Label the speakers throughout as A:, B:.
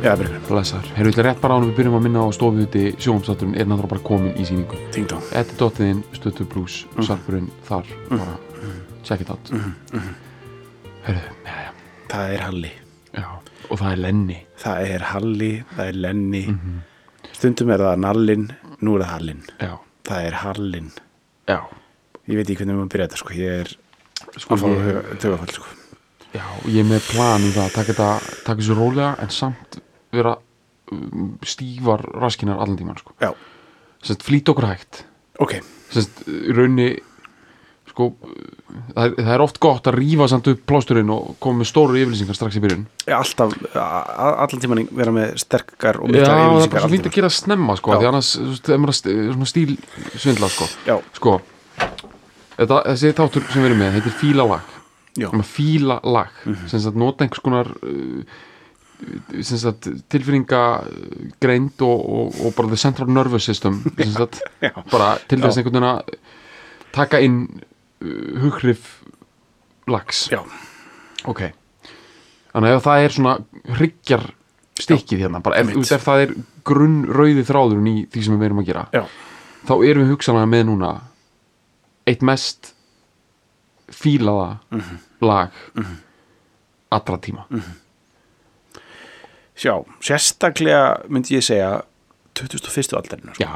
A: Já, Birgur,
B: Blessar. Heyrðu, þetta er rétt bara ánum við byrjum að minna á stofuhuti sjóumstátturinn er náttúrulega bara komin í síningu.
A: ting dong.
B: Þetta er dottiðinn, stöttu blús, sarpurinn þar. Bara check it out. Heyrðu, já, já,
A: Það er Halli.
B: já. Og það er Lenny.
A: Það er Halli, það er Lenni.
B: Mhm.
A: Stundum er það Nallinn, nú er það Hallin.
B: Já,
A: Það er Hallin.
B: já.
A: Ég veit ekki hvernig maður byrja þetta, sko. Ég er
B: Sko,
A: að fá
B: ég-
A: tögafall, sko.
B: Já, ég er með plan um það að taka þetta, taka þessu rólega en samt vera um, stífar raskinar allan tíman, sko.
A: Já,
B: Sest, flýta okkur hægt.
A: ok.
B: Sest, raunni, sko, það, það er oft gott að rífa samt upp plásturinn og koma með stóru yfirlýsingar strax í byrjun.
A: Ég alltaf, a- a- allan tíman vera með sterkar
B: Já,
A: og miklar
B: það er
A: yfirlýsingar
B: bara svo fínt að gera snemma, sko,
A: Já.
B: því annars, þú veist, það er maður st- svona stíl svindla, sko.
A: Já,
B: Sko, þetta, þessi þáttur sem við erum með, þetta er fílalag.
A: já,
B: um að fíla lag mm
A: Mhm.
B: -hmm. sem sagt nota einhvers konar uh, sem sagt tilfinningagreind og, og, og bara the central nervous system sem sagt
A: já.
B: bara til þess
A: Já.
B: einhvern veginn að taka inn uh, hughrif lags
A: já,
B: ok þannig að ef það er svona hryggjar stikkið hérna, bara ef,
A: Einmitt.
B: ef það er grunnrauði þráðurinn í því sem við erum að gera
A: já,
B: þá erum við hugsanlega með núna eitt mest fílaða
A: Mhm.
B: lag allra tíma
A: já, sérstaklega myndi ég segja 2001. aldarinn, sko.
B: já,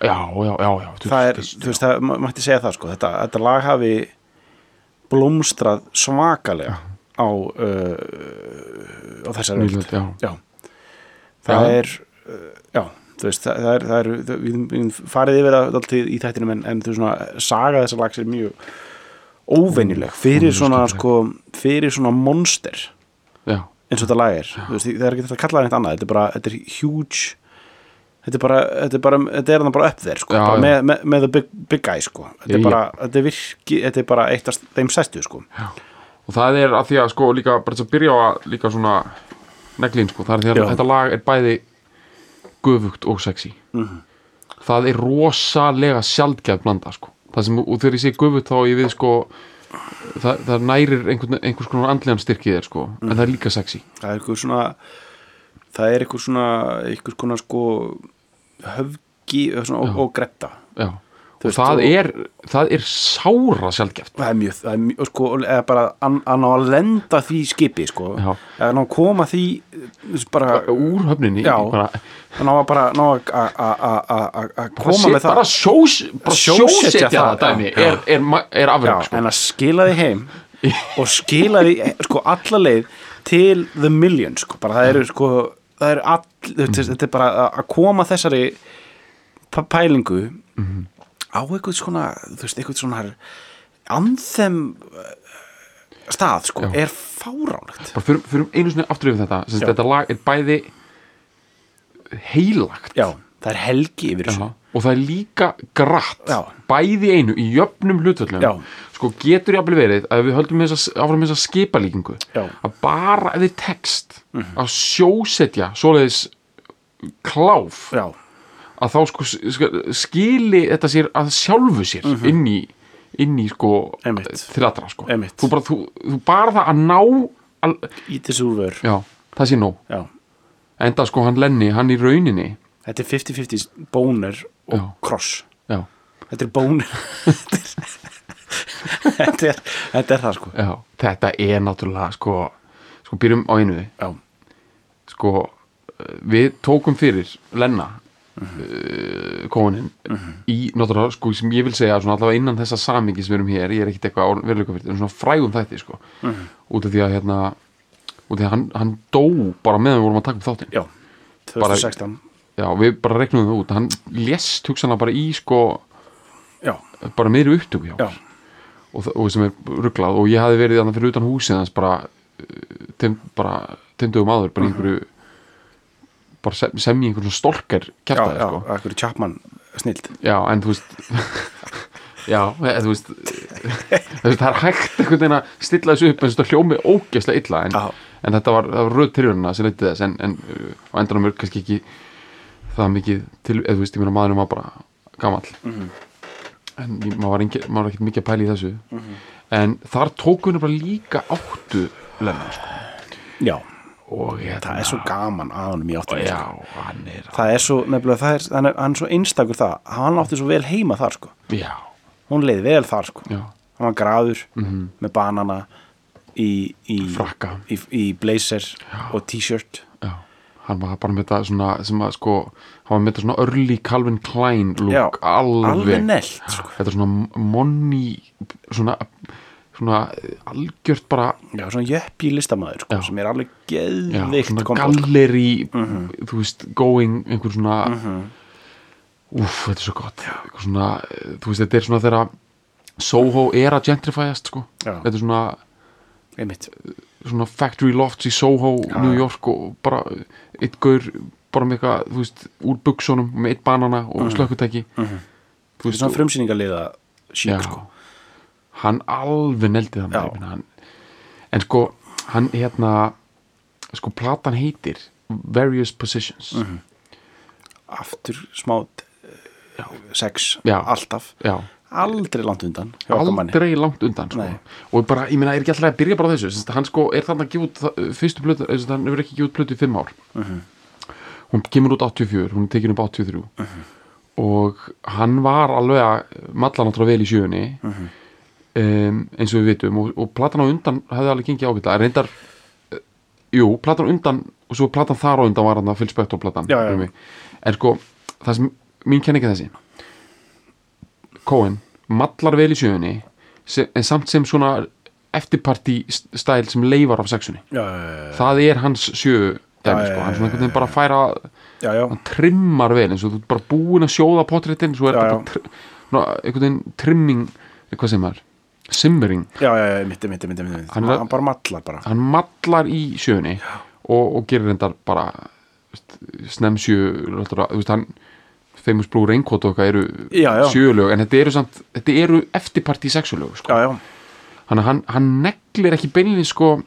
B: já, já, já, já
A: það er, þú veist, það ma- mætti segja það, sko, þetta, þetta lag hafi blómstrað
B: Ah.
A: svakalega á, uh, á þessari öld.
B: nýlöld, já,
A: Já,
B: Já.
A: það er, uh, já, þú veist, það, það er, það er það, við, við farið yfir það alltaf í þættinum en, en þú veist svona, saga þessa lags er mjög óvenjuleg fyrir
B: Mm, Mjög
A: svona,
B: skemmtileg.
A: sko, fyrir svona monster
B: já,
A: eins og þetta lag er, þú veist, það er ekki þetta að kalla það neitt annað, þetta er bara, þetta er huge þetta er bara, þetta er bara, þetta er hann bara upp þér, sko,
B: Já,
A: bara
B: já.
A: með, með, með the big, big guy, sko, þetta er
B: Já.
A: bara, þetta er virki, þetta er bara eitt af þeim sæstu, sko,
B: já og það er að því að sko líka bara til að byrja á að líka svona neglin sko, það er því að
A: Já.
B: þetta lag er bæði gufugt og sexy
A: Mhm.
B: það er rosalega sjaldgæð blanda sko, það sem, og þegar ég sé gufugt þá á ég við sko það, það nærir einhvern, einhvers konar andlegan styrkið þér sko,
A: Mhm.
B: en það er líka sexy
A: það er eitthvað svona það er eitthvað svona eitthvað svona sko höfgi svona, og, og gretta
B: Já,
A: Þú
B: og
A: veist,
B: það
A: og-
B: er, það er sára sjálfgeft
A: það er mjög, það er mjög og sko, eða bara að að ná að lenda því skipi sko,
B: Já.
A: eða ná að koma því þú veist, bara,
B: úr höfninni
A: Já.
B: bara,
A: að ná að bara ná að að- að- að- að- að- að koma
B: set-
A: með það
B: bara, sjós, bara
A: Sjósetja
B: sjósetja
A: það,
B: það dæmi
A: já, já.
B: er, er, ma- er
A: já,
B: afrið sko.
A: en að skila því heim og skila því sko alla leið til the million sko, bara það
B: Mm.
A: eru sko það eru all, þú veist, þetta er bara að- að koma þessari p- pælingu
B: Mhm.
A: á eitthvað svona þú veist, eitthvað svona anþem stað sko,
B: Já.
A: er fáránlegt
B: bara fyrir, fyrir einu sinni aftur yfir þetta sem sagt,
A: Já.
B: þetta lag er bæði heilagt
A: já, það er helgi yfir þessu
B: Já, og það er líka gratt
A: Já.
B: bæði í einu í jöfnum hlutvöllum
A: Já.
B: sko getur jafnvel verið að ef við höldum þess að áfram þess að skipa líkingu
A: Já. Mhm.
B: að bara ef þið tekst að sjósetja svoleiðis kláf
A: já,
B: að þá sko s- sk- skili þetta sér að sjálfu sér inn í inn í sko
A: Mhm. Einmitt.
B: til allra sko
A: Einmitt.
B: þú bara, þú, þú bara það að ná al,
A: í þessu vör
B: já, það sé nóg
A: já.
B: enda sko hann Lenny, hann í rauninni
A: þetta er 50-50 bónur og
B: Já.
A: kross
B: já,
A: þetta er bónur þetta, er, þetta er það sko
B: já, þetta er náttúrulega sko, sko byrjum á einu
A: já,
B: sko, eh, við tókum fyrir Lenna
A: Mhm.
B: uh, kónin í náttúrulega sko sem ég vil segja svona allavega innan
A: Mhm.
B: þessa samingi sem við erum hér, ég er ekkit eitthvað veruleika fyrir, en svona frægum þætti sko út af því að hérna og því að hann, hann dó bara meðan við vorum að taka upp þáttinn
A: já, 2016
B: já, við bara reknum það út, hann lést hugsanlega bara í sko,
A: já,
B: bara meðri upptöku hjá
A: já,
B: okkur. og, þa- og sem er rugglað og ég hafi verið þannig fyrir utan húsið hans bara eh, tim, bara timdugum aður
A: Mhm.
B: bara í einhverju bara sem, sem í einhverjum stolker
A: já,
B: kjartaði
A: já,
B: sko
A: ekkur Chapman snild
B: já, en þú veist já, en, þú veist þú veist, það er hægt einhvern veginn að stilla þessu upp en þetta hljómi ógeðslega illa en,
A: Já.
B: en þetta var, það var röð tilhöruna sem leitið þess en, en uh, á endanum er kannski ekki það mikið til, eða þú veist, ég meina maðurinn var bara gamall
A: Mhm.
B: en ég- maður var, engi, maður var ekkert mikið að pæla í þessu
A: Mhm.
B: en þar tók hún bara líka áttu lennar sko.
A: já,
B: og ég,
A: það er svo gaman að honum í áttunum
B: já, hann er
A: það er svo, nefnilega, það er, hann er, hann er svo einstakur það, hann átti svo vel heima þar sko.
B: já,
A: hún leiði vel þar sko.
B: já, Mhm.
A: hann var graður með banana í, í,
B: frakka
A: í, í blazer og t-shirt
B: já, hann var bara með þetta svona sem að sko, hann var með þetta svona early Calvin Klein look,
A: Já,
B: alveg, Ah,
A: alveg nelt, sko.
B: þetta er svona monni svona, svona algjört bara
A: já, svona jöppi listamaður sko,
B: Já.
A: sem er alveg
B: já,
A: geðvikt
B: svona
A: kombo, sko.
B: galleri þú veist, going einhver svona
A: Mhm.
B: úff, þetta er svo gott Einhver svona, eh, þú veist, þetta er svona þegar Soho er að gentrifæjast sko.
A: Já.
B: þetta er svona,
A: Einmitt.
B: svona factory lofts í Soho, New York og bara eitt gaur bara með eitthvað, þú veist, úr buksunum með eitt banana og slökkutæki þú
A: Mhm. Þetta er svona frumsýningaliða sík sko.
B: hann alveg neldi það
A: Já.
B: með hann en sko hann hérna sko platan heitir Various Positions
A: Mhm. aftur smá já. sex,
B: Já.
A: alltaf
B: já,
A: aldrei langt undan hjá okkar manni.
B: aldrei langt undan sko.
A: Nei.
B: og bara, ég meina, er ekki alltaf að byrja bara á þessu Sist, hann sko er þarna að gefa út það- fyrstu plötu, eða sem sagt, hann hefur ekki gefið út plötu í fimm ár
A: Mhm.
B: hún kemur út 84 hún er tekin upp 83
A: Mhm.
B: og hann var alveg að malla náttúrulega vel í sjöunni
A: Mhm.
B: um, eins og við vitum og, og platan á undan hefði alveg gengið ágætla reyndar, eh, jú, platan á undan og svo platan þar á undan var hann að Phil Spector platan
A: Já, já.
B: fyrir mig. en sko, það sem mín kenning er þessi Cohen mallar vel í sjöunni sem, en samt sem svona eftirparti stæl sem leifar af sexunni
A: já, já,
B: það er hans sjö dæmi,
A: Já, já,
B: sko.
A: já,
B: hann svona einhvern veginn bara færa
A: já, já,
B: hann trimmar vel eins og þú ert bara búin að sjóða potréttin svo er
A: Já,
B: þetta
A: já.
B: bara tr- ná, einhvern veginn trimming hvað sem er, simmering
A: já, já, já, mitt, mitt, mitt, mitt, mitt.
B: Hann
A: Hann,
B: er-
A: bara mallar bara
B: hann mallar í sjöunni og, og gerir reyndar bara snemsjö hann, Famous Blue Raincoat og eitthvað
A: Já, já.
B: eru sjöulög en þetta eru, samt, þetta eru eftirparti sexulög sko.
A: já, já,
B: hann, hann, hann neglir ekki beinlinni sko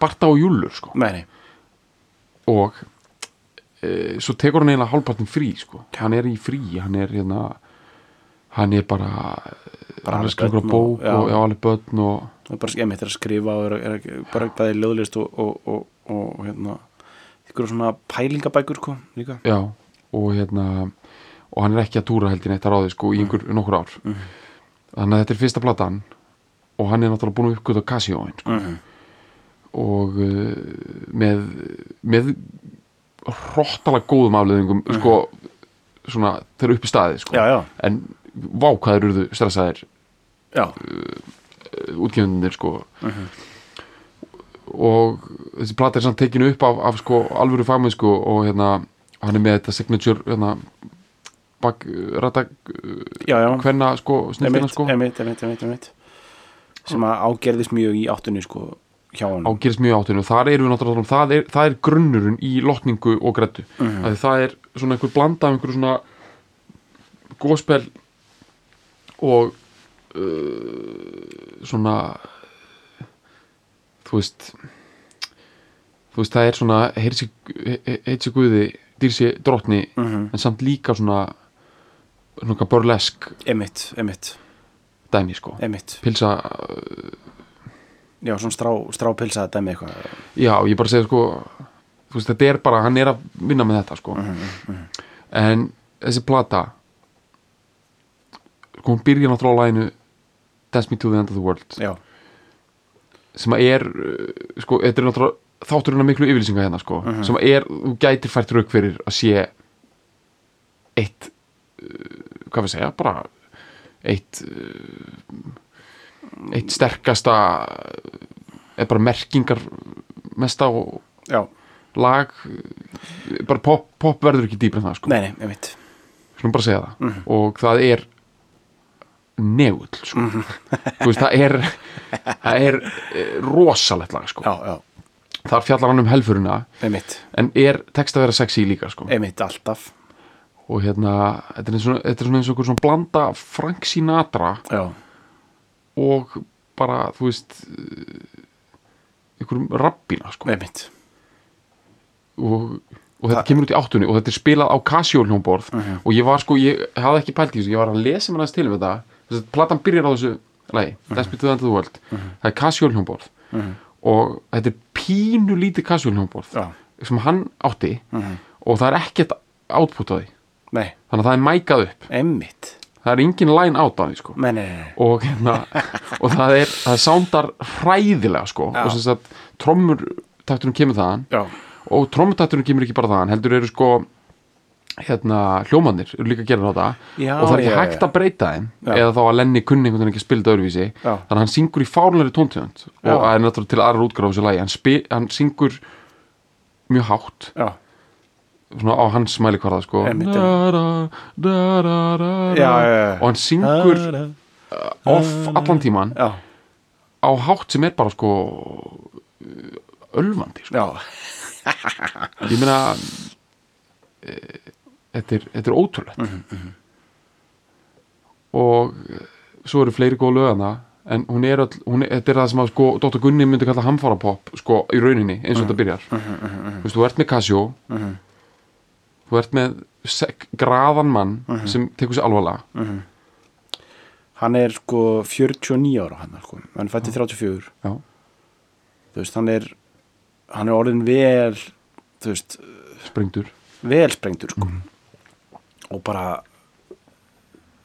B: Barta og Júllur sko
A: nei, nei
B: og e, svo tekur hann eiginlega hálfpartin frí sko. hann er í frí hann er, hérna, hann er bara, hann er að skrifa einhverja
A: alveg börn og-
B: bók og, og já, alveg börn og
A: það er bara ég mitt er að skrifa og er, að- er að- bara bæði löðlist og, og, og, og, og hérna ykkur svona pælingabækur sko líka
B: já, og hérna og hann er ekki að túra heldin eitt að ráði sko, í einhver nokkur ár
A: Mhm.
B: þannig að þetta er fyrsta platan og hann er náttúrulega búin að uppgöta Casio sko. og uh, með með hróttalega góðum afleðingum sko, svona, þeir eru upp í staði sko.
A: Mhm. já, já,
B: en vá hvað þeir eru stressaðir
A: já,
B: útgefundinir sko og þessi plata er samt tekinu upp af, af sko alvöru fagmenn sko og hérna hann er með þetta signature hérna bak, rætta
A: já, já
B: hvenna sko snillina
A: emitt,
B: sko
A: emitt, emitt, emitt, emitt sem að ágerðist mjög í áttunni sko hjá hann
B: ágerist mjög áttunni og þar eru við náttúrulega um, það er, það er grunnurinn í lotningu og grættu mm -hmm. það er svona einhver blanda af einhverju svona góspel og uh, svona þú veist þú veist það er svona heyrsi, he- heitsi guði dýrsi drottni en samt líka svona svona burlesk
A: emitt, emitt,
B: dæmi sko
A: emitt
B: pilsa,
A: já, svona strá, strápilsa að dæmi eitthvað
B: Já, ég bara segja sko þú veist, þetta er bara, hann er að vinna með þetta sko en þessi plata sko, hún byrja náttúrulega á læginu Dance Me To The End Of The World
A: já,
B: sem að er, uh, sko, þetta er náttúrulega þátturinn að miklu yfirlýsinga hérna sko sem að er, þú gætir fært rauk fyrir að sé eitt uh, hvað við segja, bara eitt uh, eitt sterkasta er bara merkingar mest á
A: já,
B: lag eh, bara pop, pop verður ekki dýpar en það sko
A: nei, Mhm. nei, ég veit
B: svona bara segja það og það er negull sko.
A: Mhm.
B: Þú veist, það er það er eh, rosalegt lag sko.
A: já, já,
B: þar fjallar hann um helfurina
A: ég veit,
B: en er text að vera sexy líka sko.
A: ég veit alltaf
B: og hérna, þetta er eins og, þetta er svona eins og einhver svona blanda Frank Sinatra
A: já,
B: og bara, þú veist eh, einhverjum rabbina sko.
A: ég veit
B: og, og þetta kemur út í áttunni og þetta er spilað á Casio hljómborð og ég var sko, ég hafði ekki pælt í þessu ég var að lesa mér aðeins til um þetta þess að platan byrjar á þessu lagi, Desperate to End of the World það er Casio hljómborð og þetta er pínu lítið Casio hljómborð
A: Já.
B: sem hann átti og það er ekkert output á því
A: nei,
B: þannig að það er mækað upp,
A: einmitt
B: það er engin line out á því sko
A: nei, nei, nei,
B: og hérna og það er, það sándar hræðilega sko
A: Já.
B: og sem sagt trommur takturum kemur þaðan
A: já,
B: og trommutakturinn kemur ekki bara þaðan heldur eru sko hérna, hljómanir eru líka að gera þetta
A: Já,
B: og það er ekki
A: já, já.
B: hægt að breyta þeim
A: Já.
B: eða þá að Lenny kunni einhvern veginn ekki að spila þetta öðruvísi
A: Já.
B: þannig að hann syngur í fárlari tóntegund og
A: Já.
B: það er náttúrulega til aðra útgráð á þessu lagi hann, spil, hann syngur mjög hátt
A: já,
B: svona á hans mæli hvarða sko
A: Einmitt,
B: da, da, da, da, da,
A: Já, já, já.
B: og hann syngur off allan tíman
A: já,
B: á hátt sem er bara sko ölvandi sko.
A: já,
B: ég meina e, þetta er, þetta er ótrúlegt og eh, svo eru fleiri góð lögana en hún er öll, hún er, þetta er það sem að sko, Dr. Gunni myndi kalla hamfara pop sko, í rauninni eins og þetta byrjar þú veist, þú ert með Casio þú ert með sek, graðan mann sem tekur sér alvarlega
A: hann er sko 49 ára hann, sko. hann fætti 34
B: já,
A: þú veist, hann er hann er orðin vel þú veist,
B: springdur
A: vel sprengtur sko.
B: Mm.
A: og bara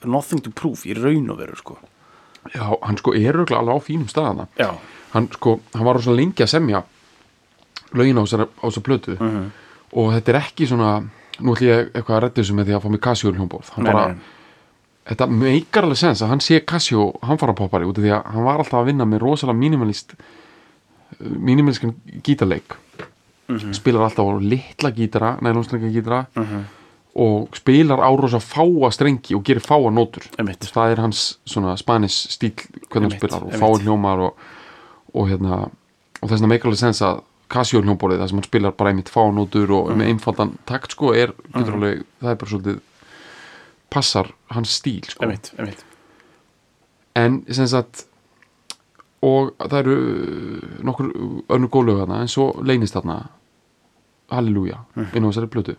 A: nothing to prove í raun og veru sko.
B: já, hann sko er örugglega alveg á fínum staðana
A: já,
B: hann sko, hann var rosa lengi að semja lögin á þessar- á þessar plötu
A: Mhm.
B: og þetta er ekki svona nú ætlum ég eitthvað að redda þessu með því að fá mig Casio hljómborð, hann
A: Nei,
B: bara
A: nei.
B: þetta meikar alveg sens að hann sé Casio hamfarapoppari út af því að hann var alltaf að vinna með rosalega mínimalist mínimaliskan gítarleik
A: Mhm.
B: spilar alltaf á litla gítara nælónsleika gítara og spilar á rosa fáa strengi og gerir fáa nótur
A: Einmitt.
B: það er hans svona spanish stíl hvernig hann
A: Einmitt,
B: spilar og
A: einmitt.
B: fáa hljómar og, og hérna og þess vegna meikar alveg sens að Casio hljómborðið það sem hann spilar bara einmitt fánótur og með
A: Mm.
B: einfaldan takt sko er, getur alveg, það er bara svolítið passar hans stíl sko.
A: einmitt, einmitt
B: en sem sagt og það eru nokkur önnur góðlög þarna en svo leynist þarna Halleluja
A: Mm.
B: inn á þessari blötu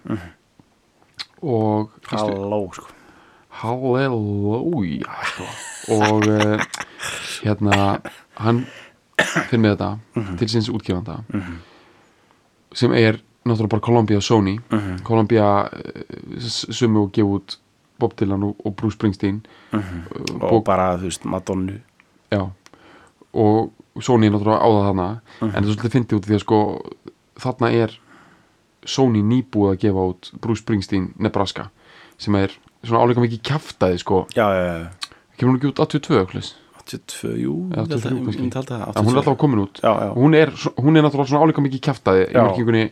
B: og fyrstu-
A: halló sko.
B: Halleluja sko. og eh, hérna hann finn með þetta til síns útgefanda sem er náttúrulega bara Columbia Sony Columbia eh, s- sumu og gefa út Bob Dylan og, og Bruce Springsteen
A: og bara, þú veist, Madonnu
B: Já, og Sony er náttúrulega áða þarna en það er svolítið fyndið út af því að sko þarna er Sony nýbúið að gefa út Bruce Springsteen Nebraska sem er svona áleika mikið kjaftaði sko
A: já, já, já,
B: kemur hún ekki út 82 okkur
A: 82, jú
B: Já, 83
A: ég myndi halda það,
B: en hún er alltaf komin út
A: Já, já.
B: Hún, er, svo- hún er náttúrulega svona áleika mikið kjaftaði í
A: Já.
B: merkingunni,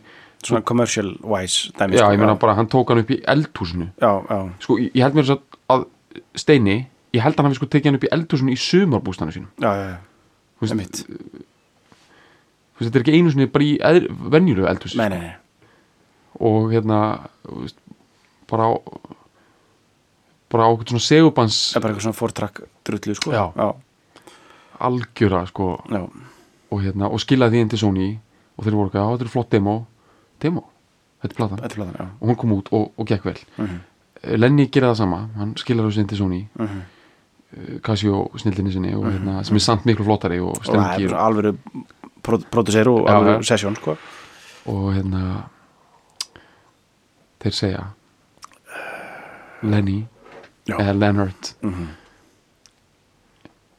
A: svona commercial wise dæmi,
B: já
A: sko.
B: ég meina bara hann tók hann upp í eldhúsinu
A: já, já,
B: sko ég ég held mér að, að Steini, ég held að hann hafi sko tekið hann upp í eldhúsinu í sumarbústanu sínum
A: já, já, já,
B: Þú veist,
A: einmitt
B: þú veist, þetta er ekki einu sinni bara í eðr, venjulegu eldhúsi
A: nei, nei, nei,
B: og hérna þú veist, bara á bara á eitthvað svona segubans
A: það er bara eitthvað svona fortrakk drullu, sko
B: Já.
A: já,
B: algjöra sko
A: já,
B: og, hérna, og skilaði því inn til Sony og þeir voru eitthvað, "Já, þetta er flott demo demo, þetta er platan
A: þetta er platan, já
B: og hún kom út og, og gekk vel
A: Mhm.
B: Lenny gerir það sama, hann skilar þessu inn til Sony uh
A: Mhm.
B: Casio snildinni sinni og, hérna, sem er samt miklu flottari og
A: og það er
B: strengi og,
A: svona alvöru pró- pródusser og
B: Já,
A: alvöru
B: já.
A: sesjón, sko
B: og hérna þeir segja Lenny
A: já, Mhm.
B: eða Leonard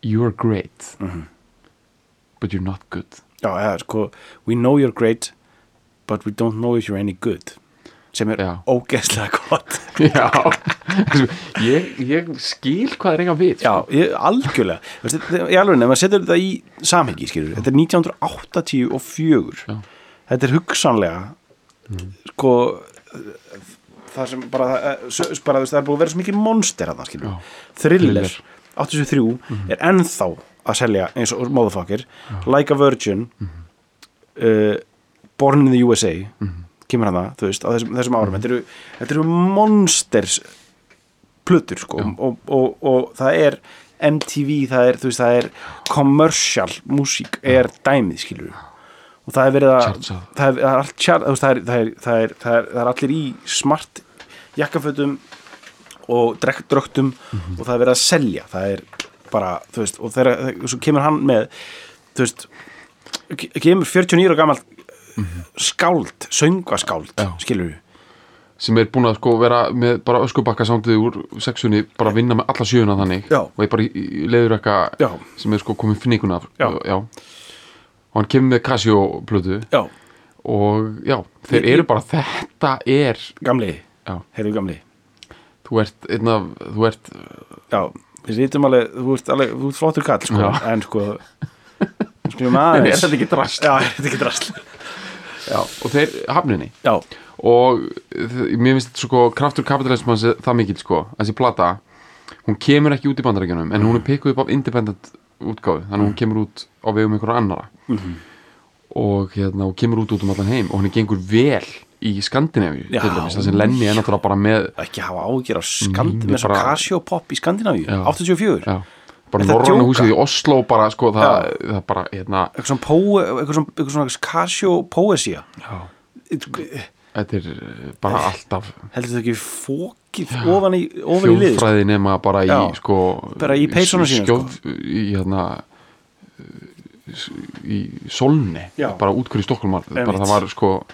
B: You're great
A: Mhm.
B: But you're not good
A: já, eða sko we know you're great but we don't know if you're any good sem er
B: Já.
A: ógeðslega gott
B: Já ég, ég skil hvað er eiga við sko.
A: já, ég, algjörlega Veistu, þe- í alveg nefn, maður setur þetta í samhengi skilur, þetta er 1984
B: Já.
A: þetta er hugsanlega sko það sem bara, eh, s- bara þú veist, það er búið að vera svo mikið monster að það
B: Já.
A: skilur thriller,
B: Thriller. Mhm.
A: 83 er ennþá að selja eins og motherfucker Like a Virgin
B: Mhm.
A: uh, Born in the USA
B: Mhm.
A: kemur hann það, þú veist, á þessum, þessum árum þetta, eru, þetta eru monsters plötur sko og, og, og, það er MTV, það er, þú veist, það er commercial músík er dæmið skilur og það er verið að
B: Chartsað.
A: það er, það er allt tjart, veist, það, er, það, er, það, er, það, er, það er allir í smart jakkafötum og drekkdröktum og það er verið að selja það er bara, þú veist, og þegar svo kemur hann með, þú veist ke- kemur 49 og gamalt skáld, söngaskáld
B: Já.
A: skilur við
B: sem er búin að sko vera með bara öskubakka sándið úr sexunni bara að vinna með alla sjöuna þannig
A: Já.
B: og er bara í, í leiður
A: Já.
B: eitthvað sem er sko komið finninguna af
A: Já.
B: og hann kemur með Casio plötu
A: Já,
B: og já, þeir eru bara þetta er,
A: gamli,
B: já,
A: heyrðu gamli
B: þú ert einna, þú ert,
A: Já, við rítum alveg, þú ert alveg, þú ert flottur kall sko,
B: Já.
A: en sko skulum aðeins
B: er þetta ekki drast
A: Já, er þetta ekki drast Já,
B: og þeir hafninni
A: já,
B: og þ- mér finnst sko kraftur kapitalismans er það mikil sko þessi plata, hún kemur ekki út í bandarækjunum en hún er pikkuð upp af independent útgáðu, þannig að
A: Mm.
B: hún kemur út á vegum einhverja annara
A: Mhm.
B: og hérna, hún kemur út út um allan heim og hún gengur vel í Skandinavíu
A: Já.
B: til dæmis, þessi Lenny er náttúrulega bara með
A: ekki hafa ágjör á skandi
B: Nei,
A: með svo
B: Mm, bara-
A: Casio Pop í Skandinavíu,
B: Já.
A: 84
B: já, bara
A: Er það
B: norrannu
A: djóka?
B: húsið í Oslo bara sko, það,
A: Já.
B: það bara, hérna
A: eitthvað svona, pó, eitthvað svona, eitthvað svona Casio Poesia
B: já.
A: heldur
B: þetta er eh, bara alltaf
A: þetta ekki fókið ofan í, ofan í lið sko?
B: þjóðfræði nema bara í
A: Já.
B: sko,
A: Bara í sko. peysunum sínum,
B: skjóð, í hérna s- í solni
A: Já.
B: bara útkvöri Stokkólmar bara
A: Einmitt.
B: það var sko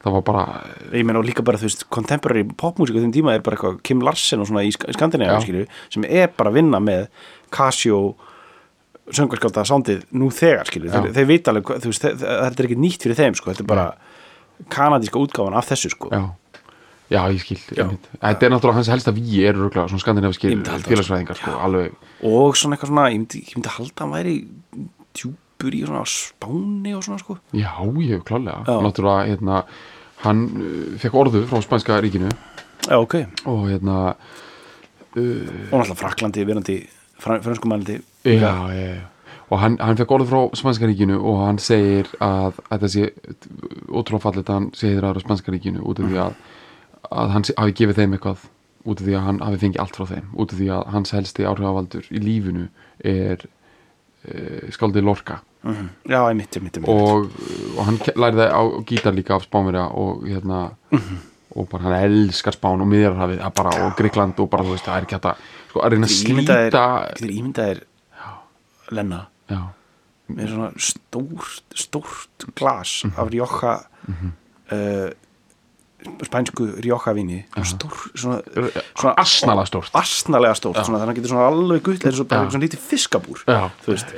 B: það var bara
A: ég meina og líka bara þú veist contemporary popmusík á þeim tíma er bara eitthvað Kim Larsen og svona í Skandinavíu
B: Já.
A: skilju sem er bara að vinna með Casio söngarskálda sándið nú þegar skilju þeir,
B: Já.
A: þeir vita alveg hvað- þú veist, þe- þe- þetta er ekki nýtt fyrir þeim sko þetta er bara kanadíska útgáfan af þessu sko
B: já, já ég skil einmitt. þetta er náttúrulega hans helsta víi er röglega svona skandinaviski
A: Ég myndi halda það,
B: félagsfræðingar sko, alveg
A: og svona eitthvað svona ég myndi, ég myndi halda að hann væri djúpur í svona á spáni og svona sko
B: já ég klálega
A: Já.
B: náttúrulega hérna hann uh, fekk orðu frá spænska ríkinu
A: já ok
B: og hérna
A: og náttúrulega Fraklandi verandi franskumælandi
B: já, já, já. og hann, hann fekk orðið frá Spanskaríkinu og hann segir að, að þetta sé ótrúlega fallið að hann sé heiðraður á Spanskaríkinu út af því að, að hann sé- hafi gefið þeim eitthvað út af því að hann hafi fengið allt frá þeim út af því að hans helsti áhrifavaldur í lífinu er e, skaldið Lorca
A: Mhm. já ég mitt, ég mitt, ég mitt
B: og, og hann ke- lærði á gítar líka af Spánverja og hérna
A: Mhm.
B: og bara hann elskar Spán og miðjararhafið að bara, og Gríkland og bara þú veist það er ekki hægt að sko, að reyna að slíta
A: Þetta er ímyndaðir Lenna
B: já
A: með svona stórt, stórt glas af rjóka uh, spænsku rjókavíni stór, svona, svona
B: asnalega stórt.
A: asnalega stórt, svona, þannig að hann getur svona alveg gull eins
B: Já.
A: og bara eitthvað svona lítið fiskabúr
B: Já.
A: þú veist,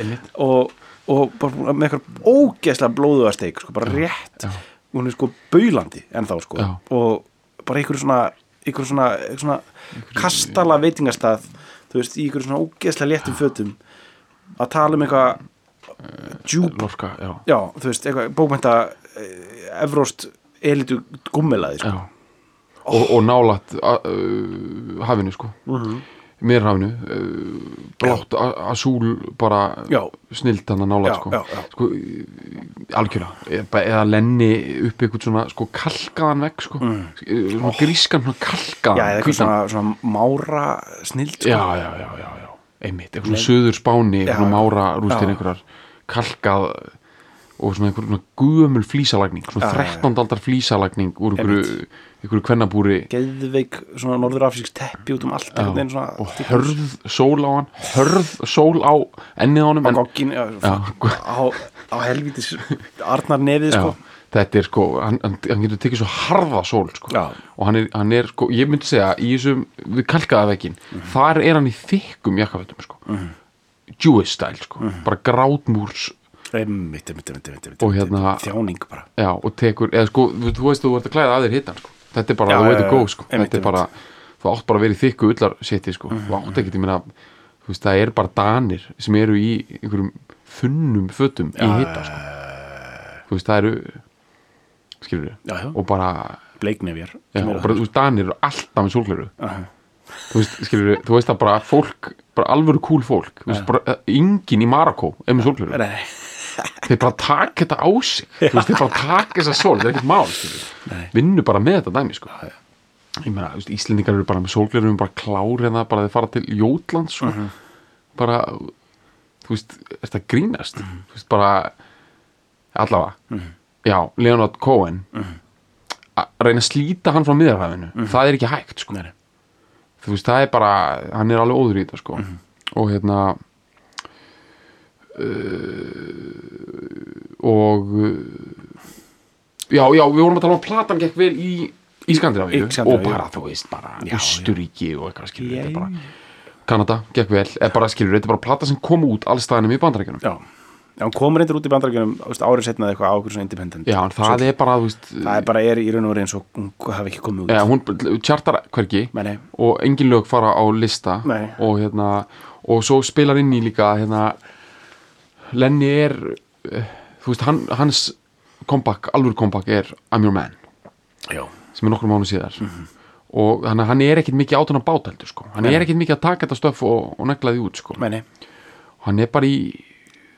A: og, og bara búin að- með eitthvað ógeðslega blóðuða steik sko, bara rétt, hún er sko baulandi ennþá sko,
B: Já.
A: og bara einhverju svona, einhverju svona, einhverju svona kastala veitingastað þú veist, í einhverju svona ógeðslega léttum fötum að tala um eitthvað
B: Eh,
A: djúb
B: Lorka, já,
A: já, þú veist, eitthvað bókmænta evróst elitu gummilaði sko.
B: já. Og, og nálat a- uh, hafinu sko mm
A: Mhm.
B: -hmm. mér hafinu uh, blátt a- asúl bara
A: Já.
B: snilt hann að nálat
A: Já,
B: sko,
A: já, já.
B: sko í- algjörlega Eða bara- eða lenni upp eitthvað svona sko kalkaðan vegg sko mm. svona grískan svona kalkaðan
A: já, eða eitthvað
B: hvítan.
A: svona, svona mára snild sko.
B: já, já, já, já, já einmitt, eitthvað svona söður spáni
A: Já.
B: svona mára rústir
A: Já.
B: einhverjar kalkað og svona einhver svona guðumul flísalagning svona
A: Já, já, já.
B: 13. aldar flísalagning úr einhverju, einhverju kvennabúri
A: geðveik, svona norðurafrísk teppi út um allt, einhvern veginn svona
B: og
A: allt í-
B: hörð sól á hann hörð sól á ennið á honum
A: á
B: en,
A: goggin já, á, á helvítis Arnar nefið
B: já,
A: sko.
B: þetta er sko hann, hann hann getur tekið svo harða sól sko.
A: Já.
B: og hann er, hann er sko, ég myndi segja í þessum, við kalkaða vekkin
A: Mhm.
B: þar er hann í þykkum jakkafötum sko. Jewish style sko.
A: Mhm.
B: bara grátmúrs
A: einmitt, einmitt, einmitt, einmitt, einmitt,
B: Og hérna-
A: þjáning bara
B: já, og tekur, eða sko, þú, þú veist þú ert að klæða að þér hittan sko. þetta er bara
A: Já,
B: the way
A: já,
B: to
A: já,
B: go sko.
A: einmitt, Mhm,
B: þetta er bara, þú átt bara að vera í þykku ullar seti, sko, þú átt ekki, ég meina þú veist, það er bara danir sem eru í einhverjum þunnum fötum í hitta sko. þú veist, það eru skilur við
A: já, já.
B: og bara,
A: bleiknefjar
B: já,
A: sem
B: og
A: eru
B: bara þú veist, Danir eru alltaf með sólgleru
A: Aha.
B: þú veist, skilur við, þú veist að bara fólk bara alvöru cool fólk þú veist, bara, eh, enginn í Marakó er með sólgleru
A: Nei,
B: þeir bara taka þetta á sig þú veist, þeir bara taka þessa sól, það er ekkert mál skilur við.
A: Nei.
B: vinnu bara með þetta dæmi sko. ég meina, þú veist, Íslendingar eru bara með sólglerum bara klárið það, bara þeir fara til Jótland sko. bara þú veist, er þetta grínast
A: Mhm.
B: þú veist, bara allavega, já, Leonard Cohen
A: Mhm.
B: að reyna að slíta hann frá miðarhæfinu, það er ekki hægt sko.
A: Nei, nei.
B: þú veist, það er bara hann er alveg óður í þetta sko.
A: Mhm.
B: og hérna uh, og uh, já, já, við vorum að tala um að platan gekk vel í, í Skandinavíu
A: Í Skandinavíu.
B: og bara, þú veist, bara
A: Já, já.
B: Östuríki og eitthvað skilur
A: Já,
B: þetta er
A: já.
B: bara, Kanada gekk vel eða bara skilur, þetta er bara plata sem kom út alls staðanum í bandarækjunum
A: já, já hann kom reyndir út í bandarækjunum árið setna eitthvað á okkur svona independent
B: já, en það er bara, þú veist
A: það er bara er í raun og verið eins og hún hafi ekki komið út
B: eða, hún tjartar hvergi
A: Nei, nei.
B: og engin lög fara á lista
A: Nei.
B: og hérna, og svo spilar inn í líka hérna Lenny er eh, þú veist, hann, hans comeback, alvöru comeback er I'm your man
A: já,
B: sem er nokkrum mánu síðar
A: Mhm.
B: og hann, hann er ekkit mikið átun að bát heldur sko. hann er ekkit mikið að taka þetta stöf og, og negla því út sko.
A: meni,
B: hann er bara í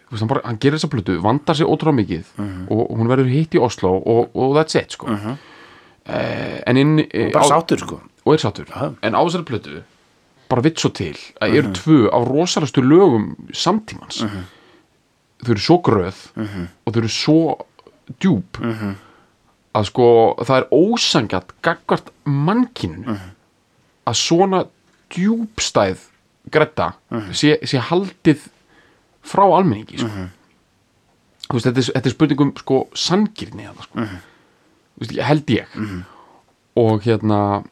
B: þú veist, hann, bara, hann gerir þessa plötu, vandar sér ótrúlega mikið
A: Mhm.
B: og hún verður hitt í Oslo og, og that's it sko. eh, en inn eh,
A: bara
B: á-
A: sáttur sko
B: og er sáttur
A: Aha.
B: en á þessari plötu bara vitt svo til að
A: Mhm.
B: eru tvö af rosalastu lögum samtímans þau eru svo gröð
A: Mhm.
B: og þau eru svo djúb að sko það er ósangjart gagvart mannkinu
A: Mhm.
B: að svona djúbstæð gretta
A: Mhm.
B: sé, sé haldið frá almenningi sko. þú veist, þetta er, þetta er spurningum sko sangirni þarna, sko.
A: Mhm.
B: Þú veist, held ég og hérna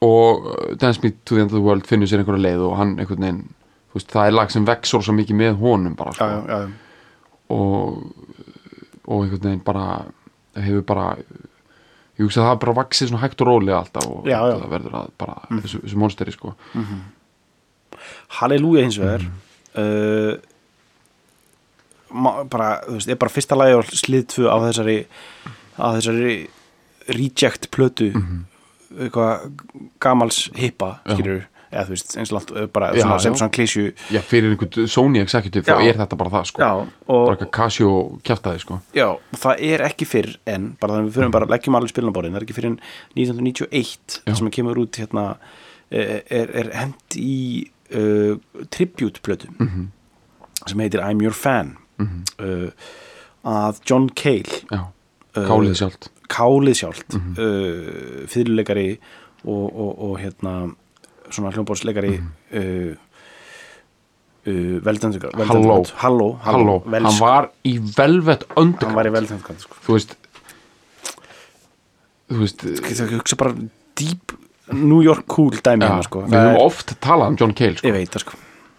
B: og uh, Dance Me to the End of the World finnur sér einhverja leið og hann einhvern veginn þú veist, það er lag sem vex svo mikið með honum bara,
A: já,
B: sko,
A: já, já,
B: og og einhvern veginn bara hefur bara ég hugsa að það bara vaxið svona hægt og rólega alltaf og
A: Já, Mm. já.
B: það verður að bara þessu, þessu monsteri sko
A: Halleluja hins vegar
B: Mhm.
A: uh, ma- bara, þú veist, er bara fyrsta lagi á slið 2 á þessari á þessari reject plötu eitthvað gamals hippa,
B: Mhm. Já.
A: skilur eða þú veist, eins og langt, uh, bara
B: Já,
A: svona, sem
B: já.
A: svona klísju
B: já, fyrir einhvern Sony executive þá
A: Já.
B: er þetta bara það sko
A: já,
B: bara
A: og,
B: eitthvað Casio kjaftaði sko
A: já, og það er ekki fyrr en, bara þannig að við fyrir bara leggjum alveg spilunaborðin, það er ekki fyrr en 1991
B: Já.
A: sem að kemur út hérna eh, er, er hent í uh, tribute plötu
B: Mhm.
A: sem heitir I'm Your Fan uh, að John Cale eh,
B: já,
A: Uh,
B: kálið sjálft Mhm.
A: Kálið sjálft uh, fyrirleikari og, og, og hérna svona hljómbórsleikari
B: Mhm.
A: uh, uh, veldendur
B: Halló.
A: Halló,
B: halló,
A: vel,
B: hann var í velvet
A: hann var
B: underground
A: í veldendur sko.
B: þú veist þú veist
A: Ég þarf ekki að hugsa bara deep New York cool dæmi
B: ja,
A: hérna sko
B: við
A: Það
B: höfum
A: er-
B: oft talað um John Cale sko.
A: Ég veit það sko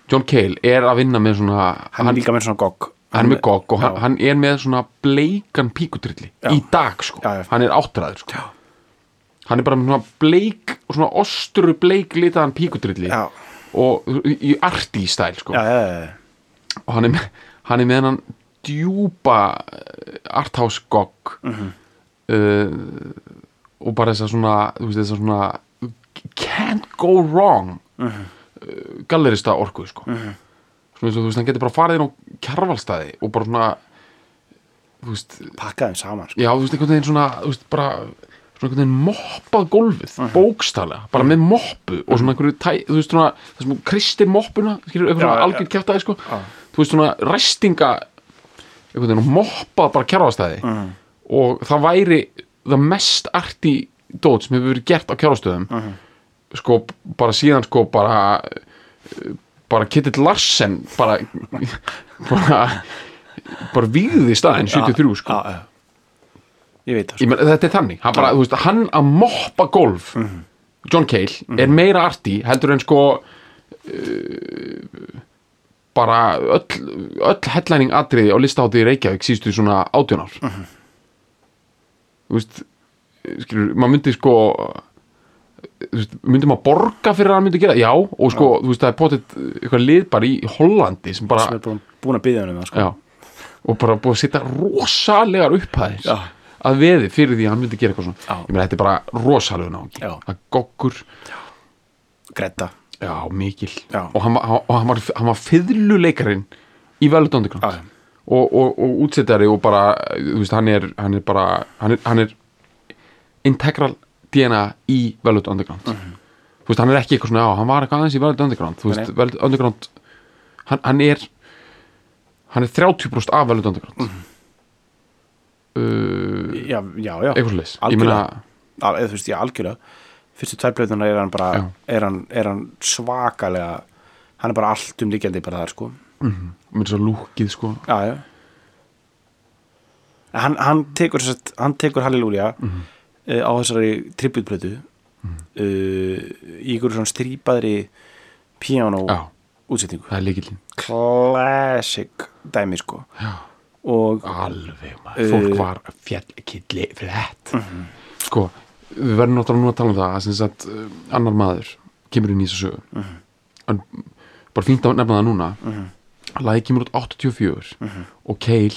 B: John Cale er að vinna með svona
A: Hann er líka með svona gogg
B: hann er með gogg og
A: Já.
B: hann, hann er með svona bleikan píkutrilli
A: Já.
B: í dag sko,
A: Já, já.
B: hann er áttræður sko. hann er bara með svona bleik svona osturu bleik litaðan píkutrilli
A: Já,
B: og í arti í stæl sko.
A: já, já, já, já.
B: og hann er með, hann er með hennan djúpa eh, arthouse gogg uh, og bara þess að svona þú veist þess að svona can't go wrong uh gallerista orku sko. svona eins og þú veist hann getur bara farið inn á kjarvalstaði og bara svona þú veist,
A: Pakka þeim saman sko
B: já þú veist einhvern veginn svona þú veist bara svona einhvern veginn moppað gólfið uh bara með moppu og svona einhverju tæ, þú veist svona það sem hún kristir moppuna skilur einhverju
A: Já, já,
B: svona
A: já.
B: algjör kjátaði sko þú veist svona ræstinga einhvern veginn og moppað bara kjárvastæði og það væri það mest arti dót sem hefur verið gert á kjárvastöðum sko b- bara síðan sko bara eh, bara Kittill Larsen bara bara bara víði staðin 73 sko
A: Já, já Ég veit það sko
B: Ég menn, þetta er þannig, hann, bara, þú veist, hann að moppa golf John Cale er meira arti heldur en sko uh, bara öll, öll headlining atriði á listahátti í Reykjavík síðustu svona átjón ár þú veist skilur, maður myndi sko þú veist, myndi maður borga fyrir að hann myndi gera það? já, og sko, þú veist, það er potið eitthvað lið bara í Hollandi sem bara
A: sko. Sem er búin, búin að byggja hann um það sko
B: já, og bara búið að setja rosalegar upphæðis
A: Já.
B: að veði fyrir því að hann myndi gera eitthvað svona
A: Já.
B: ég meina þetta er bara rosalegu náungi
A: Já.
B: að goggur,
A: Greta
B: já mikil
A: Já.
B: og hann, var- hann, og hann var, hann var fiðluleikarinn í velutandi
A: Já, já.
B: knott og, og, og útsettari og bara þú veist, hann, er, hann er bara hann er, hann er integral DNA í velutandi underground
A: Mhm.
B: þú veist, hann er ekki eitthvað svona á, hann var eitthvað aðeins í velutandi underground þú veist,
A: Nei.
B: velutandi underground hann, hann er hann er 30% af velutandi underground
A: Mhm.
B: uh,
A: já, já, já.
B: eitthvað svoleiðis ég
A: Algjörlega.
B: meina
A: Al, eða, þú veist, já, algjörlega fyrstu tvær blöðunar er hann bara
B: Já.
A: er hann, er hann svakalega hann er bara allt umlíkjandi bara þar sko
B: mér svo lúkið sko
A: já, já En hann, hann tekur þess að hann tekur Halleluja mm
B: Mhm.
A: á þessari tributblöðu uh, í ykkur svona strýpaðri piano
B: já,
A: útsetningu
B: það er líkillin
A: classic dæmi sko
B: Já.
A: og
B: alveg maður, fólk var fjallkilli fyrir þetta sko, við verðum náttúrulega núna að tala um það að sem sagt, uh, annar maður kemur inn í þessu sögu en bara fínt að nefna það núna mm lagið kemur út 84 og Keil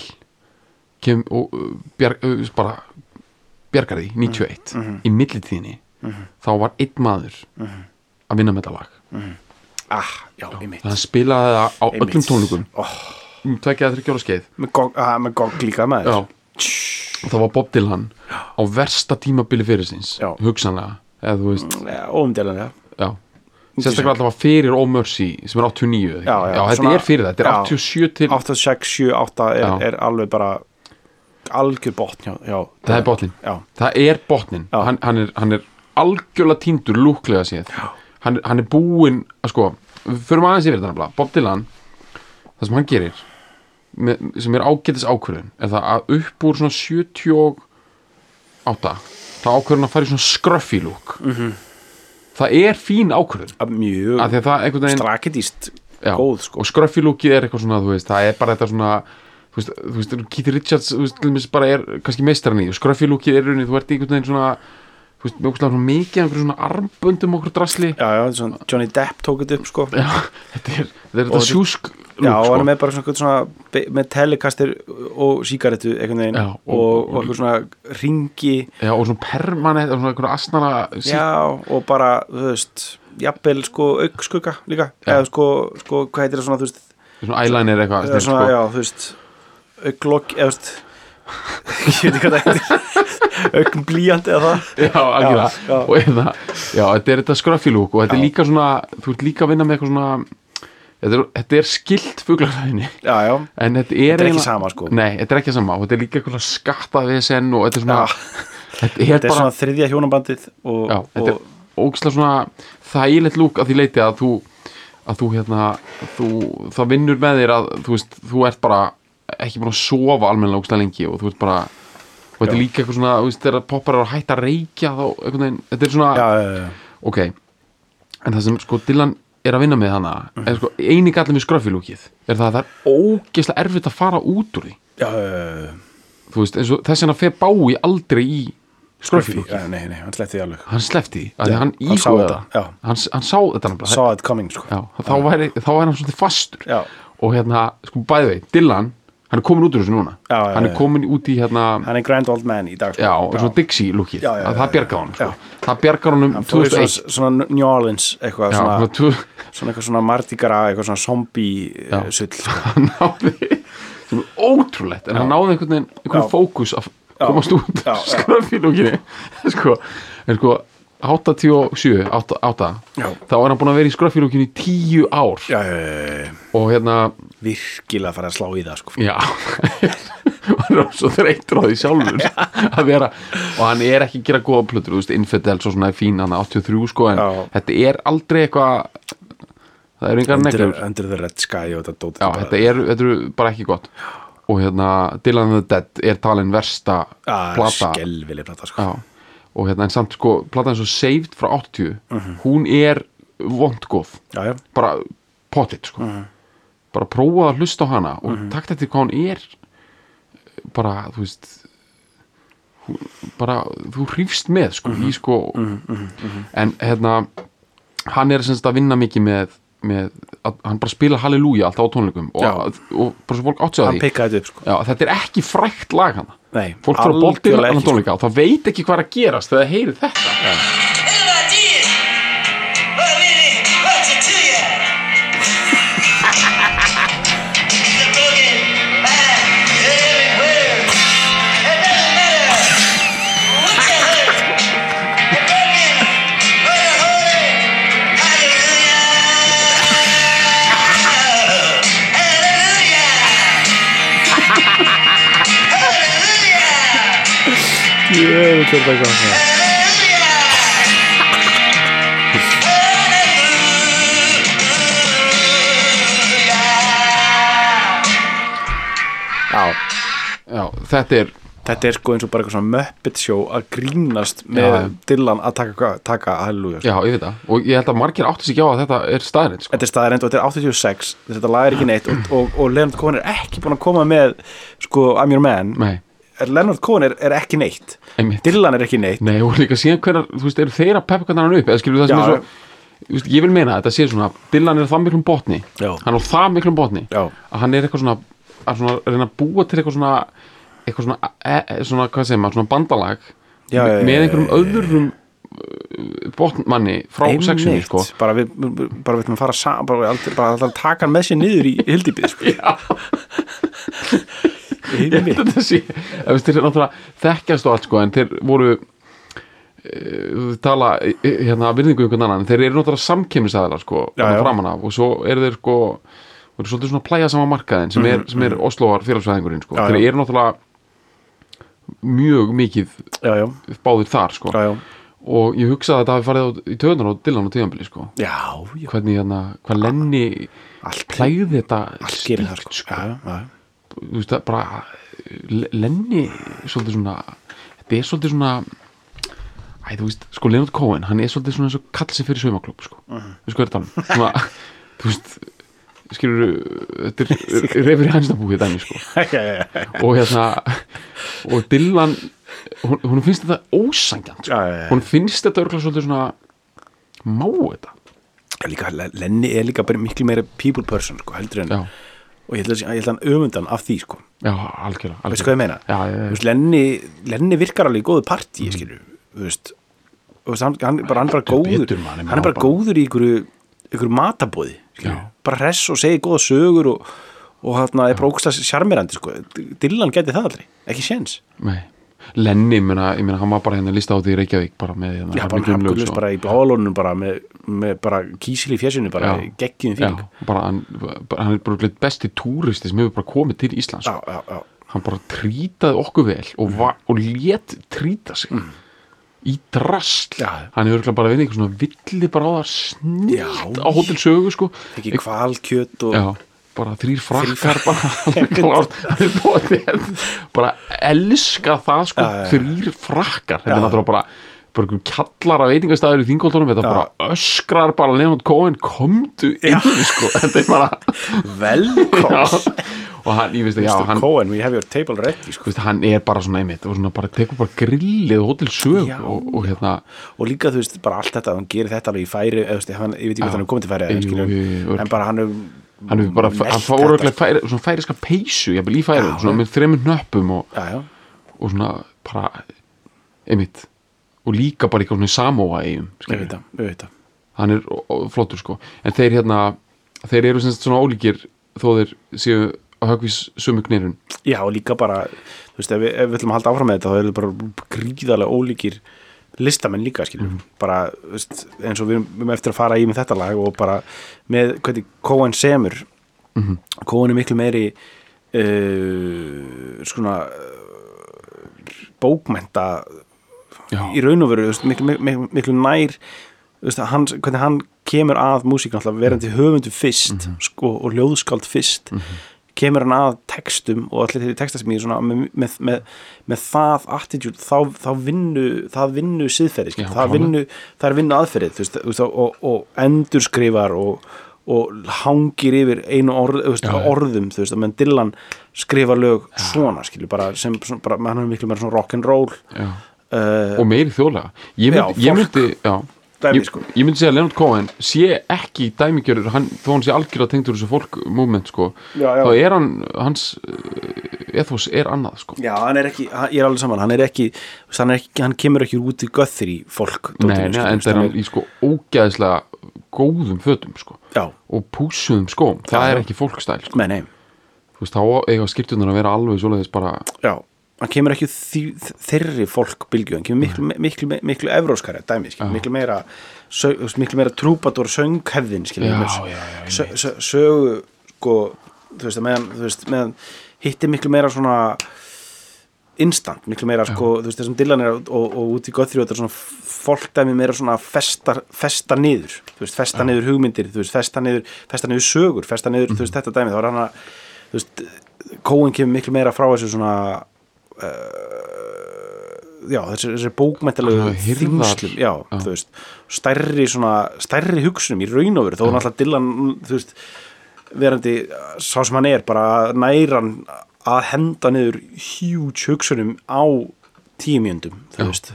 B: kem, og uh, bjar, uh, bara bjargar því 91 í millitíðinni þá var einn maður að vinna með þetta lag
A: ah, já, einmitt,
B: hann spilaði það á öllum
A: einmitt.
B: tónleikum
A: oh,
B: um tveggja að þryggjóra skeið
A: með gogg ah, með gogg líka maður
B: Já. og það var Bob Dylan á versta tímabili fyrir síns
A: Já. Mm.
B: hugsanlega eða þú veist
A: Já, óumdælanlega
B: já. sérstaklega alltaf fyrir All Mercy sem er 89 eða ekki?
A: Já, já,
B: þetta
A: svona-
B: er fyrir það, þetta er
A: já.
B: 87 til
A: 8, 6, 7, 8 er,
B: Já.
A: er alveg bara algjör botn já, já,
B: það er botnin,
A: já,
B: það er botnin
A: Já.
B: hann, hann, er, hann er algjörlega týndur lúklega séð hann, er- hann er búinn að sko, við förum aðeins yfir þetta nefnilega Bob Dylan, það sem hann gerir með, sem er ágætis ákvörðun er það að upp úr svona 78 þá ákvörðun að fara í svona skröffi lúk það er fín ákvörðun
A: Að mjög
B: af því að það einhvern veginn
A: strakidíst
B: já,
A: góð sko
B: og skröffilúkið er eitthvað svona þú veist, það er bara þetta svona þú veist, þú veist, Keith Richards þú veist, til dæmis bara er kannski meistarinn í og skröffilúkið er í rauninni, þú ert í einhvern veginn svona þú veist, með okkur svona mikið af einhverjum svona armböndum okkur drasli
A: já, já, svona, Johnny Depp tók þetta upp sko
B: já, þetta er þetta, er þetta
A: þetta-
B: sjúsk
A: Já, og hann er
B: sko.
A: með bara svona, einhvern svona be- með telekastir og sígarettu einhvern veginn
B: Já,
A: og,
B: og-
A: og, einhvern svona ringi
B: já, og svona permanent og svona einhverjum asnana sí-
A: Já, og bara, þú veist jafnvel sko aukskugga líka eða sko, sko, hvað heitir það svona, þú veist
B: svona eyeliner eitthvað
A: eða
B: snill,
A: svona,
B: sko.
A: já, þú veist auglokk, eða þú veist ég veit ekki hvað það heitir augn blíjandi eða það
B: já, algjörlega.
A: já.
B: og eða, já, þetta er þetta skröffilúk og þetta er líka svona, þú ert líka að vinna með eitthvað svona þetta er, þetta er skilt fuglarhæðinni
A: já, já,
B: en þetta er,
A: Þetta er ekki
B: eiginlega-
A: sama, sko.
B: nei, þetta er ekki sama og þetta er líka eitthvað skattavesen og þetta er svona
A: Já.
B: þetta er
A: þetta er
B: bara
A: svona þriðja hjónabandið og,
B: já, þetta er
A: og
B: ógislega svona þægilegt lúk að því leiti að þú að þú hérna þú, það vinnur með þér að þú veist þú ert bara ekki búin að sofa almennilega ógislega lengi og þú ert bara og þetta er líka eitthvað svona, þú veist, þegar poppar er að hætta að reykja þá, einhvern veginn, þetta er svona
A: já, já, já,
B: ok en það sem sko Dylan er að vinna með hana
A: Mhm.
B: er sko eini gallin við skröfilúkið er það að það er ógeðslega erfitt að fara út úr því
A: já, já, já, já.
B: þú veist, eins og þess vegna fer bái aldrei í
A: Scruffy,
B: skröfilúkið
A: já, nei, nei, hann sleppti því alveg
B: hann sleppti því, af því að hann
A: hann sá
B: íhugaði
A: þetta,
B: það
A: já.
B: hann, s- hann sá þetta nefnilega
A: saw it coming, sko
B: já, þá, væri, þá væri hann svolítið fastur
A: Já.
B: og hérna, sko bæði vei, Dylan hann er komin út úr þessu núna
A: Já, já,
B: hann
A: já.
B: er komin út í hérna
A: hann er grand old man í dag sko.
B: já, svona Dixie lúkið,
A: Já, já, já,
B: það
A: já.
B: bjargaði honum
A: Já.
B: sko. það bjargaði honum
A: Fór í
B: 2001
A: svona, svona New Orleans eitthvað
B: já,
A: svona,
B: svona tvö-
A: svona eitthvað svona mardigara eitthvað svona zombie
B: Já.
A: eh, sull sko.
B: hann náði sem er ótrúlegt, en hann náði einhvern veginn einhvern
A: Já.
B: fókus að komast út
A: Já, já.
B: skröfílókinni sko, en sko 87, 8, 8
A: Já.
B: þá er hann búin að vera í skröfílókinni í tíu ár
A: já, já, já, já,
B: og hérna
A: virkilega farið að slá í það sko.
B: já hann er svo þreytur á því sjálfur að vera, og hann er ekki að gera góða plötur, þú veist, Infidel svo svona er fín hann 83 sko, en
A: Já.
B: þetta er aldrei eitthvað það er engar
A: under,
B: neglur
A: under the red sky og þetta dót
B: Já,
A: bara-
B: þetta er, þetta er bara ekki gott og hérna Dylan the Dead er talin versta
A: Ah,
B: plata
A: skelvileg plata sko.
B: Já, og hérna en samt sko plata eins og Saved frá 80 hún er vondgóð
A: já, já,
B: bara pottit sko
A: Mm.
B: bara prófa að hlusta á hana og mm -hmm. takt eftir hvað hún er bara þú veist hún- bara þú hrýfst með sko,
A: Mm-hmm.
B: í, sko en hérna hann er semst að vinna mikið með með að hann bara spila Halleluja alltaf á tónleikum og,
A: Já.
B: og, bara svo fólk átti að
A: hann
B: því
A: pikkaði þetta upp sko
B: Já, þetta er ekki frækt lag hann
A: Nei,
B: fólk fyrir að bolti
A: algjörlega
B: hann
A: ekki, sko.
B: tónleika og það veit ekki hvað er að gerast þegar það heyri þetta
A: Jöfull er það gott, já. Já,
B: Já, þetta er,
A: þetta er sko eins og bara eitthvað svona Muppet show að grínast með
B: Já.
A: Dylan að taka, taka Halleluja sko.
B: já, ég veit það og ég held að margir átti sig ekki á að þetta er staðarinn sko.
A: Þetta er staðarind og þetta er 86 þetta lag er ekki neitt og, og, og Leonard Cohen er ekki búin að koma með sko I'm your man
B: Nei,
A: Er- Leonard Cohen er, er ekki neitt
B: einmitt
A: Dylan er ekki neitt
B: Nei, og líka síðan hvernar, þú veist, eru þeir að peppa hvernig hann upp eða skilur það sem
A: Já.
B: er svo þú veist, ég vil meina að þetta sé svona, Dylan er á það miklum botni
A: Já.
B: hann er á það miklum botni
A: Já.
B: að hann er eitthvað svona að svona reyna að búa til eitthvað svona eitthvað svona, e, e, svona hvað segir maður, svona bandalag
A: Já, já, já,
B: með
A: já,
B: einhverjum öðrum uh, botnmanni frá sexunni,
A: Einmitt.
B: sko
A: bara við bara við ætlum að fara saman bara, aldrei, bara alltaf taka hann með sér niður í hildibið sko. Einmitt.
B: þetta sé, þú veist, þeir náttúrulega þekkjast og allt sko, en þeir voru eh, þau tala eh, hérna að virðingu einhvern annan, en þeir eru náttúrulega samkemmisaðilar sko,
A: Já,
B: þarna
A: já.
B: framan af og svo eru þeir sko og eru svolítið svona plæja sama markaðin sem er, sem er Osloar félagsfæðingurinn sko,
A: Mhm, Já,
B: þeir
A: já.
B: eru náttúrulega mjög mikið
A: já, já,
B: báðir þar sko
A: já, já.
B: og ég hugsaði að þetta hafi farið á, í töðunar og Dylan og tíðanbili sko
A: já, já.
B: hvernig hérna, hvað Lenny
A: allt
B: plæði þetta
A: allt gerir það sko. já, já, já.
B: þú veist það bara Le- Lenny svolítið svona þetta er svolítið svona æ, þú veist, sko Leonard Cohen, hann er svolítið svona eins og kall sem fyrir saumaklub, sko uh -huh. þú veist hvað er það, svona, þú veist skilur, þetta er reyfir í hænsnabúið dæmi, sko
A: Já, já, já, já.
B: og hérna og Dylan, hún, hún finnst þetta ósangjant, sko,
A: Já, já, já.
B: hún finnst þetta örgulega svolítið svona má þetta,
A: Líka, Lenny er líka bara miklu meira people person sko, heldur en
B: já,
A: og ég held að ég held að hann öfundan af því sko.
B: já, algjörlega, algjörlega.
A: veistu hvað ég meina
B: já, já, já,
A: Þú veist, Lenny, Lenny virkar alveg í góðu partí mm. skilur, þú veist Þú veist, hann, hann, er bara, hann er bara góður
B: betur, man, ég meina,
A: hann er bara
B: bara-
A: góður í ykkur, ykkur matabóði skilur,
B: Já.
A: bara hress og segir góða sögur og, og hann er bara ógustlega sjarmirandi sko. Dylan geti það aldrei, ekki séns
B: Nei, Lenny, ég meina, ég meina, hann var bara hérna lista á því í Reykjavík bara með hérna,
A: Já, bara
B: Gunnlaugs
A: hafguljus
B: og-
A: bara í bláalónunum bara með, með bara kísil í fjesinu bara
B: Já.
A: geggjum
B: Já,
A: fíling
B: bara hann, bara, hann er bara örugglega besti túristi sem hefur bara komið til Íslands
A: já, Mm. já, já,
B: hann bara trýtaði okkur vel og, va- og lét trýta sig í drasl
A: Mm. Já.
B: hann hefur örugglega bara vinni eitthvað svona villi bara á það snilt
A: Já.
B: á hótel sögu sko
A: ekki kvalkjöt og
B: Já, bara þrýr frakkar bara, alveg klárt, hann er bóðið. bara elska það sko,
A: Já, já, já.
B: þrýr frakkar þetta er náttúrulega bara bara einhver kallara veitingastæður í þingoltunum þetta bara öskrar bara Leonard Cohen komdu inn sko, þetta er bara
A: velkóð
B: og hann, ég veist ekki, já, hann
A: Cohen, we have your table ready sko.
B: þú veist, hann er bara svona einmitt og svona bara tekur bara grillið og hótel sög
A: Já.
B: og, og hérna
A: og líka þú veist bara allt þetta hann gerir þetta alveg í færi eða, þú veist, hann, ég veit
B: Já.
A: ekki hvað hann er komið til færi
B: Jú,
A: en, skilur,
B: jú, jú, örugglega.
A: en bara hann er
B: hann er bara,
A: Melta
B: hann fór
A: þetta.
B: örugglega færi, svona færiska peysu, jafnvel í færum
A: Já,
B: svona með þremur nöppum og
A: já, já,
B: og svona bara einmitt og líka bara eitthvað svona í Samoa eigum
A: ég veit það, ég veit það
B: hann er ó- ó- flottur sko en þeir hérna, þeir eru sem sagt svona ólíkir þó þeir séu að höggvís sömu knirun
A: já, og líka bara, þú veist, ef við, ef við ætlum að halda áfram með þetta þá eru bara gríðarlega ólíkir listamenn líka, skilur bara, þú veist, eins og við erum- við erum eftir að fara í með þetta lag og bara með hvernig Cohen semur Cohen er miklu meiri uh, svona uh, bókmenta
B: já,
A: í raun og veru þú veist, miklu, miklu, miklu nær þú veist, að hann, hvernig hann kemur að músík náttúrulega verandi höfundu fyrst
B: Mhm.
A: sko, og ljóðskáld fyrst kemur hann að textum og allir þeirri texta sem ég er svona með, með, með, með það attitude, þá, þá vinnu það vinnu siðferði, skil,
B: Já,
A: það
B: klálega.
A: vinnu það er vinnu aðferðið, þú veist, þú veist og, og endurskrifar og og hangir yfir einu orð, þú veist,
B: Já, já.
A: orðum, þú veist, að menn Dylan skrifa lög svona, skilju, bara sem, svona, bara, hann er miklu meira svona rock'n'roll
B: já.
A: uh,
B: og meiri þjóðlega ég
A: Já,
B: myndi, ég
A: fólk.
B: myndi já,
A: dæmi
B: ég,
A: sko
B: ég myndi segja að Leonard Cohen sé ekki dæmigjörður, hann, þó hann sé algjörða tengdur þessu fólkmoment sko
A: Já, já.
B: þá er hann, hans eh, ethos er annað sko
A: Já, hann er ekki, hann- ég er alveg saman hann er ekki, þú veist, hann, er ekki hann kemur ekki út í göttir í fólk
B: nei, nei, en það er hann í sko ógæðislega góðum fötum sko
A: Já,
B: og pússuðum skóm, það
A: Já, já.
B: er ekki fólkstæl sko.
A: með neim
B: þú veist, þá eiga skiptunar að vera alveg svoleiðis bara,
A: Já, hann kemur ekki því, þeirri fólk bylgju, hann kemur miklu, miklu, miklu, miklu evróskari dæmi, skilur, miklu meira sög, þú veist, miklu meira trúbatór sönghefðin skilur,
B: Já,
A: með-
B: já, já,
A: sö, sö, sögu sko, þú veist, meðan, þú veist, meðan hitti miklu meira svona instant, miklu meira sko, þú veist, þessum dillanir og, og, og út í göttri og þetta er svona fólk dæmi meira svona festar, festar niður, þú veist, festar niður hugmyndir, þú veist, festar niður, festar niður sögur, festar niður, þú veist, þetta dæmi, þá er hann að, þú veist, kóin kemur miklu meira frá þessu svona já, þessi, þessi bókmæntalegu
B: Alveg hirðar.
A: þingslum, já,
B: Já.
A: þú veist stærri svona, stærri hugsunum í raun og veru, þó er náttúrulega Dylan þú veist, verandi sá sem hann er, bara næran að henda niður huge hugsunum á tímjöndum þú veist,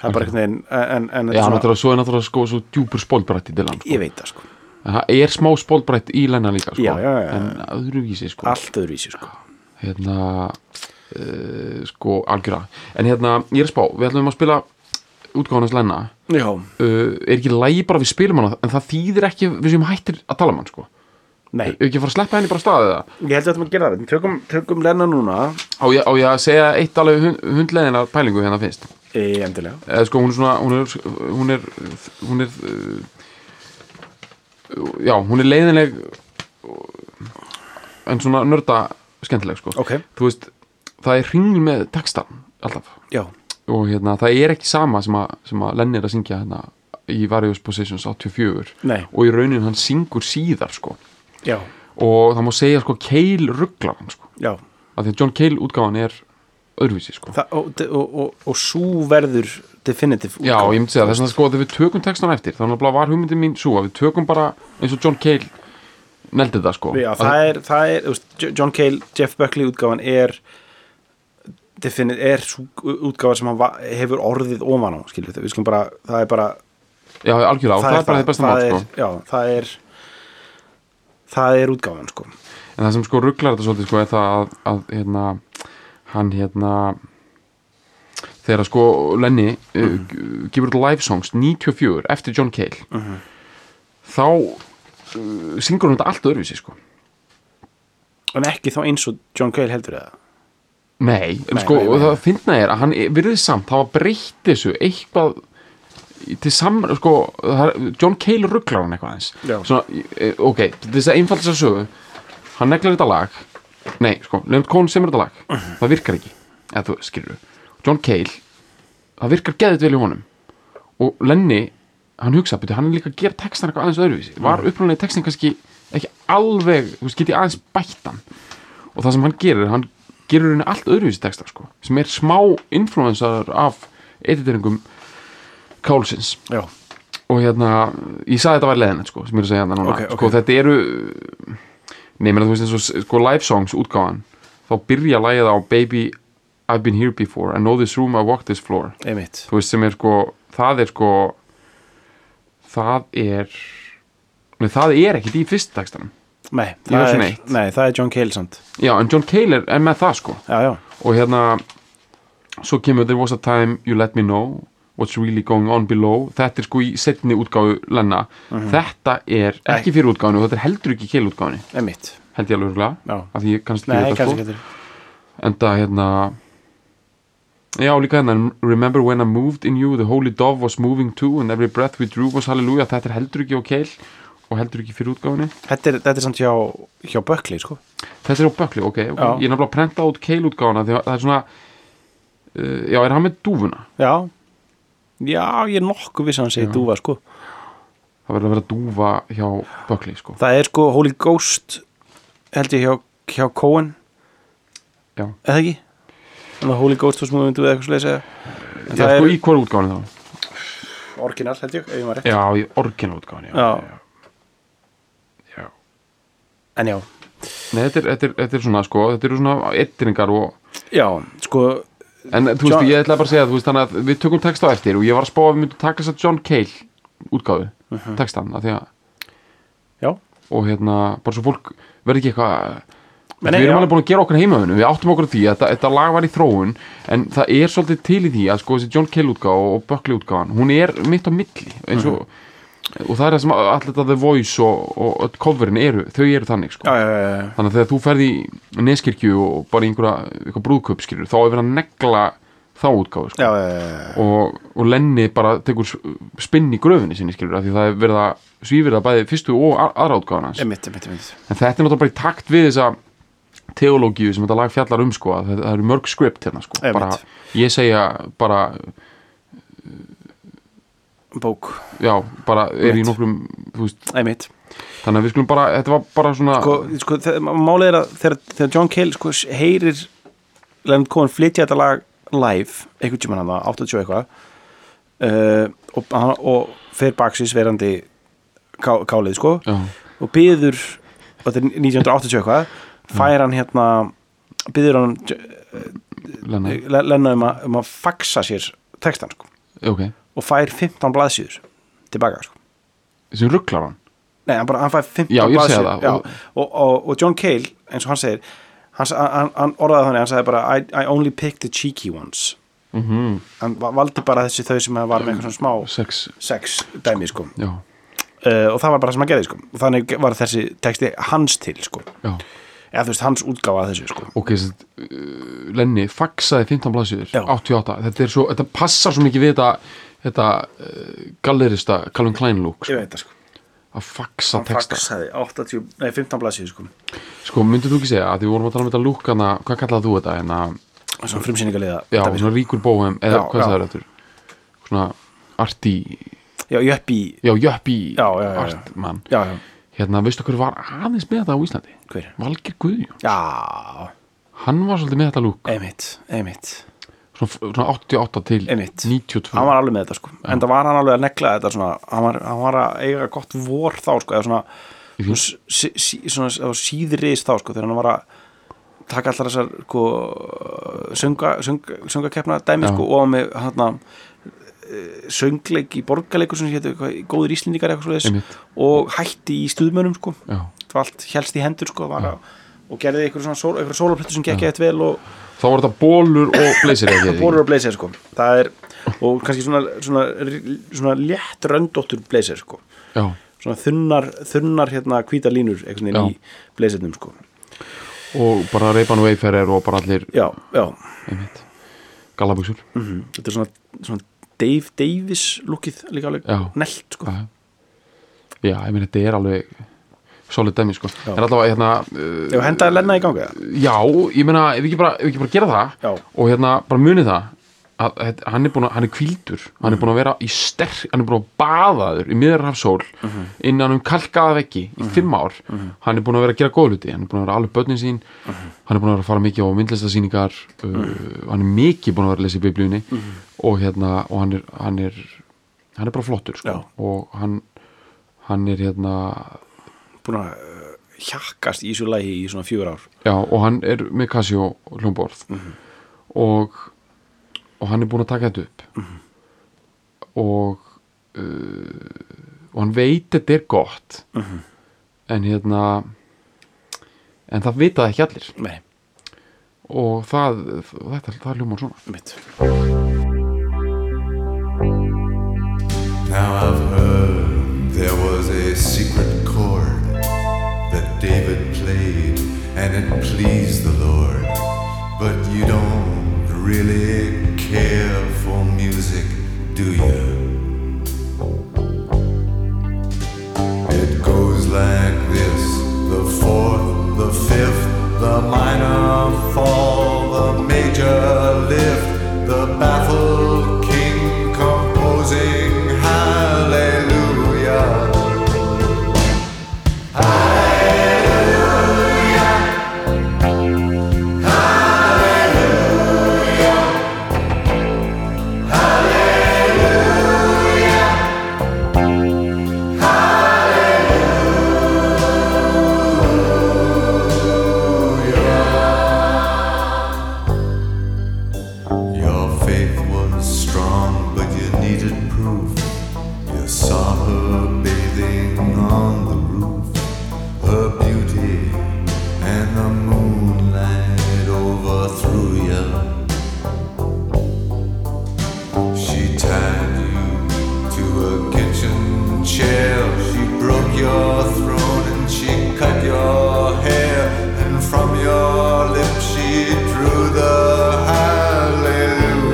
A: það er bara einhvern veginn en, en, en
B: já,
A: þetta er svona,
B: náttúrulega svo er náttúrulega sko svo djúpur spólbrætt í Dylan sko.
A: ég veit það sko
B: en það er smá spólbrætt í Lennar líka sko.
A: Já, já, já, já.
B: en öðruvísi sko
A: allt öðruvísi sko,
B: hérna uh, sko algjöra en hérna, ég er að spá, við ætlum að spila útgáðanast lenna uh,
A: já,
B: er ekki lægi bara við spilum hana en það þýðir ekki við sem hættir að tala um hann sko
A: nei
B: Ef ekki að fara að sleppa henni bara staðið það
A: ég held að þetta maður gera það, tökum, tökum lenna núna
B: á ég, á ég að segja eitt alveg hund, hundleðina pælingu hérna finnst
A: e, endilega,
B: eða sko hún er svona hún er, hún er, hún er uh, já, hún er leiðinleg uh, en svona nörda skemmtileg sko
A: ok,
B: þú veist, það er hringur með textan alltaf
A: já
B: og hérna, það er ekki sama sem að, sem að Lenny er að syngja hérna í Various Positions 84
A: Nei.
B: og í raunin hann syngur síðar sko.
A: já,
B: og það má segja sko Cale rugglar hann sko.
A: já
B: af því að John Cale útgáfan er öðruvísi sko.
A: Þa, og, og, og, og svo verður definitive
B: já, ég myndi segja þess að sko þegar við tökum textan eftir þannig að var hugmyndin mín svo að við tökum bara eins og John Cale neldi það sko
A: já, það er, það er þú veist, Jo- John Cale, Jeff Buckley útgáfan er definit, er sú útgáfa sem hann va- hefur orðið ofan á skilur við, við skulum bara, það er bara
B: já, algjörlega, og það, er bara þið besta mál
A: það er,
B: sko.
A: já, það er það er útgáfan sko
B: en það sem sko rugglar þetta svolítið sko er það að, að hérna, hann hérna þegar sko Lenny mm.
A: Mhm.
B: uh, gefur út live songs 94 eftir John Cale þá uh, syngur hann þetta allt öðruvísi sko
A: en ekki þá eins og John Cale heldur það
B: nei, en
A: Nei,
B: sko
A: nei, nei,
B: og það
A: nei.
B: finna er að hann virðið samt það var breytt þessu eitthvað í- til saman, sko það, er- John Cale rugglar hann eitthvað eins
A: Já.
B: Svona, eh, ok, til þess að einfalda þess að sögu hann neglar þetta lag nei, sko, Leonard Cohen semur þetta lag það virkar ekki, eða þú skilur John Cale, það virkar geðið vel í honum og Lenny hann hugsa, betur, hann er líka að gera textan eitthvað aðeins öðruvísi, var upprunalegi textin kannski ekki alveg, þú veist, geti aðeins bættan og það sem hann gerir hann gerir henni allt öðruvísi texta sko, sem er smá influensar af editeringum Kálsins
A: já,
B: og hérna, ég saði þetta var leðin sko, sem ég er að segja hérna núna
A: Ok, ok.
B: sko, þetta eru neymin að þú veist eins og sko, live songs útgáfan þá byrja lagið á Baby I've been here before, I know this room, I walk this floor
A: einmitt
B: þú veist sem er sko það er sko það er Nei, það er ekkert í fyrsta textanum
A: nei,
B: var
A: það
B: svona
A: er,
B: eitt.
A: nei, það er John Cale samt
B: Já, en John Cale er- er með það sko
A: já, já,
B: og hérna svo kemur There was a time you let me know what's really going on below þetta er sko í setni útgáfu Lenna
A: Mhm.
B: þetta er ekki fyrir útgáfinu og þetta er heldur ekki keil útgáfinu
A: einmitt
B: held ég alveg örugglega,
A: Já.
B: af því ég kannski
A: nei,
B: þetta
A: kannski
B: sko
A: getur
B: en það hérna já líka hérna remember when I moved in you the holy dove was moving too and every breath we drew was hallelujah þetta er heldur ekki á keil og heldur ekki fyrir útgáfinu
A: þetta er, þetta er samt hjá, hjá Buckley sko
B: Þetta er á Bökli, ok, ok.
A: Já.
B: Ég er nefnilega að prenta út keilútgáfana því að það er svona uh, Já, er hann með dúfuna?
A: Já Já, ég er nokkuð viss að hann segi dúfa sko
B: Það verður að vera dúfa hjá Bökli, sko
A: Það er sko Holy Ghost held ég hjá, hjá Cohen
B: Já,
A: eða ekki? Þannig að Holy Ghost var smúðum eða eitthvað svolítið eða
B: já
A: það
B: sko
A: er-
B: í hverju útgáfana þá?
A: Orginal held ég, ef ég maður rétt
B: Já, í orginal útgáfana, já
A: Já.
B: já. já.
A: En já,
B: Nei, þetta er, þetta, er, þetta er svona, sko, þetta eru svona eittiringar og
A: já, sko
B: En þú veist,
A: John-
B: ég ætla bara að segja, þú veist, þannig að við tökum texta á eftir og ég var að spá að við myndum taka þess að John Cale útgáfi uh
A: Mhm.
B: -huh. textan að því að
A: já,
B: og hérna, bara svo fólk verði ekki eitthvað
A: Nei,
B: við erum
A: já.
B: alveg búin að gera okkar heimaðunum, við áttum okkur á því að þetta, þetta lag var í þróun en það er svolítið til í því að sko þessi John Cale útgáfa og Buckley útgáfan hún er mitt á milli eins og,
A: Mhm.
B: og það er það sem allir þetta The Voice og, og öll coverin eru, þau eru þannig sko.
A: já, já, já, já.
B: þannig að þegar þú ferð í neskirkju og bara í einhverja einhver brúðköpskirur, þá er verið að negla þá útgáfu sko.
A: já, já, já, já.
B: og, og Lenny bara tekur s- spinn í gröfinni sinni skilur af því það er verið að svífir það bæði fyrstu og a- aðra útgáfan hans
A: Einmitt, einmitt, einmitt.
B: en þetta er náttúrulega bara í takt við þessa teológíu sem þetta lag fjallar um sko, að það, það eru mörg skript hérna sko,
A: Einmitt.
B: bara, ég segja bara,
A: bók,
B: já, bara er í
A: Einmitt.
B: nokkrum þú veist,
A: einmitt
B: þannig að við skulum bara, þetta var bara svona
A: sko, sko, þe- málið er að þegar, þegar John Cale sko, heyrir Leonard Cohen flytja þetta lag live einhvern tímann hann það, 80 og eitthvað uh, og, hann- og fer baksins verandi ká, kálið sko
B: já,
A: og byður og þetta er 1980 og eitthvað fær hann hérna byður hann
B: Lenna,
A: Le- Lenna um, að- um að faxa sér textan sko
B: ok
A: og fær 15 blaðsýður tilbaka sko
B: sem rugglar hann,
A: Nei, hann, bara, hann fær 15
B: Já, ég segi
A: blaðsíður,
B: það.
A: já.
B: Og-
A: og, og, og John Cale, eins og hann segir hann, sa- hann, hann orðaði þannig, hann sagði bara I, I only picked the cheeky ones
B: Mhm.
A: mm -hmm. hann va- valdi bara þessi þau sem var með eitthvað svona smá
B: sex
A: sex dæmi sko
B: já,
A: uh, og það var bara það sem hann gerði sko og þannig var þessi texti hans til sko
B: já,
A: eða þú veist hans útgáfa af þessu sko
B: ok sem, sagt, uh, Lenni faxaði 15 blaðsýður
A: Já.
B: 88, þetta er svo, þetta passar svo mikið við þetta, þetta uh, gallerista Calvin Klein look, sko,
A: ég veit það sko
B: að faxa
A: hann
B: texta
A: faxaði 80, nei 15 blaðsíður sko
B: sko, myndir þú ekki segja að því við vorum að tala um þetta look hana, hvað kallaði þú þetta, hérna? en að
A: og svona frumsýningarliða
B: Já,
A: dæmi, sko.
B: svona ríkur bóhem eða
A: Já,
B: hvað
A: já.
B: það er eftir svona arti,
A: já, jöppi
B: já, jöppi
A: Já, já, já, já.
B: artmann
A: já, já,
B: hérna, veistu hver var aðeins með þetta á Íslandi?
A: hver
B: Valgir Guðjón,
A: já,
B: hann var svolítið með þetta lúk
A: einmitt, einmitt
B: svona, svona 88 til
A: Einmitt.
B: 92
A: hann var alveg með þetta sko en það var hann alveg að negla þetta svona, hann, var, hann var að eiga gott vor þá sko eða svona,
B: Mhm.
A: svona, sí, sí, svona, svona síðriðis þá sko þegar hann var að taka allar þessar sko, sönga, sönga, söngakeppna dæmi
B: Já.
A: sko og hann með hann söngleik í borgarleikur sem hétu góður íslendingar eitthvað
B: Einmitt.
A: svoleiðis og hætti í stuðmönum sko
B: Já.
A: það var allt helst í hendur sko var að, og gerði eitthvað svona sól, eitthvað sólaplötu sem gekk eitt vel og
B: þá var þetta bólur og bleysir ekki
A: Borur og blazer sko Það er, og kannski svona, svona, svona létt röndóttur blazer sko
B: já,
A: Svona þunnar, þunnar hérna hvítar línur einhvern
B: Já.
A: veginn í blazernum sko
B: og bara reypan og eiferer og bara allir
A: Já, Mm. já, Mhm.
B: einmitt, gallabuxur
A: þetta er svona, svona Dave Davis lukkið líka alveg
B: Já.
A: Nelt sko
B: Já. já, ég meina þetta er alveg solid dæmi, sko
A: Já.
B: það er allavega, hérna, uh,
A: Ef hendaði lenna í ganga
B: Já, ég meina, ef ekki bara, ef ekki bara gera það
A: Já.
B: og hérna, bara munið það að, að hann er búin að, hann er kvíldur hann er búin að vera í sterk, hann er búin að baðaður í miðrarhafsól
A: Mhm.
B: innan um kalkaða veggi í fimm ár hann er búin að vera að gera góðluti, hann er búin að vera alveg börnin sín,
A: Mhm.
B: hann er búin að vera að fara mikið á myndlistasýningar uh, hann er mikið búin að vera að lesa í biblíunni
A: Mhm.
B: og hérna, og hann er hann er, hann er bara flottur, sko
A: Já.
B: og hann, hann er hérna
A: Búin að uh, hjakkast í þessu lægi í svona fjögur ár
B: Já, og hann er með Casio hljómborð og, og hann er búinn að taka þetta upp og uh, og hann veit þetta er gott en hérna en það vita það ekki allir
A: Nei,
B: og það, þetta, það hljómar svona
A: mitt
C: Now I've heard there was a secret chord that David played and it pleased the Lord. But you don't really care for music, do you? It goes like this the fourth, the fifth, the minor fall, the major lift, the baffled king composing hallelujah. Your faith was strong, but you needed proof. You I saw her bathing on the roof, her beauty and the moonlight overthrew you. She tied you to a kitchen chair, she broke your throne and she cut your hair, and from your lips she drew the hallelujah.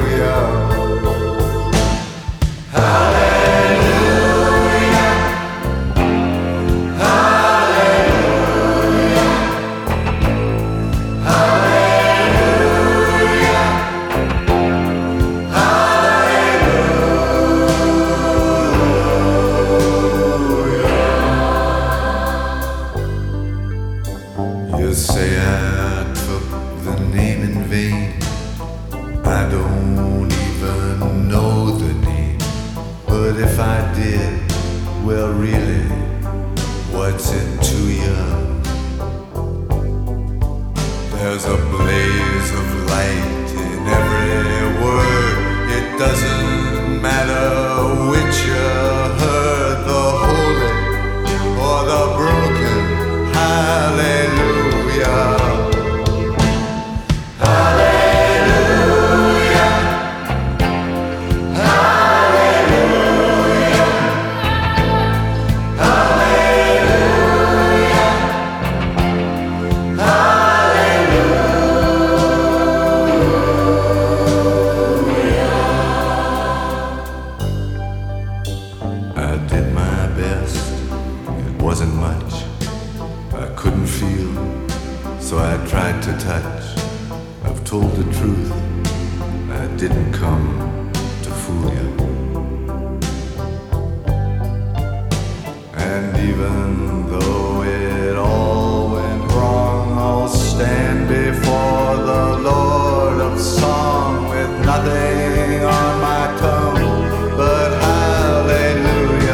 C: You say I took the name in vain. I don't even know the name. But if I did, well, really, what's it to you? There's a blaze of light in every word. It doesn't matter which you heard the holy or the broken. Hallelujah. I did my best, it wasn't much. I couldn't feel, so I tried to touch. I've told the truth, I didn't come to fool you. And even though it all went wrong, I'll stand before the Lord of Song with nothing on my tongue but hallelujah.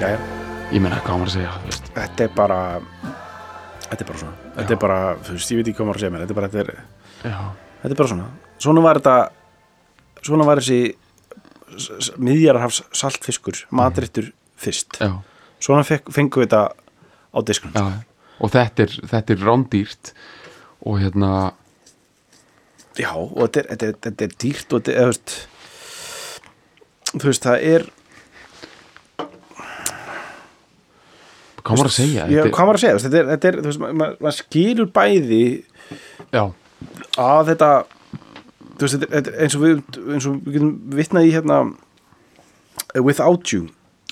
A: Jæja.
B: ég meina hvað á maður að segja þú veist.
A: þetta er bara þetta er bara svona þetta er bara, þú veist, ég veit ekki hvað maður að segja mér þetta er bara, þetta er,
B: já,
A: þetta er bara svona svona var þetta svona var þessi miðjararhafs saltfiskur matrittur fyrst
B: Mhm. já,
A: svona fekk, fengu þetta á disknum
B: já. og þetta er, þetta er rándýrt og hérna
A: Já, og þetta er, þetta er, þetta er dýrt og þetta er, þú veist þú veist, það er
B: hvað á maður að segja
A: já,
B: Þetta er-
A: hvað var að segja, þú veist, þetta er, þetta er þú veist, ma- ma- maður skilur bæði
B: já,
A: að þetta þú veist, þetta er- þetta er eins og við eins og við getum vitnað í hérna uh, Without You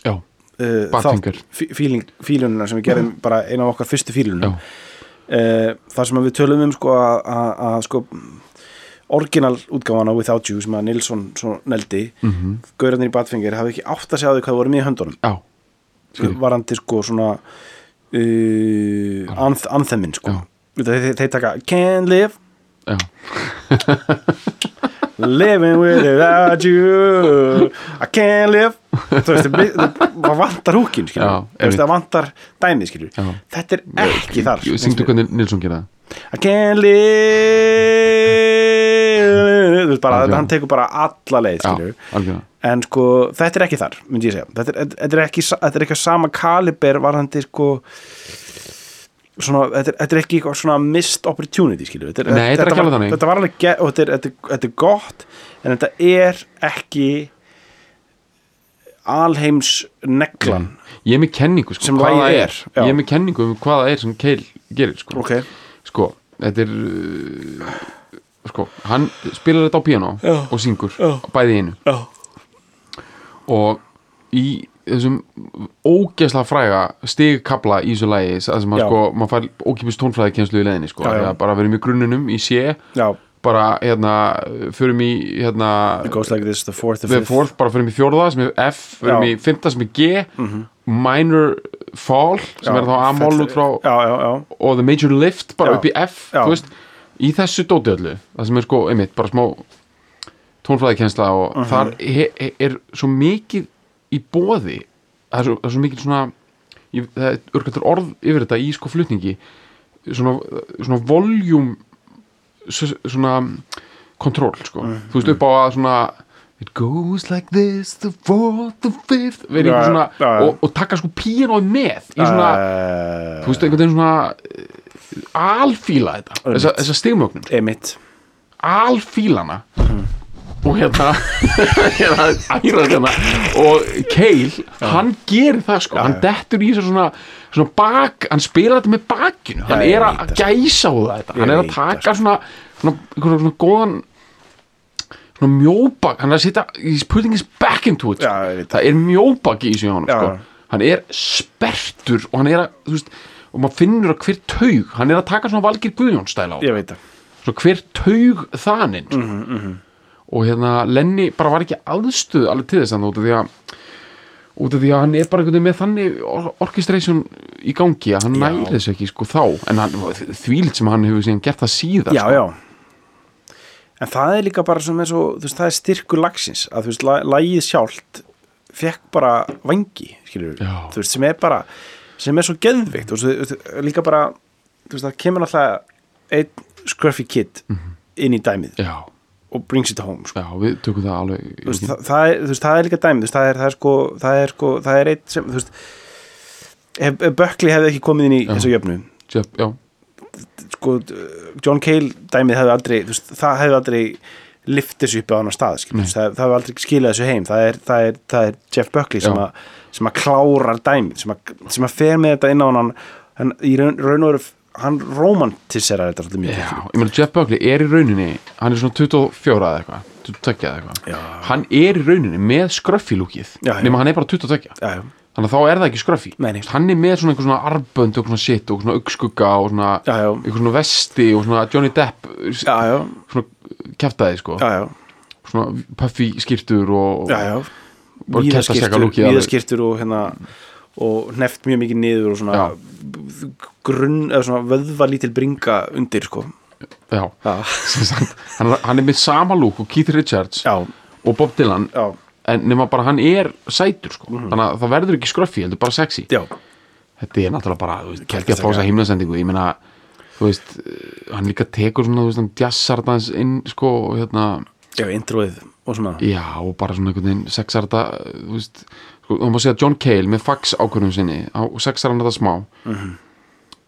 B: já,
A: uh,
B: Bartfinger.
A: fílununa sem við gerum bara eina af okkar fyrstu
B: já,
A: fílunum uh, þar sem að við tölum um sko að- að að, sko orginal útgáfana Without You sem að Nilsson svo neldi mm
B: Mhm.
A: -hmm. gaurarnir í Batfinger hafi ekki átt að segja á því hvað voru með í höndunum
B: já, Skil.
A: varandi sko svona uh, anth anthemin sko
B: Já.
A: þeir, þeir, þeir taka Can't live
B: já.
A: Living without you I can't live Þú veist, það- það það vantar húkin skilur
B: Já,
A: Þú veist, það vantar dæmið skilur
B: Já.
A: Þetta er ekki þar
B: Ég- syngdu hvernig Nilsson gera það
A: I can't live Þú veist bara,
B: Algjörlega.
A: hann tekur bara alla leið skilur
B: já, algjörlega
A: En sko, þetta er ekki þar, myndi ég segja. Þetta er, þetta er, ekki, sa- þetta er ekki á sama kaliber varðandi sko svona, þetta er, þetta er ekki eitthvað svona missed opportunity, skilur. við. Þetta,
B: Nei, þetta er ekki
A: var-
B: alveg þannig.
A: Þetta var alveg, ge- og þetta er, þetta, er- þetta er gott, en þetta er ekki alheims neglan
B: ég er með kenningu sko,
A: Sem
B: hvað
A: lagið
B: það
A: er, já.
B: ég er með kenningu um hvað það er sem Keil gerir sko,
A: Ok.
B: sko þetta er uh, sko, hann spilar þetta á piano
A: Já.
B: og syngur
A: Já.
B: bæði í einu
A: Já.
B: og í þessum ógeðslega fræga stigkabla í þessu lagi það sem að
A: Já.
B: sko, maður fær ókipis tónfræði í leiðinni sko,
A: Já,
B: Þegar
A: já.
B: bara verðum í grunnunum í sé
A: Já.
B: bara hérna, förum í hérna,
A: It goes like this, the fourth, the
B: við
A: fifth
B: fórst bara fyrir mig fjórða sem er F, fyrir
A: Já. Mhm.
B: mig fymta sem er G minor fall sem
A: Já,
B: er þá A-mól
A: fell-
B: út frá
A: Já, já, já,
B: og the major lift bara
A: Já.
B: upp í F
A: Já.
B: þú veist, í þessu dóti öllu það sem er sko, einmitt, bara smá tónfræðikensla og
A: Mhm.
B: þar he, he, er svo mikið í bóði það er svo, það er svo mikið svona ég, það er örgættur orð yfir þetta í sko flutningi svona, svona voljum s- svona kontról sko,
A: Mhm.
B: þú veist upp á að svona it goes like this the fourth, the fifth verið
A: Já,
B: einhver svona
A: já, já.
B: og, og taka sko píanóið með í svona
A: Eh,
B: þú veist, einhvern veginn svona eh, alfíla þetta, þessa, þessa stigmögnum
A: Einmitt
B: alfílana og hérna hérna, æra hérna og Keil, hann gerir það sko hann dettur í þessu svona, svona bak, hann spilar þetta með bakinu hann
A: ég
B: er
A: veit
B: að
A: það, sko.
B: gæsa á þetta hann
A: Ég
B: er að
A: veit það, sko.
B: taka svona svona, svona, svona góðan svona mjóbak, hann er að setja he's putting his back into it sko.
A: Já, ég veit það.
B: það er mjóbak í þessu hjá honum
A: Já.
B: sko. hann er sperrtur og hann er að, þú veist og maður finnur að hver taug, hann er að taka svona Valgir Guðjóns stæla á
A: Ég veit það
B: svo hver taug þaninn mm
A: Mhm,
B: og hérna Lenny bara var ekki aðstuð alveg til þess að út af því að út af því að hann er bara einhvern veginn með þannig or orkestration í gangi að hann næri þessu ekki sko þá en hann, þvíld sem hann hefur síðan gert það síðan
A: Já,
B: sko.
A: já En það er líka bara sem er svo þú veist, það er styrkur lagsins að þú veist, la- lagið sjálft fekk bara vangi, skilur við
B: Já.
A: þú veist, sem er bara, sem er svo geðvikt og svo, þú veist, líka bara þú veist, það kemur alltaf einn scruffy kid inn í dæmið
B: Mhm. já,
A: og brings it home, sko
B: já, við tökum það alveg
A: Þú veist, það, það, er, þú veist, það er líka dæmið, þú veist, það er, það er sko, það er sko, það er eitt sem, þú veist ef, ef Bökli hefði ekki komið inn í þessu jöfnu
B: já, já,
A: sko, d- John Cale dæmið hefði aldrei, þú veist, það hefði aldrei lift þessu upp á annan stað skilur, þú veist, það, það hefði aldrei skilað þessu heim það er, það er, það er Jeff Buckley sem,
B: Já.
A: að, sem að klárar dæmið sem að, sem að fer með þetta inn á hann hann í raun, raun og veru hann romantiserar þetta svolítið mikið
B: já ég meina Jeff Buckley er í rauninni hann er svona 24 eða eitthvað 22 eða
A: Já.
B: eitthvað hann er í rauninni með
A: Já, já.
B: skröffilúkið nema hann er bara 22
A: já, já,
B: þannig að þá er það ekki skröffi
A: Nei, nei.
B: hann er með svona einhver svona arbönd og svona shit og svona augskugga og svona
A: Já, já.
B: einhver svona vesti og svona Johnny Depp s-
A: já, já,
B: svona kæftaði sko
A: já, já,
B: svona puffy skýrtur og
A: já, já.
B: Bara kertasjaka lúkið alveg.
A: víðaskirtur og hérna og hneft mjög mikið niður og svona
B: Já.
A: grunn, eða svona vöðvalítil bringa undir sko
B: já.
A: já,
B: Sem sagt, hann, er- hann er með sama lúk og Keith Richards
A: já,
B: og Bob Dylan
A: já. Mhm.
B: en nema bara hann er sætur sko þannig að það verður ekki skröffi, heldur bara sexy
A: Já,
B: þetta er náttúrulega bara, þú veist, kelkja
A: Kertasjaka.
B: pása himnasendingu ég meina, þú veist eh, hann líka tekur svona, þú veist, hann jazzar dans inn sko, og hérna
A: já, introið og svona
B: Já, og bara svona einhvern veginn sexarta, þú veist sko, þá má segja John Cale með fax ákvörðum sinni á sexarna þetta smá
A: Mhm.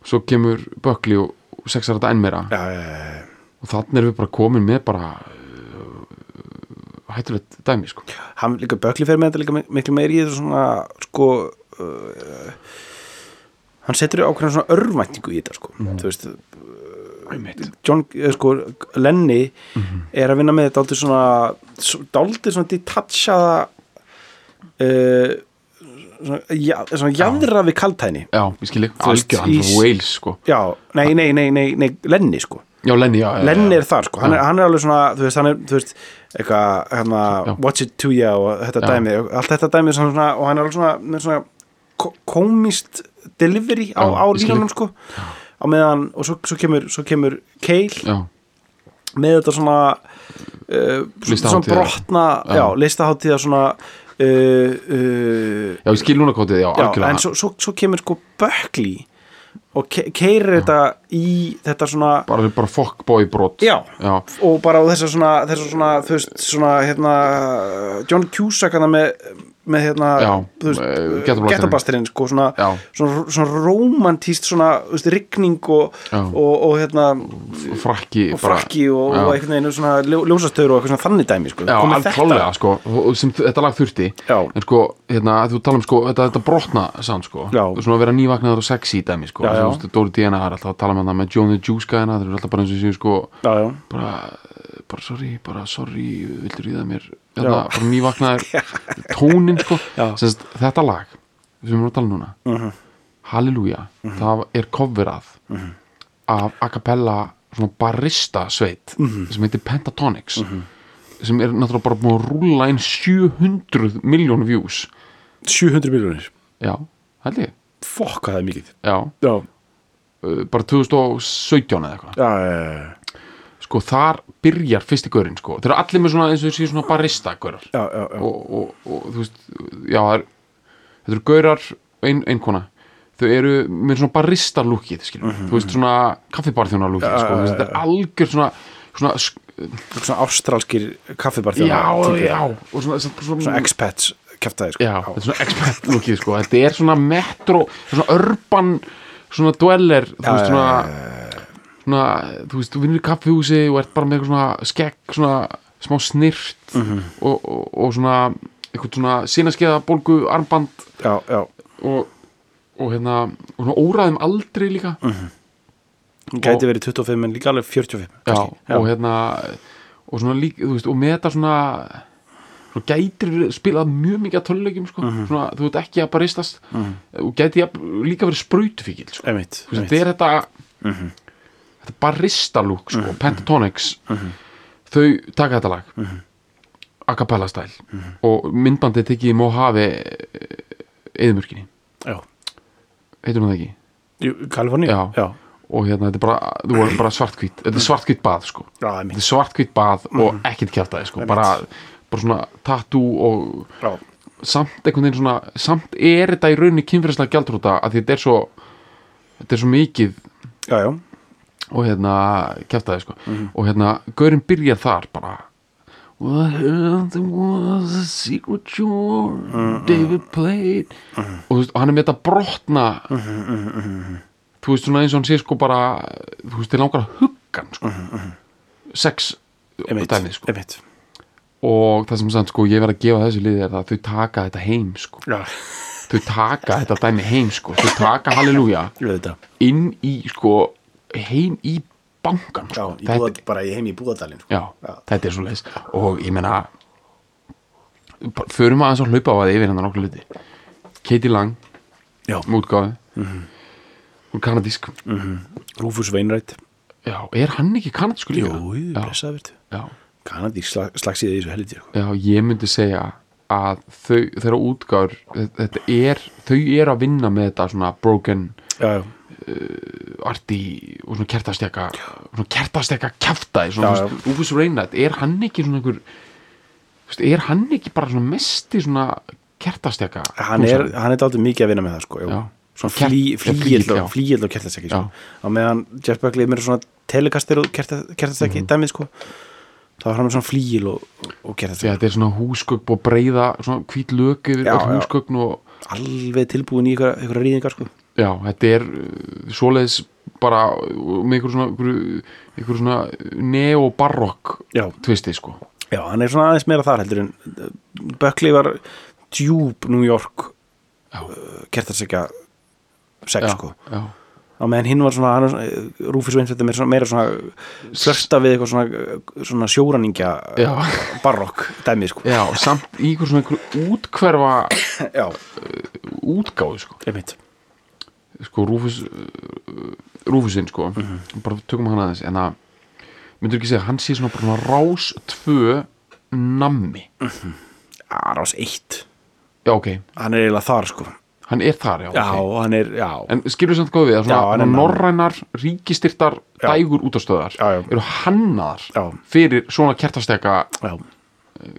B: svo kemur Buckley og sexarta enn meira
A: Já, já, já, já.
B: og þannig erum við bara komin með bara uh, hættulegt dæmi sko.
A: Hann líka Bökli fer með þetta líka mik- miklu meiri í þessu svona sko uh, hann setur ákveðan svona örvæntingu í þetta sko þú veist, John, eh, sko, Lenny er að vinna með þetta dálítið svona svo- dálítið svona detachaða uh, svona, ja, svona jæðra við kaltæni
B: Já, ég skilji,
A: veist,
B: algjör hann
A: í-
B: er frá Wales sko.
A: Já, nei, nei, nei, nei, nei Lenny sko
B: Já, Lenny, já, já, já
A: Lenny er þar sko, hann er,
B: Já.
A: hann er alveg svona þú veist, hann er, þú veist, eitthvað hana,
B: Já.
A: watch it to you og þetta
B: Já.
A: dæmi og allt þetta dæmi er svona, og hann er alveg svona, með svona ko- komist delivery á,
B: Já,
A: á
B: ég skil
A: línunum sko á meðan, og svo, svo kemur, svo kemur Keil
B: Já,
A: með þetta svona uh, svona
B: Listahátíðar.
A: brotna, já, já listaháttíða svona uh, uh,
B: já ég skil núna kótið, já,
A: já,
B: algjörlega
A: en svo, svo, svo kemur sko Bökli og ke keirir þetta í þetta svona
B: bara, bara fuckboy brot
A: Já.
B: já,
A: og bara á þessar svona, þessar svona, þú veist, svona, hérna, John Cusack hann með með hérna
B: Já,
A: þú veist,
B: eh, Ghetto Blasterinn.
A: Ghetto Blasterinn, sko, svona,
B: Já.
A: svona, svona romantíst svona þú veist, rigning og,
B: Já.
A: og, og hérna
B: frakki
A: og frakki og,
B: já.
A: og einhvern veginn svona ljó- ljósastöður og eitthvað svona þannig dæmi sko.
B: Já,
A: Komið
B: alveg klálega sko, og sem þetta lag þurfti
A: Já.
B: en sko, hérna, þú tala um sko þetta, þetta brotna sann sko,
A: Já.
B: svona að vera nývaknaður og sexy í dæmi sko,
A: Já, já.
B: Svo, þú veist, Dóri Díana er alltaf að tala um með það með John the Juice gæðina, þeir eru alltaf bara eins og séu sko
A: já, já,
B: bara, eh, bara sorry, bara sorry vildur í það mér, hérna, bara nývaknaður tónin sko
A: Já.
B: Sest, þetta lag, sem við erum að tala um núna Halleluja það er coverað af a cappella svona barista sveit sem heitir Pentatonics sem er náttúrulega bara búin að rúla inn 700 miljón views
A: 700 miljónir
B: já, held ég
A: fokk hvað það er mikið
B: já,
A: já,
B: uh, bara 2017 eða eitthvað
A: já, já,
B: sko þar byrjar fyrsti gaurinn sko þeir eru allir með svona eins og þeir séu svona barista gaurar
A: já, já, já.
B: og, og, og þú veist já, það er, þetta eru gaurar ein, einkona, þau eru með svona barista lúkið, skiljum þú veist, svona kaffibarþjóna lúkið, sko þú veist, þetta er algjör svona, svona sk-
A: svona ástralskir kaffibar
B: já, já, og svona, svona,
A: svona expats kæftæði sko.
B: já, þetta er svona expert lúkið, sko þetta er svona metro, svona urban svona dweller, þú veist, svona svona, þú veist, þú vinnur í kaffihúsi og ert bara með eitthvað svona skekk, svona smá snirt og, og, og svona, eitthvað svona sinaskeiða bólgu armband
A: já, já,
B: og, og hérna og svona óraðum aldrei líka
A: hún gæti verið 25 en líka alveg 45
B: já,
A: kannski. já.
B: og hérna og svona líka, þú veist, og með þetta svona svona gætir spilað mjög mikið að tölulegjum, sko,
A: Mhm.
B: svona þú veit ekki að baristast og gæti jafn- líka verið sprautfíkil, sko,
A: Einmitt,
B: þú veist,
A: Mhm. einmitt. Mhm.
B: þetta er þetta þetta barista lúk, sko pentatonics
A: Mhm.
B: þau taka þetta lag a cappella stæl
A: Mhm.
B: og myndbandið tekið í Mojave eðumörkinni,
A: Já.
B: heitir hún það ekki?
A: Jú, Kaliforníu
B: Já.
A: já, Mhm.
B: og hérna, þetta er bara, þú er bara svartkvít þetta er svartkvít bað, sko
A: já,
B: þetta
A: einmitt.
B: er svartkvít bað og ekkert kjartaði, sko bara, bara svona tattoo og
A: já,
B: samt einhvern veginn svona samt er þetta í rauninni kynfyrirslega gjaldrúta að þetta er svo þetta er svo mikið
A: já, já.
B: og hérna, kjartaði, sko
A: Mhm.
B: og hérna, Gaurin byrjar þar bara Well, there was a secret chore
A: Mhm.
B: David played og, þú veist, og hann er með þetta brotna
A: Mhm,
B: þú veist svona eins og hann sé sko bara þú veist, þið langar að hugga hann sko. sex
A: Mhm, Einmitt,
B: dæmið sko.
A: einmitt.
B: og það sem sagt sko ég verð að gefa þessu liði er það að þau taka þetta heim sko.
A: já,
B: þau taka þetta dæmi heim sko. þau taka halleluja
A: ég veit þetta
B: inn í sko heim í bankan
A: Já,
B: sko.
A: í
B: Þetta-
A: búða, bara í heim í búðadalinn sko.
B: já, þetta er svo leis og ég meina bara förum aðeins að hlaupa á að yfir hennar nokkuð hluti Katie Lang
A: Já.
B: með útgáfi hún er kanadísk
A: Rúfus Veinrætt
B: já, er hann ekki kanadísku líka? já,
A: blessaðvirt
B: já,
A: Kanadík slag, slagsíði í þessu helviti sko.
B: já, ég myndi segja að þau, þeirra útgáður þetta er, þau eru að vinna með þetta svona broken
A: Já, já,
B: arti og svona kertastjaka svona kertastjaka kjaftaði svona,
A: Já,
B: já, já. Úfus Reynard, er hann ekki svona einhver þú veist, er hann ekki bara svona mesti svona kertastjaka
A: hann er, hann er dálítið mikið að vinna með það sko, já.
B: Já.
A: Svona
B: Kert-
A: flý,
B: já,
A: flýgild
B: flygill, já.
A: og, flýgild og kertastekki sko.
B: Já.
A: Á meðan Jeff Buckley er meira svona telekastir og kertastekki
B: Mhm.
A: dæmið sko þá er hann með svona flýgil og, og
B: Já,
A: kertastekki
B: þetta er svona húsgögn og breiða svona hvít lög yfir
A: Já,
B: öll
A: já.
B: húsgögn og
A: alveg tilbúin í ykkur, ykkur rýðingar sko
B: já, þetta er uh, svoleiðis bara uh, með einhver svona einhver, einhver svona neobarokk
A: Já.
B: tvisti sko
A: Já, hann er svona aðeins meira þar heldur en uh, Buckley var djúb New York
B: Já.
A: uh, kertastekja sex
B: já,
A: sko
B: já,
A: á meðan hinn var svona, eh, hann var svona Rúfus Vinsveitir meira svona, meira svona flörta við eitthvað svona, eh, svona sjóranningja
B: Já.
A: barokk dæmið sko
B: já, samt í einhver svona einhver útkverfa
A: Já,
B: útgáðu sko
A: einmitt
B: sko Rúfus uh, Rúfusinn sko
A: Mhm.
B: bara tökum hann aðeins en að myndur ekki segja að hann sé svona, bara svona rás tvö nammi
A: Mm. Arás 1,
B: já ok,
A: hann er eiginlega þar sko
B: hann er þar já,
A: Já,
B: ok
A: hann er, já
B: en skilur samt góð við að svona,
A: Já, hann
B: svona
A: er nammi.
B: norrænar ríkistyrtar
A: Já.
B: dægur útastöðar
A: Já, já.
B: eru hannaðar
A: Já.
B: fyrir svona kertasteka
A: Já,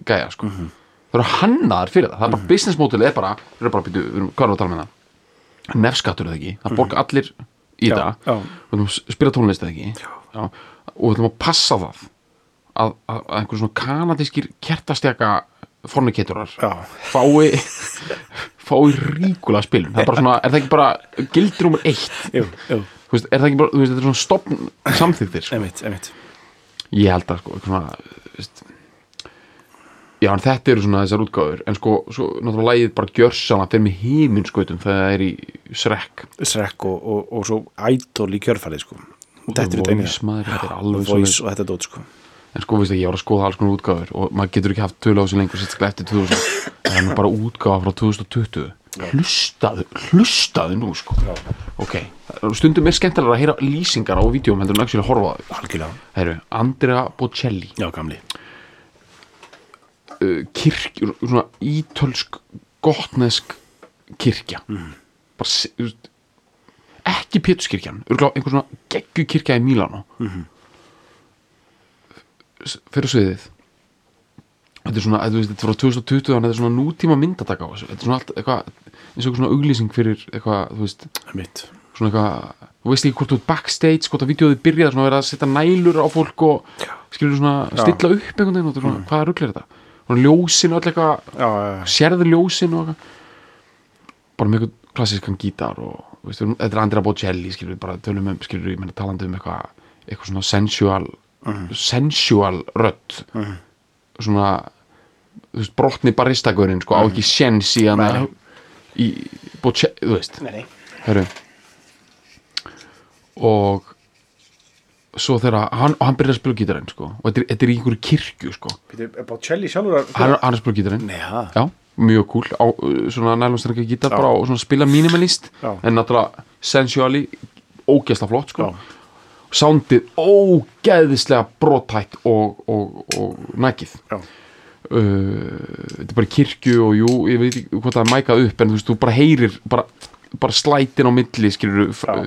B: gæja sko
A: Mhm.
B: það eru hannaðar fyrir það, það er bara business model er bara, við erum bara býtu, við erum, hvað erum við að tala með það nefskattur er það ekki, það borga allir í
A: Mhm. Já,
B: það,
A: já.
B: við erum að spila tónlist er það ekki, já. og við erum að passa það að, að, að einhver svona kanadískir kertastjaka forniketorar
A: Já.
B: fái fái ríkulega spilun það er, bara svona, er það ekki bara gildur nummer eitt
A: jú, jú,
B: Þú veist, er það ekki bara, þú veist, þetta er svona stopn samþýttir sko.
A: einmitt, einmitt
B: ég held að sko, eitthvað svona þú veist, já en þetta eru svona þessar útgáður en sko, svo náttúrulega lægið bara gjörsana fyrir mig híminn skautum þegar það er í srekk
A: Srekk og, og, og svo ædol í kjörfæli sko Þetta er þetta
B: Voice, maður, þetta er
A: einu
B: alveg
A: Voice og þetta dót sko
B: en sko veist ekki, ég var að skoða alls konar útgáður og maður getur ekki haft tölu á sig lengur sérstaklega eftir 2000 það er nú bara útgáða frá 2020 hlustaðu, hlustaðu nú sko ok, stundum er skemmtilega að heyra lýsingar á vídjum heldur en ekki að horfa á þau
A: Algjörlega,
B: það eru Andrea Bocelli
A: já gamli
B: uh, kirkjur, svona ítölsk gotnesk kirkja mm. bara se- þú veist, ekki pétuskirkjan örglá einhver svona geggu kirkja í Mílanó mm fyrir sviðið þetta er svona, þú veist, þetta er frá 2020 þannig að þetta er svona nútíma myndataka á þessu þetta er svona allt, eitthvað, eins og einhver svona auglýsing fyrir eitthvað, þú veist,
A: Einmitt,
B: svona eitthvað þú veist ekki hvort þú ert backstage, sko, hvort að vídeoðið byrjaði svona að vera að setja nælur á fólk og skilur svona, stilla upp einhvern veginn og þetta er svona, mm. hvaða rugglir þetta og ljósin og öll eitthvað,
A: já, já, já.
B: sérðu ljósin og eitthvað bara með eitthvað klassískan gítar og þú veist, við erum- þetta er Andrea Bocelli skilur við bara tölum um, skilur við, ég meina talandi um eitthvað eitthvað svona sensual
A: Mhm.
B: sensual rödd svona þú veist, brotni baristagurinn sko, á ekki sjens í hann
A: Mhm. Nei.
B: í Bocelli, þú veist
A: Nei, nei.
B: Heru. og svo þegar hann, hann byrjar að spila á gítarinn sko. og þetta er, þetta er í einhverju kirkju sko.
A: Býtu, er Bocelli sjálfur að
B: hann, hann er að spila á gítarinn
A: Nei, ha?
B: já, mjög cool á uh, svona nælumstrengi gítar bara og svona spila minimalist
A: Já.
B: en náttúrulega sensuali ógeðsla flott sko.
A: Já.
B: soundið ógeðislega brothætt og, og, og nækið
A: Já,
B: uh, þetta er bara í kirkju og jú, ég veit ekki hvort það er mækað upp en þú veist, þú bara heyrir bara, bara slætin á milli, skilur
A: Já.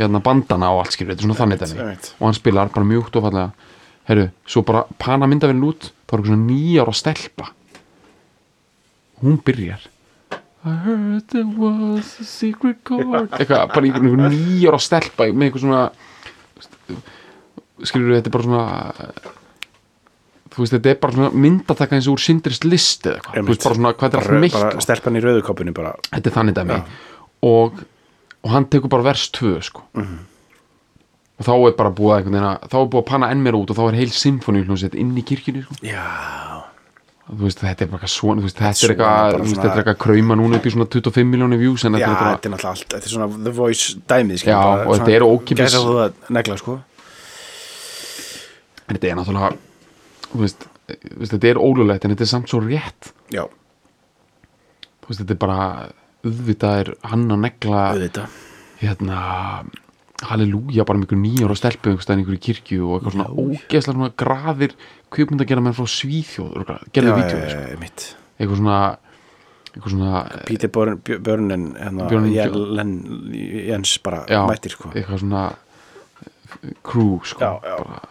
B: hérna bandana og allt, skilur, þetta er svona þannig dæmi
A: einmitt.
B: og hann spilar bara mjúkt og fallega herru, svo bara pana myndavinn út þá er eitthvað svona nýjar að stelpa hún byrjar I heard there was a secret chord eitthvað, bara einhvern veginn nýjar að stelpa með einhver svona skilur þetta er bara svona þú veist, þetta er bara svona myndataka eins og úr sindrist list eða eitthvað, þú
A: Einmitt.
B: veist, bara svona hvað þetta er
A: bara,
B: allt sko.
A: bara
B: miklu,
A: stelpan í rauðukopunni bara
B: þetta er þannig dæmi og, og hann tekur bara vers 2 sko
A: Mhm.
B: og þá er bara búið að einhvern veginn að þá er búið að panna enn mér út og þá er heil symfóni hljómsveit inn í kirkjunni sko
A: Já,
B: þú veist, þetta er bara eitthvað svona, þú veist, þetta er
A: Svona,
B: eitthvað
A: bara
B: þú veist,
A: svona-
B: þetta er eitthvað krauma núna upp í svona 25 miljónu views en
A: já
B: þetta er bara
A: þetta er náttúrulega allt Þetta er svona The Voice dæmið sko.
B: Já, og þetta eru ókeypis-
A: Gæsa þú að negla sko
B: en þetta er náttúrulega þú veist, þú veist, þetta er ólulegt en þetta er samt svo rétt
A: Já,
B: þú veist, þetta er bara auðvitað er hann að negla
A: auðvitað
B: hérna Halleluja, bara mjög nýjar og stelpu einhvers staðar í einhverju kirkju og eitthvað svona ógeðslega svona graðir kvikmynd að gera menn frá Svíþjóð örugglega, gerðu vídeo, sko.
A: mitt
B: eitthvað svona eitthvað svona
A: Peter Börn, Börnen hérna,
B: Björnen-
A: Jelen, Jens bara
B: já, Eh.
A: mættir sko
B: eitthvað svona crew sko,
A: Já, já.
B: bara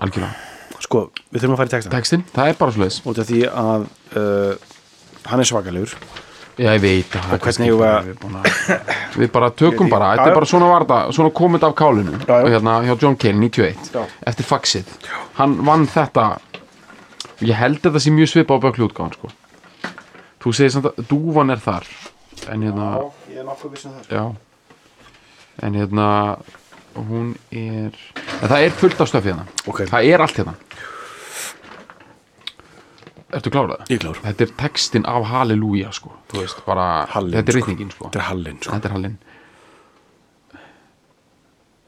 B: algjörlega
A: Sko, við þurfum að fara í texta
B: textin, það er bara svoleiðis
A: út af því að uh, hann er svakalegur
B: já, ég veit að það er
A: hvernig
B: kannski
A: eigum við
B: bara-
A: að-
B: við, búin að- við bara tökum bara, þetta
A: Já, já.
B: er bara svona varða svona komið af kálinu
A: Já, já.
B: hérna hjá John Kane 91
A: Já.
B: eftir faxið, hann vann þetta ég held að þetta sé mjög svipa á böklu útgáðan sko þú segir samt að dúvan er þar en hérna
A: ég er nokkuð vissum það
B: Já En hérna Hún er en Það er fullt af stöfi hérna
A: Ok.
B: Það er allt hérna Ertu klárað?
A: Ég er klár.
B: Þetta er textin af Halleluja sko Þú veist bara
A: Hallin,
B: Þetta er
A: sko.
B: reytingin sko
A: Þetta er Hallin sko
B: Þetta er Hallin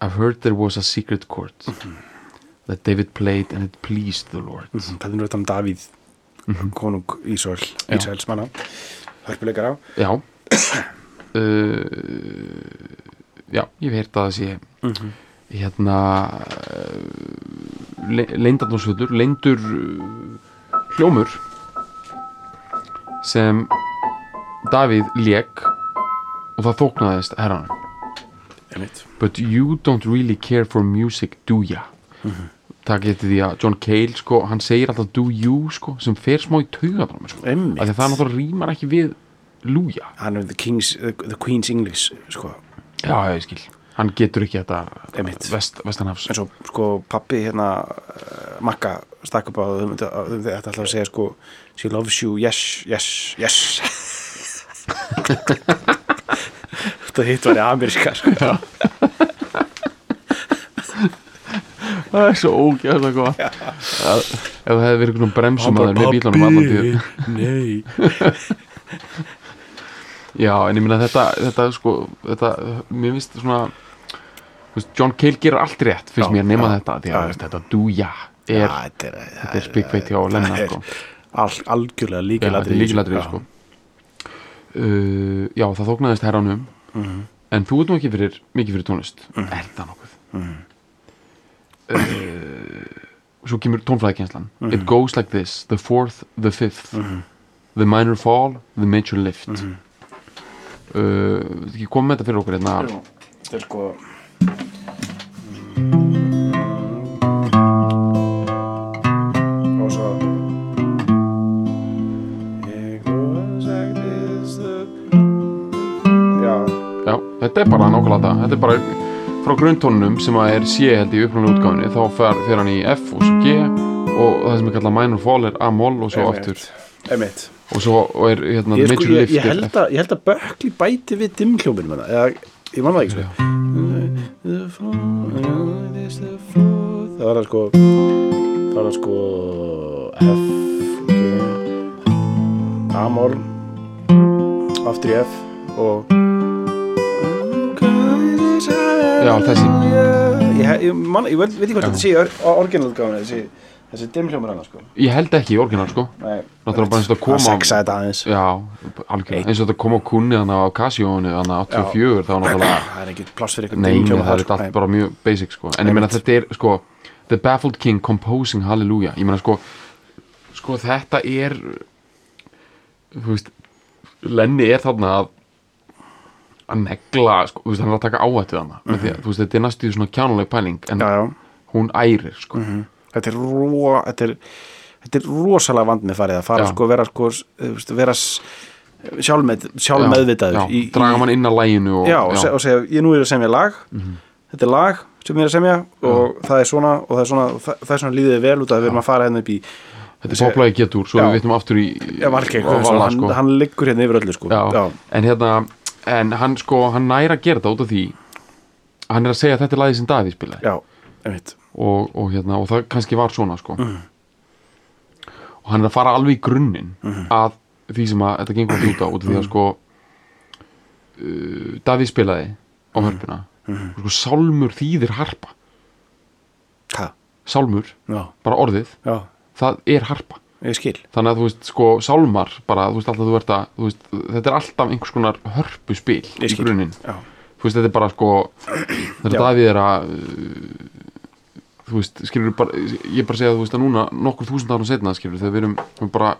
B: I've heard there was a secret court
A: Mhm.
B: That David played and it pleased the Lord
A: Það er nú þetta um Davíð konung Ísrael,
B: Mhm. Já.
A: Ísraels manna hörpuleikar á
B: Já uh, Já, ég hef heyrt að það sé hérna uh, le leindarnósvöldur leindur uh, hljómur sem Davíð lék og það þóknaðist herranum
A: einmitt
B: But you don't really care for music, do ya? Það getur því að John Cale, sko, hann segir alltaf do you, sko, sem fer smá í taugabrami, sko.
A: Einmitt.
B: Af því að það náttúrulega rýmar ekki við lúja.
A: hann er the, king's, the, the Queen's English sko.
B: Já, já, ég skil Hann getur ekki þetta
A: Einmitt.
B: vest, vestanhafs
A: eins og sko pappi hérna uh, Makka stakk upp á þau myndu- að þau ætti alltaf að segja sko she loves you, yes, yes, yes þetta hitt var í ameríska sko.
B: það er svo ógæðslega gott Að- ef það hefði verið einhvern bremsum að það með bílunum allan tíð
A: nei
B: já, en ég minna þetta, þetta sko, þetta, mér finnst svona þú veist, John Cale gerir allt rétt finnst
A: Já,
B: mér nema
A: já,
B: þetta, því
A: já.
B: að veist, þetta dúja er,
A: Ja, Ah, þetta er,
B: þetta er spikveit hjá Lennar,
A: það er
B: sko.
A: al- algjörlega
B: Já, þetta er
A: líkilatrið
B: líkilatrið sko. uh, já, það þóknaðist herranum en þú ert nú ekki fyrir, mikið fyrir tónlist er það nokkuð uh, svo kemur tónflæðikenslan it goes like this, the fourth, the fifth the minor fall, the major lift mm uh, komum með þetta fyrir okkur hérna
A: þetta er sko og svo It goes like this, the- Já,
B: já, þetta er bara nákvæmlega þetta þetta er bara frá grunntónunum sem að er C held í upplunni útgáfinni þá fer, fer hann í F og svo G og það sem er kallað minor fall er A-moll og svo aftur
A: einmitt, einmitt
B: og svo og er hérna
A: ég,
B: The
A: sko,
B: Major
A: ég,
B: Lift
A: ég,
B: er
A: held að, ég held að Bökli bæti við dimmhljóminn með það eða, ég man það ekki sko The floor is the floor. það var það sko það var það sko F G Amor aftur í F og
B: Já, þessi.
A: ég, ég, ég, man, ég veit, veit ekki hvort þetta sé í orginalgáðinu þessi, þessi dimmhljómur annars sko
B: ég held ekki í orginal sko
A: Nei,
B: Náttúrulega bara eins og þetta kom á-
A: að sexa þetta aðeins
B: já, algjörlega, eins og þetta kom á kunni þannig á Casio-unni þannig á 84 þá náttúrulega,
A: það er ekki pláss fyrir
B: nei, nei,
A: dimmhljóma
B: það er
A: þar, sko.
B: þetta allt bara mjög basic sko, en ég meina þetta er sko The Baffled King Composing Hallelujah ég meina sko, sko þetta er þú veist Lenny er þarna að að negla, sko, þú veist, hann er að taka áhættu þarna, mm því að, þú veist, þetta er næstu svona kjánuleg pæling, en
A: Mhm. já, Mhm. já.
B: hún ærir sko,
A: Þetta, er ro, þetta, er, þetta er rosalega vandmið farið að fara
B: Já.
A: sko vera, sko, s- þú veist, vera s- sjálfmeð, sjálfmeðvitaður
B: já,
A: í,
B: já, draga mann Mhm. inn að læginu og,
A: í, já, og, se, og segja, ég nú er að semja lag þetta er lag sem ég er að semja og það er svona og það er svona, og það, það er svona líðið vel út að við erum að fara hérna upp í
B: Þetta er poplægi getur, svo
A: Já.
B: við vittum aftur í
A: ég var ekki,
B: á Vala,
A: hann,
B: sko.
A: hann liggur hérna yfir öllu sko.
B: já. En hérna, en hann sko, hann næra að gera þetta út af því Hann er að segja að þetta er lagið sem Davíð spilaði
A: já, einmitt
B: og, og hérna, og það kannski var svona sko
A: Mhm.
B: Og hann er að fara alveg í grunninn
A: Mhm.
B: Að því sem að þetta gengur allt út á Út af því að sko uh, Davíð spilaði
A: Mhm.
B: á hörpuna og sko, Sálmur þýðir harpa
A: ha,
B: Sálmur,
A: já,
B: bara orðið,
A: já,
B: það er harpa
A: ég skil
B: þannig að þú veist sko sálmar bara þú veist alltaf þú ert að þú veist, þetta er alltaf einhvers konar hörpuspil
A: Ég
B: í
A: skil.
B: grunninn
A: já,
B: þú veist þetta er bara sko þegar
A: Já.
B: Davíð er að uh, þú veist skilur bara ég er bara að segja þú veist að núna nokkur þúsund árum setna skilur þegar við erum við bara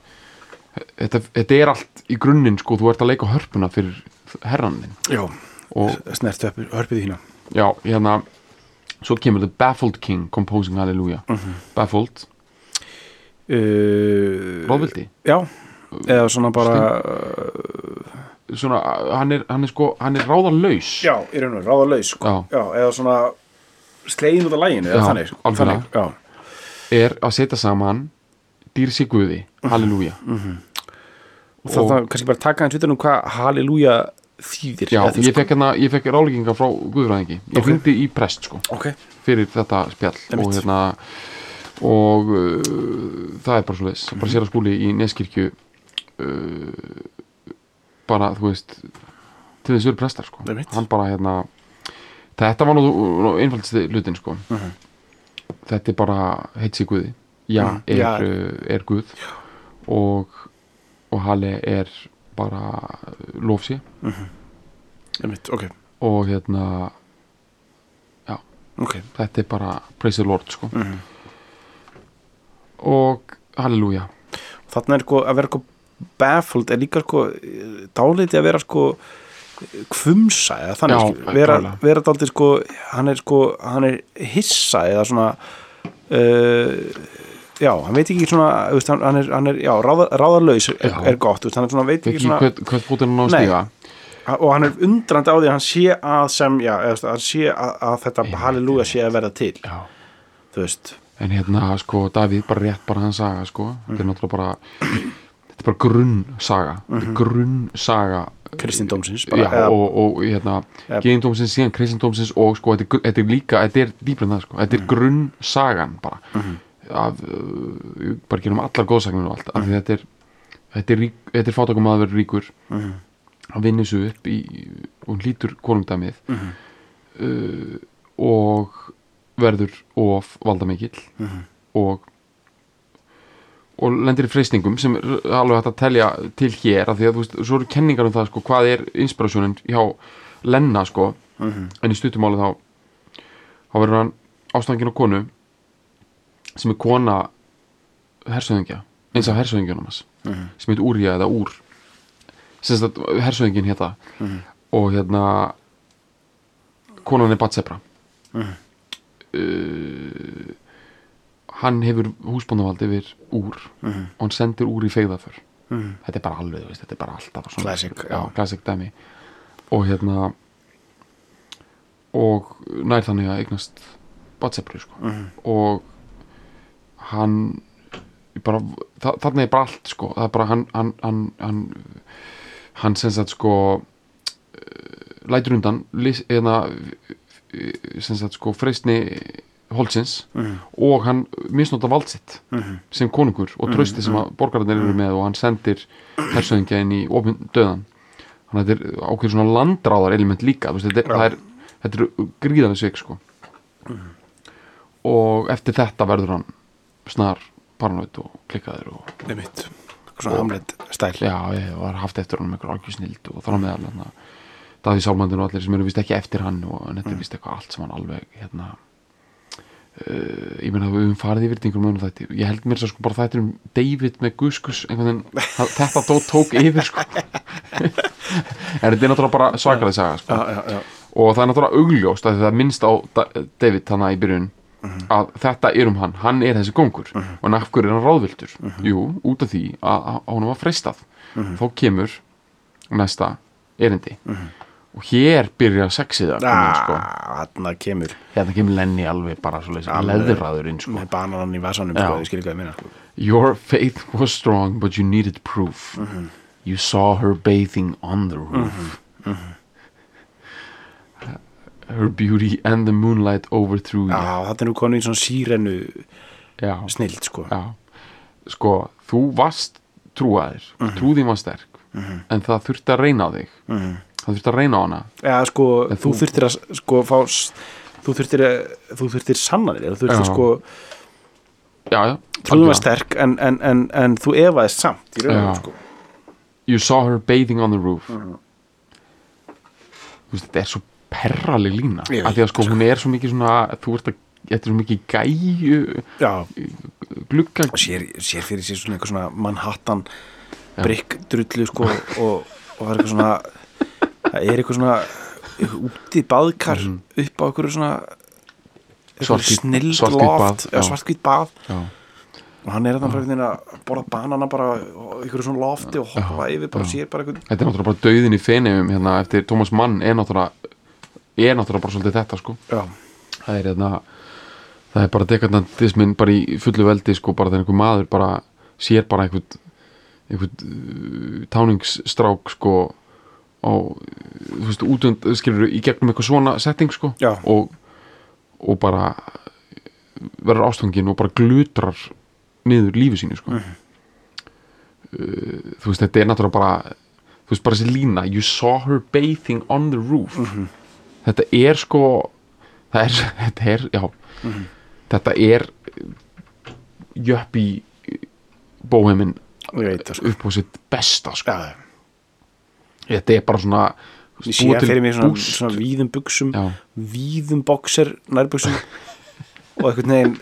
B: þetta, þetta er allt í grunninn sko þú ert að leika hörpuna fyrir herran þinn
A: já.
B: og
A: snert upp, hörpið þína
B: já, hérna svo kemur The Baffled King Composing Hallelujah
A: Mhm.
B: Baffled,
A: uh,
B: ráðvildi
A: já, eða svona bara uh,
B: svona, hann er, hann er sko, hann er ráðalaus
A: Já, í raun og veru, ráðalaus sko.
B: Já.
A: eða svona slegin út af læginu eða
B: Já,
A: þannig, sko.
B: algjörlega.
A: þannig já.
B: er að setja saman dýr sig guði, halleluja
A: og þannig að kannski bara taka hans utan um hvað halleluja þýðir
B: já,
A: eða því,
B: ég fekk, hérna, ég fekk rálegginga frá guðfræðingi ég
A: Ok.
B: hringdi í prest sko
A: sko. ok,
B: fyrir þetta spjall og
A: Einmitt.
B: hérna og uh, það er bara svo leis
A: Mhm.
B: bara sér að skúli í Neskirkju uh, bara þú veist til þess eru prestar sko
A: Einmitt.
B: hann bara hérna þetta var nú, nú einfaldsti hlutin sko þetta er bara heit sig guði já,
A: Mhm.
B: er,
A: Já.
B: uh, er guð og og Halle er bara lofsi
A: einmitt, ok,
B: og hérna
A: ok
B: þetta er bara praise the lord sko.
A: Mhm.
B: og halleluja
A: þannig er sko að vera sko baffled er líka sko dálítið að vera sko kvumsa eða þannig
B: Já,
A: sko, vera,
B: klálega.
A: vera dálítið sko hann er sko, hann er hissa eða svona uh, já, hann veit ekki svona þú veist, hann, hann, er, hann er, já, ráða, ráðarlaus er,
B: Já.
A: er gott, þú veist, hann er svona, veit
B: Veit
A: ekki
B: ekki
A: svona
B: hvert, hvert fótinn hann á að
A: Nei.
B: stíga
A: og hann er undrandi á því að hann sé að sem, já, eða, þú veist, hann sé að, að þetta
B: Einmitt,
A: halleluja sé að verða til
B: Já.
A: þú veist,
B: en hérna sko Davíð bara rétt bara hans saga sko þetta
A: Mhm.
B: er náttúrulega bara þetta er bara grunnsaga mm
A: Mhm.
B: -hmm. grunnsaga
A: kristindómsins bara,
B: já,
A: eða-
B: og, og hérna
A: Eða-
B: geðindómsins síðan kristindómsins og sko þetta er, gr- þetta er líka, þetta er dýprin það sko þetta er grunnsagan bara af, uh, bara gerum allar góðsagnir og allt, af því þetta er þetta er, rík, þetta er fátakum að vera ríkur hann vinnur svo upp í og hlýtur konungdæmið uh, og verður of valdamikill og og lendir í freystingum sem er alveg hægt að telja til hér af því að þú veist, svo eru kenningar um það sko, hvað er inspirasjónin hjá Lenna sko, en í stuttumáli þá þá verður hann ástangin á konu sem er kona hersöðingja, eins af hersöðingjunum hans sem heit Úrja eða Úr sem sagt hersöðingin hérna og hérna konan er Batsebra Uh, hann hefur húsbóndavald yfir úr og hann sendir úr í feigðaför þetta er bara alveg, þú veist, þetta er bara alltaf svona,
A: Classic,
B: já,
A: já.
B: classic dæmi og hérna og nær þannig að eignast batsepri sko. og hann bara, þa þarna er bara allt sko. það er bara hann hann, hann, hann, hann sem sagt sko eh, lætur undan lis, eða eh, sem sagt sko freistni holsins og hann misnóta vald sitt sem konungur og trösti sem að borgararnir eru með og hann sendir hersöðingja inn í opin döðan þannig að þetta er ákveður svona landráðar element líka, þú veist, þetta er, það er þetta er gríðanlega sveik sko og eftir þetta verður hann snar paranoid og klikkaður og
A: einmitt svona hamlet stæl
B: já, ég var haft eftir hann með einhver algjör snild og þar á meðal hann Davíð Sálmandin og allir sem eru vist ekki eftir hann og en þetta er vist eitthvað allt sem hann alveg hérna uh, ég meina við höfum farið yfir þetta í einhverjum önum þætti ég held mér svo sko bara þættir um David með Guskus einhvern veginn, það- þetta dó tók yfir sko en þetta er náttúrulega bara svakalega saga sko.
A: já, já.
B: og það er náttúrulega augljóst að það er minnst á Da- David þannig í byrjun
A: Mhm.
B: að þetta er um hann, hann er þessi góngur og en af hverju er hann ráðvildur
A: Mhm.
B: jú, út af því að, að að honum var freistað þá kemur næsta erindi
A: Mhm.
B: og hér byrja sexið að
A: Ah.
B: koma inn, sko.
A: hann kemur
B: hérna kemur Lenny alveg bara svo leysið
A: Alveg.
B: leðurraðurinn sko.
A: með bananann í vasanum
B: Já.
A: sko, ég skil ekki að minna sko.
B: Your faith was strong, but you needed proof. You saw her bathing on the roof. Her beauty and the moonlight overthrew
A: já,
B: you.
A: þetta er nú konu í svona sírenu
B: Já.
A: snild sko.
B: Já. Sko, þú varst trúaðir, mm trúðin var sterk, en það þurfti að reyna á þig. -hmm. Það þurfti að reyna á hana.
A: eða sko,
B: En
A: þú
B: þú-
A: þurftir að sko, fá, s- þú þurftir að þú þurftir sannanir, eða þú þurftir
B: Já.
A: sko
B: Já, já.
A: trúðum
B: algjörlega.
A: var sterk en, en, en, en þú efaðist samt í raunum
B: Já.
A: sko.
B: You saw her bathing on the roof Þú veist, þetta er svo perraleg lína
A: Ég
B: af því að sko hún er svo mikið svona þú ert að, þetta er svo mikið gæju
A: já,
B: glugga
A: og sér, sér fyrir sér svona eitthvað svona Manhattan brikk drullu sko, og, og það er eitthvað svona það er eitthvað svona úti baðkar upp á einhverju svona
B: Mhm. Svarthvít-
A: snild
B: svarthvít
A: loft
B: bað,
A: já,
B: já.
A: svartkvít bað
B: Já.
A: og hann er þarna bara einhvern veginn að borða banana bara á einhverju svona lofti og hoppa yfir bara sér bara einhvern
B: þetta er náttúrulega bara döðin í fenefum hérna eftir Thomas Mann er náttúrulega er náttúrulega bara svolítið þetta sko
A: já,
B: það er hérna það er bara dekadantismin bara í fullu veldi sko bara þegar einhver maður bara sér bara einhvern einhvern uh, táningsstrák sko á þú veist útund skilur í gegnum eitthvað svona setting sko
A: Já.
B: og, og bara verður ástfangin og bara glutrar niður lífi sínu sko uh, þú veist þetta er náttúrulega bara þú veist bara þessi lína you saw her bathing on the roof þetta er sko það er, þetta er, já þetta er eh, jöppi bóheimin
A: ég veit það sko
B: upp á sitt besta sko.
A: já,
B: þetta er bara svona
A: ég sé
B: búa til
A: fyrir mig svona,
B: búst.
A: svona víðum buksum
B: Já.
A: víðum bokser, nærbuksum og einhvern veginn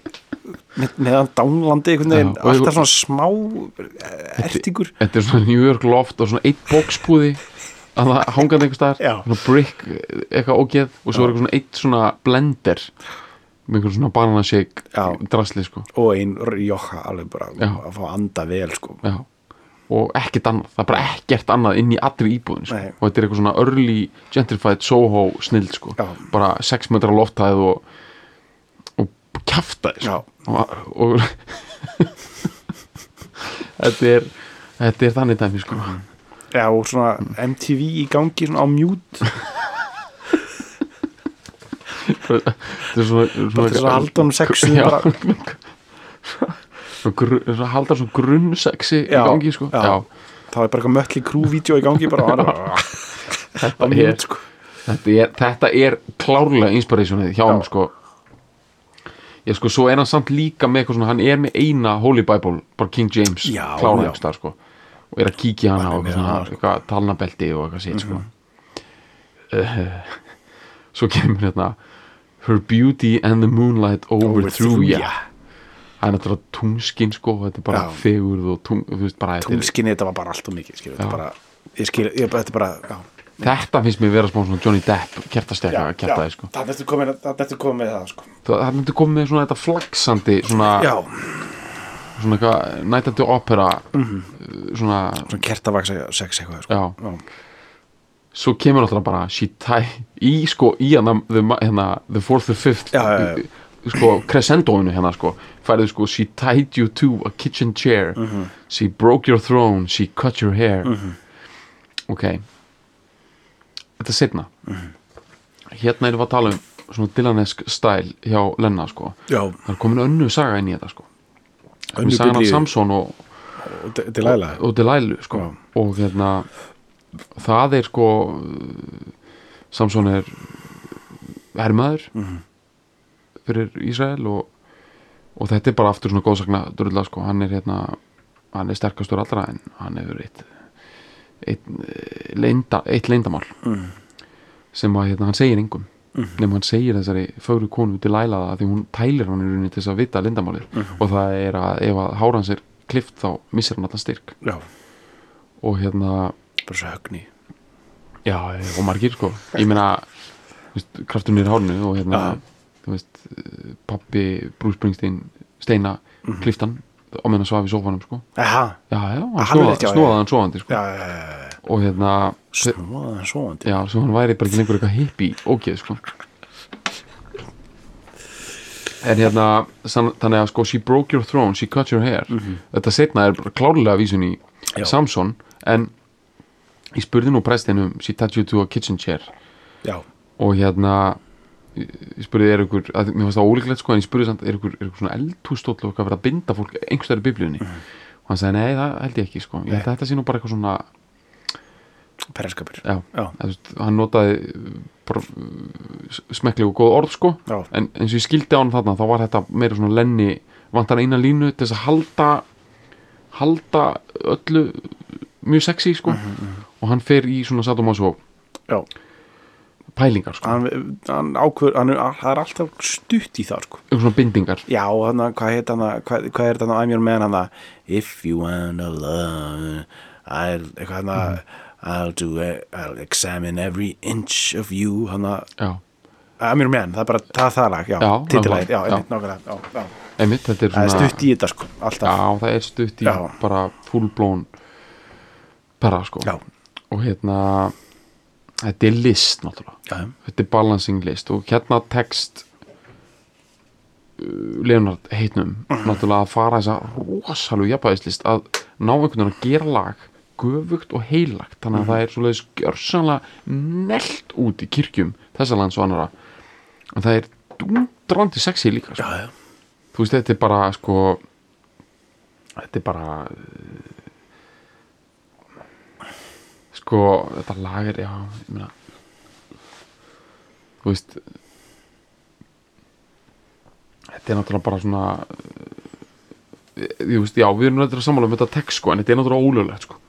A: með, meðan dánlandi einhvern
B: Já,
A: veginn
B: og ég-
A: alltaf svona smá eh, ertingur
B: þetta er svona New York loft og svona eitt bókspúði að það hangandi einhvers staðar
A: Já.
B: svona brick, eh, eitthvað ógeð og svo er eitthvað svona eitt svona blender með einhver svona bananashake
A: Já.
B: drasli sko
A: og einn rjóka alveg bara
B: Já.
A: að fá að anda vel sko
B: Já. og ekkert annað, það er bara ekkert annað inn í allri íbúðin sko.
A: Nei.
B: og þetta er eitthvað svona early gentrified Soho snild sko.
A: Já.
B: bara 6 metra lofthæð og, og kjafta þér
A: Já.
B: og, og þetta er þetta er þannig dæmi sko
A: Mhm. Já, og svona MTV í gangi svona á mute
B: þetta er svona, svona
A: bara til þess að halda hann sexu
B: Já.
A: bara,
B: Svo gru- svo halda svo grunnsexi í
A: Já,
B: gangi sko
A: já. það var bara eitthvað mötli krú-vídeó í gangi bara á
B: Þetta, er,
A: mute sko.
B: þetta, er, þetta er klárlega inspirationið hjá hann sko ég sko svo er hann samt líka með eitthvað svona hann er með eina Holy Bible bara King James
A: Já, já.
B: klárlega star sko og er að kíkja hann á
A: Hann er
B: eitthvað,
A: með
B: svona,
A: hana, sko.
B: eitthvað talnabelti og eitthvað sétt sko Eh, svo kemur hérna Her beauty and the moonlight overthrew ya það er náttúrulega tungskinn sko og þetta er bara
A: Já.
B: fegurð og tung, þú veist, bara, þetta er-
A: Tungskinni, þetta var bara allt og mikið skilur, þetta bara, ég skil, ég, þetta er bara já,
B: þetta finnst mér vera smá svona Johnny Depp
A: já,
B: kertastekka
A: já,
B: kertaði sko
A: það ertu komin það ertu komin með það sko.
B: það það myndi komið með svona þetta flaksandi svona,
A: já,
B: svona eitthvað Night at the Opera
A: Mhm.
B: eh, svona,
A: svona kertavaksa sex eitthvað sko.
B: já,
A: já.
B: svo kemur náttúrulega bara she tie, í sko, í hana the, ma- hérna, the fourth or fifth
A: Já, já, já.
B: sko, crescendoinu hérna sko færðu sko, she tied you to a kitchen chair
A: Mhm.
B: she broke your throne she cut your hair ok þetta er setna
A: Mhm.
B: hérna erum við að tala um svona Dylanesk stæl hjá Lenna sko
A: já,
B: það er komin önnu saga inn í þetta sko Önnur
A: önnur
B: sagan af
A: biblíu
B: Samson og,
A: þetta er lægilega
B: og Delilah sko.
A: Já.
B: og hérna það er sko uh, Samson er hermaður fyrir Ísrael og, og þetta er bara aftur svona góðsakna drulla sko, hann er hérna hann er sterkastur allra en hann hefur eitt eitt, eh, leynda, eitt leyndamál sem að hérna, hann segir engum
A: Mhm.
B: nema hann segir þessari fögru konu Delilah það af því hún tælir hann í rauninni til þess að vita leyndamálið
A: Mhm.
B: og það er að ef að hára hans er klift þá missir hann allan styrk
A: já,
B: og hérna
A: bara svo högni
B: já, og margir sko ég meina, þú veist, krafturinn er í hárinu og hérna, þú veist pappi, Bruce Springsteen, Steina mm
A: Mhm.
B: -hmm. kliftan, á meðan hann svaf í sófanum sko,
A: aha,
B: já, já, hann
A: Ah,
B: snóða,
A: alveg rétt, já,
B: snóðaði hann svofandi sko
A: já, já, já, já, já.
B: og hérna, þe-
A: snúaðan svoandi
B: já, svo hann væri bara ekki lengur eitthvað hippi, ógeð sko en hérna san, þannig að sko, she broke your throne, she cut your hair þetta setna er bara klárlega vísun í
A: Já.
B: Samson, en ég spurði nú prestinum, she touched you to a kitchen chair
A: já,
B: og hérna ég ég spurði er ykkur, að, mér fannst það ólíklegt sko en ég spurði samt, er ykkur, er ykkur svona eldhústóll og eitthvað verið að binda fólk einhverstaðar í biblíunni og hann sagði, nei, það held ég ekki sko ég held að þetta sé nú bara eitthvað svona
A: perrskapur
B: já,
A: Já.
B: Að, þú veist, hann notaði uh, bara uh, smekkleg og góð orð sko
A: Já.
B: en eins og ég skildi á hann þarna þá var þetta meira svona lenni vantar eina línu til þess að halda halda öllu mjög sexy sko
A: Mhm,
B: og hann fer í svona sadomaso
A: já,
B: pælingar sko,
A: hann, hann ákveður hann, það er alltaf stutt í það sko
B: einhver svona bindingar
A: Já, hann, hvað heit hann hvað, hvað er þetta hann æmjör með hann If you wanna love I'll, eitthvað hann
B: Mm.
A: I'll do it, I'll examine every inch of you hann
B: já,
A: æmjör með hann, það er bara það það lag já,
B: Já,
A: titilæð, já,
B: nákvæmlega,
A: einmitt, nákvæmlega já, já.
B: einmitt, þetta er
A: það
B: svona
A: er stutt í þetta sko, alltaf
B: Já, það er stutt í
A: Já.
B: bara fullblón bara sko
A: já,
B: og hérna þetta er list náttúrulega
A: já,
B: þetta er balancing list og hérna text uh, Leonard heitnum náttúrulega að fara þessa rosalegu jafnvægislist að ná einhvern veginn að gera lag göfugt og heilagt þannig að
A: Mhm.
B: það er svoleiðis gjörsanlega nelt út í kirkjum þessa lands og annara en það er dundrandi sexy líka sko
A: já, já,
B: þú veist þetta er bara sko þetta er bara eh, sko þetta lag er já ég meina þú veist þetta er náttúrulega bara svona eh, þú veist já við erum náttúrulega sammála um þetta text sko en þetta er náttúrulega ólöglegt sko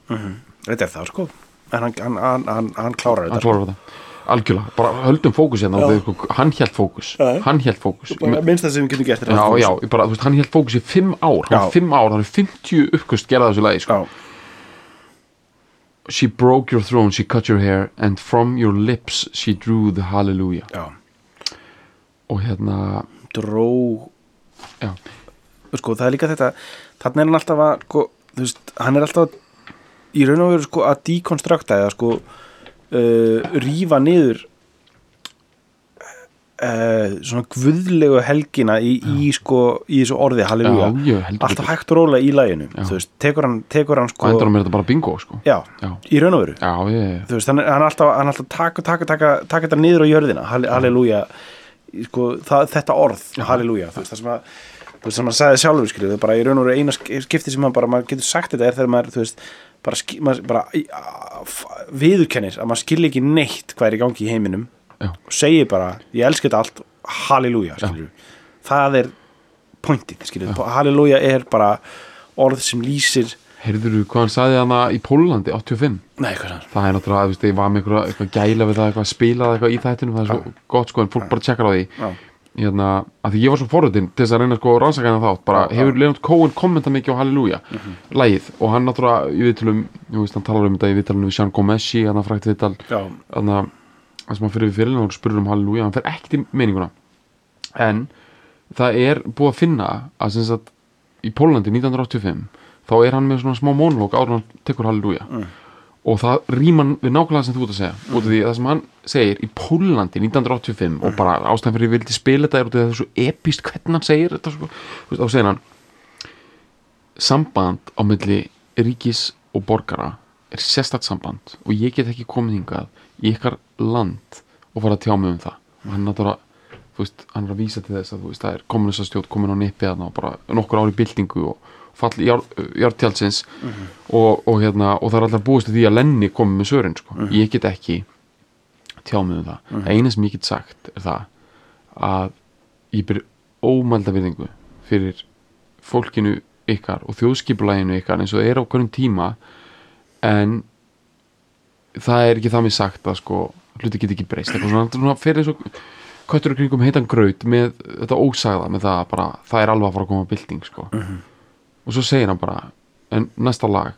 A: þetta er það sko en hann, hann, hann, hann, hann klárar
B: hann
A: þetta sko.
B: klárar þetta algjörlega bara höldum fókus hérna og
A: Já.
B: við, sko, hann held fókus
A: Já.
B: hann held fókus Ég
A: Bara minnst það sem við getum gert er
B: Já,
A: hann-
B: já, ég bara, þú veist, hann held fókus í fimm ár hann
A: Já.
B: er fimm ár, hann er 50 uppkust gerða þessu lagi, sko
A: já,
B: She broke your throne, she cut your hair and from your lips she drew the hallelujah
A: já,
B: og hérna,
A: dró
B: já,
A: sko, það er líka þetta þannig er hann alltaf að sko, þú veist, hann er alltaf í raun og veru sko, að dekonstrukta eða sko, uh, rífa niður uh, svona guðlegu helgina í, í, sko, í þessu orði halleluja,
B: Já, já, heldur
A: alltaf
B: betur.
A: hægt og róla í læginu
B: Já.
A: þú veist, tekur hann, tekur hann
B: og endur á
A: sko,
B: mér þetta bara bingo sko.
A: já,
B: Já.
A: í raun og veru
B: já, ég,
A: þú veist, hann, er- hann er alltaf, hann er alltaf taka, taka, taka, taka þetta niður á jörðina Halle- halleluja sko, það, þetta orð, halleluja þú veist, það sem að þú veist, sem hann sagði sjálfur skilur, það er bara í raun og veru eina sk- skipti sem hann bara, maður getur sagt þetta er þegar maður, þú veist bara, ski- maður, bara í- a- f- viðurkennir að maður skilja ekki neitt hvað er í gangi í heiminum
B: Já.
A: og segir bara, ég elska þetta allt halleluja, skilur það er pointið, skilur, halleluja er bara orð sem lýsir
B: heyrður þú hvað hann sagði hana í Pólandi 85
A: nei, hvað er það?
B: það er náttúrulega, þú veist, ég var með einhverja- eitthvað gæla við það, eitthvað spilaði eitthvað í þættinum það er svo gott sko, en fólk bara tjekkar á því
A: Já.
B: hérna, að því ég var svo forröðin til þess að reyna sko að rannsaka hérna þátt, bara hefur Leonard Cohen kommentað mikið á Halleluja
A: Mhm.
B: lægið, og hann náttúrulega í viðtölum, þú veist, hann talar um þetta í viðtölunum við Sean Gomesi, hann frækt viðtal
A: Já.
B: hann að, sem hann fyrir við fyrirlinu og spurur um Halleluja, hann fer ekkert í meininguna en það er búið að finna að sem sagt í Pólandi 1985 þá er hann með svona smá mónlók áður en hann tekur Halleluja og það rýman við nákvæmlega sem þú ert að segja út af því að það sem hann segir í Pólandi 1985 og bara ástæðan fyrir ég vildi spila þetta er út af því að það er svo epist hvernig hann segir þetta sko, þú veist, þá segir hann samband á milli ríkis og borgara er sérstakt samband og ég get ekki komið hingað í ykkar land og fara að tjá mig um það og hann náttúrulega, þú veist, hann er að vísa til þess að þú veist, það er komunistastjótt komin á nippi þarna og bara nokkur ári byltingu og fall í jartjálsins mm og, og, hérna, og það er alltaf búist við því að Lenny komi með sörin sko. ég get ekki tjá mig um það það eina sem ég get sagt er það að ég byrja ómælda virðingu fyrir fólkinu ykkar og þjóðskipulæginu ykkar eins og það er á hverjum tíma en það er ekki það mér sagt að sko hluti get ekki breyst eitthvað svona, svona fyrir eins og köttur og kringum heitan graut með þetta ósagða með það að bara það er alveg að fara að koma bylting sko og svo segir hann bara en næsta lag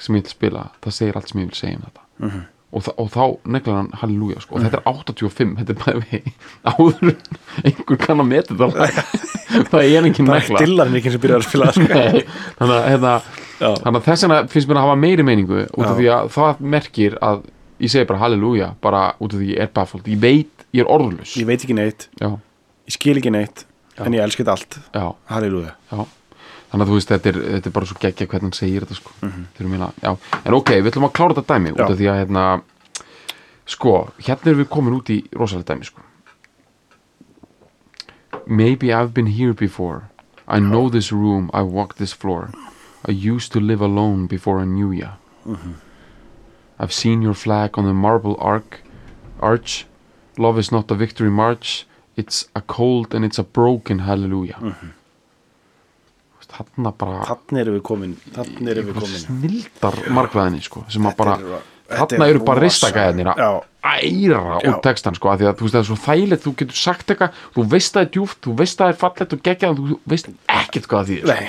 B: sem ég vil spila það segir allt sem ég vil segja um þetta og, þa og þá neglar hann halleluja sko. og þetta er 85, þetta er bara við áður en einhver kann að meta þetta lag. það er engin negla
A: dillarinn ekki sem byrjar að spila sko.
B: Nei, þannig að, hérna,
A: Já.
B: þannig að þess vegna finnst mér að hafa meiri meiningu út af því að það merkir að ég segi bara halleluja, bara út af því ég er baffald ég veit, ég er orðlus
A: ég veit ekki neitt
B: já,
A: ég skil ekki neitt en ég elska þetta allt
B: já,
A: halleluja
B: já þannig að þú veist, þetta er, þetta er bara svo geggja hvernig hann segir þetta sko, mm mína, já en ok, við ætlum að klára þetta dæmi út
A: Mhm. Já.
B: af því að hérna, sko, hérna erum við komin út í rosalega dæmi sko Maybe I've been here before I know this room, I walk this floor I used to live alone before I knew ya I've seen your flag on the marble arc, arch. Love is not a victory march. It's a cold and it's a broken hallelujah. Mm -hmm. Þarna bara
A: þannig erum við komin þannig erum við komin
B: snildar markvæðinni sko, sem að bara
A: eru- þetta
B: þarna
A: er
B: eru bara
A: rosa-
B: ristakaðinir
A: Já.
B: að æra
A: Já.
B: út textan sko, af því að þú veist það er svo þægilegt, þú getur sagt eitthvað þú veist það er djúft, þú veist það er fallegt og geggjað en þú veist ekkert hvað því sko.
A: Nei,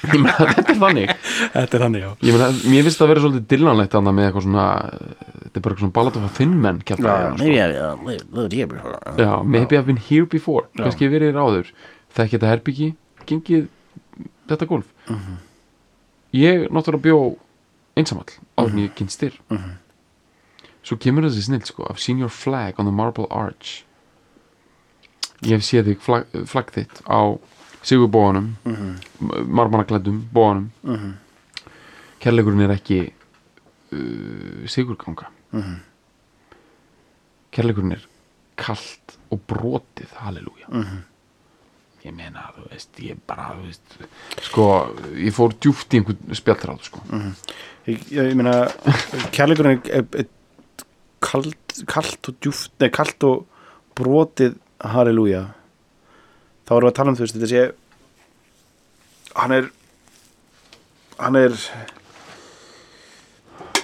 B: Ég meina, þetta er þannig
A: þetta er þannig já
B: Ég meina, mér finnst það að vera svolítið dillanlegt annað með eitthvað svona, þetta er bara eitthvað svona ballad of a thin man kjafta
A: maybe I uh, lived- lived here before
B: Já, maybe I've been here before, kannski ég verið hér áður Þekki þetta herbyggi, gengið þetta gólf Ég náttúrulega bjó einsamall áður en ég kynst þér Svo kemur þessi snill sko I've seen your flag on the marble arch Ég hef séð þig flag, flag þitt á sigurbóanum mm -hmm. marmaraklæddum bóanum Kærleikurinn er ekki uh, sigurganga kærleikurinn er kallt og brotið halleluja
A: Mhm.
B: ég meina þú veist ég bara þú veist, sko ég fór djúft í einhvern spjallráð sko.
A: Mhm. ég, ég meina kærleikurinn er, er, er kalt, kalt og djúft nei, kalt og brotið halleluja þá erum við að tala um þú veist þetta sé hann er hann er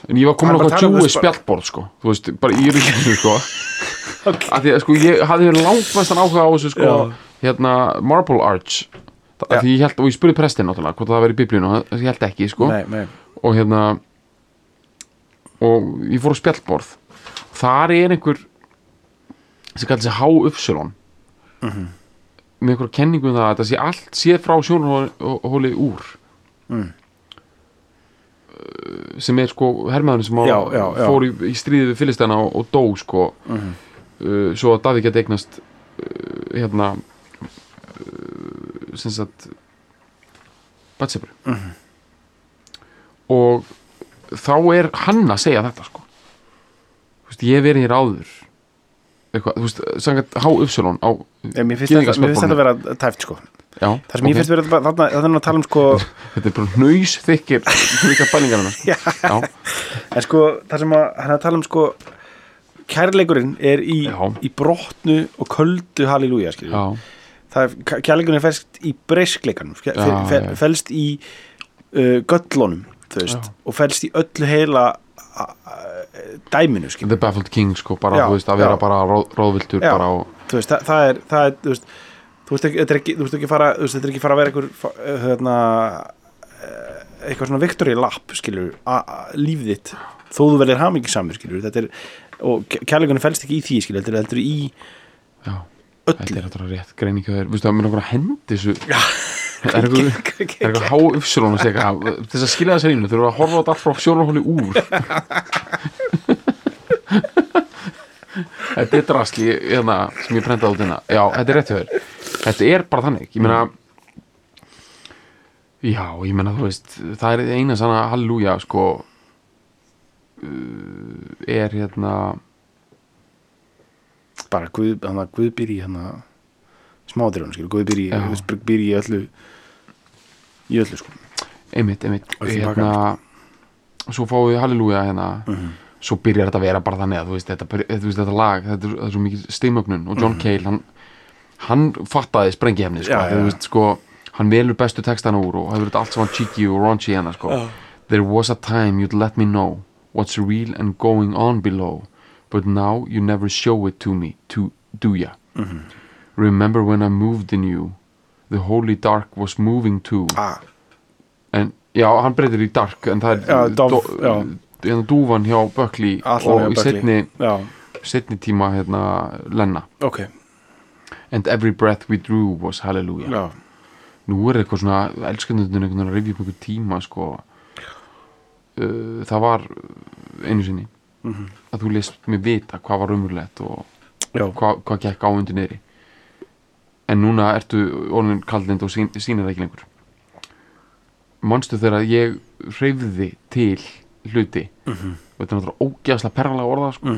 B: en ég var komin á
A: Hann var að
B: hvað
A: tala um
B: djúi
A: þess bara-
B: spjallborð sko. þú veist bara í ríkinu sko. af því að sko ég hafði langmestan áhuga á þessu sko hérna Marble Arch af
A: Já.
B: því ég held og ég spurði prestinn náttúrulega hvort það væri í biblíun og hann- ég held ekki sko
A: nei, nei,
B: og hérna og ég fór á spjallborð þar er einhver sem kallar sig H. Uppsilon
A: Mhm.
B: með einhver kenningu um það að það sé allt séð frá sjónarhóli úr
A: Mm.
B: sem er sko hermaðurinn sem á,
A: Já, Mhm. já, já.
B: fór í, í stríðið við Filistana og, og dó sko uh, svo að Davíð geti eignast uh, hérna uh, sem sagt Batsebru og þá er hann að segja þetta sko Þú veist, ég hef verið hér áður eitthvað, þú veist, sangat H. Upsilon á
A: Ég, mér finnst þetta- mér finnst þetta að vera tæft sko
B: já,
A: Það sem mér finnst verið þarna, þarna er hann að tala um sko
B: þetta er bara nöys þykir líka bælingarna já. Já,
A: En sko, það sem að, hann er að tala um sko Kærleikurinn er í,
B: Já.
A: í brotnu og köldu halleluja skiljum
B: já,
A: það er, ka- kærleikurinn er felst í breyskleikanum fe-
B: Já,
A: fe-
B: já.
A: felst í uh, göllunum þú veist, og felst í öllu heila a- a- dæminu skilur.
B: The Baffled King sko, bara,
A: Já,
B: þú veist, að vera
A: já.
B: bara róð, róðviltur
A: Já.
B: bara og
A: þú veist, það, það er, það er þú veist, þú veist ekki, þetta er ekki, þú veist ekki fara þú veist, þetta er ekki fara að vera einhver fa- eh, hérna, eh, eitthvað svona victory lap skilur, líf þitt þó þú verðir hamingisamur skilur þetta er, og kærleikunum felst ekki í því skilur þetta er heldur í
B: já, þetta
A: öllu
B: er þetta rétt greiningu þér, veistu, það mér okkur að hendi þessu
A: Já.
B: það er eitthvað Það er eitthvað há uppsilón að segja eitthvað, til þess að skilja þess að einu, þurfum við að horfa á þetta allt frá sjónarhóli úr Þetta er drasli hérna, sem ég prentaði út hérna Já, þetta er rétt hjá þér Þetta er bara þannig, ég meina Já, ég meina þú veist það er eina sann að halleluja sko uh, er hérna
A: bara Guð, hana, Guð býr í hana, smáðurinn, skilur, Guð býr í,
B: Já.
A: Guð býr í öllu í öllu sko
B: einmitt, einmitt
A: Og því
B: hérna, svo fáum við halleluja hérna,
A: Mhm.
B: svo byrjar þetta að vera bara þannig að þú veist, þetta, byrj- þú veist, þetta lag þetta er, það er svo mikið steimögnun og John Cale hann, hann fattaði sprengihefni sko,
A: Mhm. Já,
B: þegar,
A: já,
B: þú
A: já.
B: veist, sko, hann velur bestu textana úr og hefur þetta allt saman cheeky og raunchy hérna sko. there was a time you'd let me know what's real and going on below but now you never show it to me to, do ya
A: Mhm.
B: remember when I moved in you the holy dark was moving too
A: ah,
B: en, já, hann breytir í Dark en það er
A: Já, Dov, já.
B: hérna, dúfan hjá Buckley
A: Allan
B: og
A: hjá
B: í
A: Buckley.
B: setni,
A: já,
B: setni tíma hérna, Lenna
A: ok
B: and every breath we drew was hallelujah
A: já.
B: nú er eitthvað svona elskendundin einhvern veginn að rifja upp einhver tíma sko. uh, það var einu sinni
A: Mhm.
B: að þú lest mér vita hvað var umurlegt og
A: Já.
B: hvað, hvað gekk á undir niðri en núna ertu orðin kallind og sín, sýnir það ekki lengur manstu þegar að ég hreyfði til hluti
A: Mhm.
B: og þetta er náttúrulega ógeðslega perralega orða sko.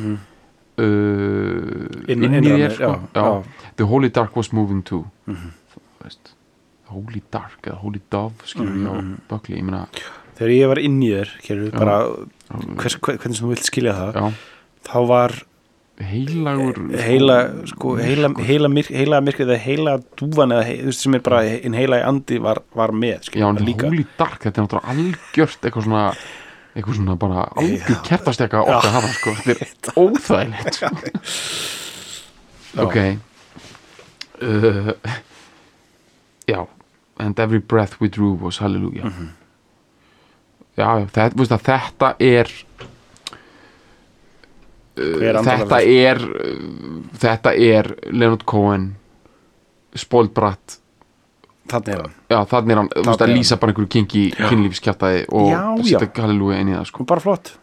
B: uh,
A: Inn-
B: inn, í
A: innra
B: þér
A: með-
B: sko.
A: já, Mhm. já.
B: the holy dark was moving too þú veist Holy Dark eða Holy Dove skilur
A: Mhm,
B: mm -hmm. á Buckley, ég meina
A: þegar ég var inn í þér kérur, bara, hvers, hver- hvernig sem þú vilt skilja það
B: já,
A: þá var
B: heilagur
A: heila sko, heila, heila, myrk, heila myrkrið eða heila dúfan eða hei, þú veist, sem er bara hinn heila í andi var, var með skilur,
B: já, en
A: líka
B: Holy Dark, þetta er náttúrulega algjört eitthvað svona eitthvað svona bara algjör kertastekka okkar hafa sko, þetta er óþægilegt sko. ok uh, já and every breath we drew was hallelujah já, já, þetta, veist að þetta er
A: Hver andar
B: þetta
A: það?
B: er uh, þetta er Leonard Cohen spóldbratt
A: þannig er það,
B: já þannig er hann, þú veist
A: er
B: að
A: hann.
B: lýsa bara einhverju kinki kynlífskjartaði og
A: Já,
B: setja
A: já.
B: halleluja inn í það sko
A: bara flott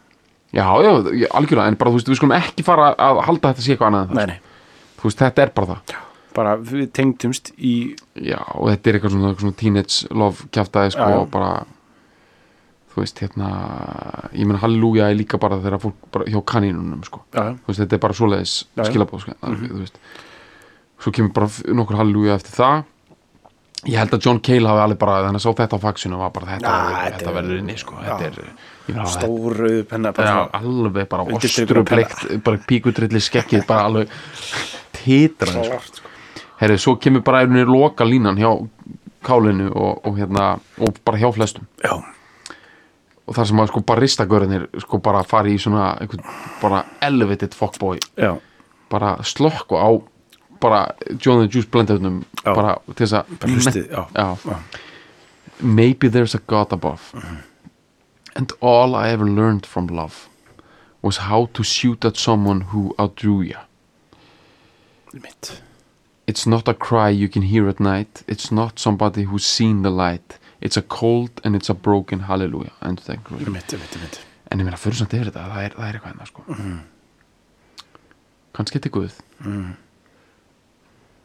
B: já já, já, algjörlega, en bara þú veist við skulum ekki fara að halda þetta sé eitthvað annað en það,
A: nei, nei,
B: sko. þú veist þetta er bara það
A: bara við tengdumst í
B: já og þetta er eitthvað svona, eitthvað svona teenage love kjartaði sko
A: Já, já.
B: og bara þú veist hérna ég menn halleluja er líka bara þegar fólk bara hjá kanínunum sko
A: já,
B: þú veist, þetta er bara svoleiðis
A: Já, Mhm. já.
B: skilabóð sko, mm veist. svo kemur bara f- nokkur halleluja eftir það ég held að John Cale hafi alveg bara þannig að sá þetta á faxinu og var bara þetta,
A: Nah,
B: verður,
A: þetta
B: þetta
A: er-
B: verður inni sko, þetta
A: Já.
B: er ég meina, þetta
A: stóru penna bara
B: Já,
A: svona-
B: alveg bara ostur
A: Undirstrikar
B: og bleikt bara píkutrilli skekkið bara alveg titrandi sko.
A: sko.
B: Herri, svo kemur bara einhvernig loka línan hjá kálinu og, og hérna og bara hjá flestum
A: Já,
B: og þar sem að sko baristagörðinir sko bara fari í svona einhvern, bara elevated fuckboy
A: já,
B: bara slökku á bara John the Juice blendefnum
A: Já.
B: bara til þess
A: bara
B: að
A: hlustið já.
B: Já. maybe there's a God above and all I ever learned from love was how to shoot at someone who outdrew you
A: Mitt. Mitt, mitt, mitt. Mm.
B: en ég meina fyrir samt yfir þetta það er, það er eitthvað hérna sko kannski þetta er guð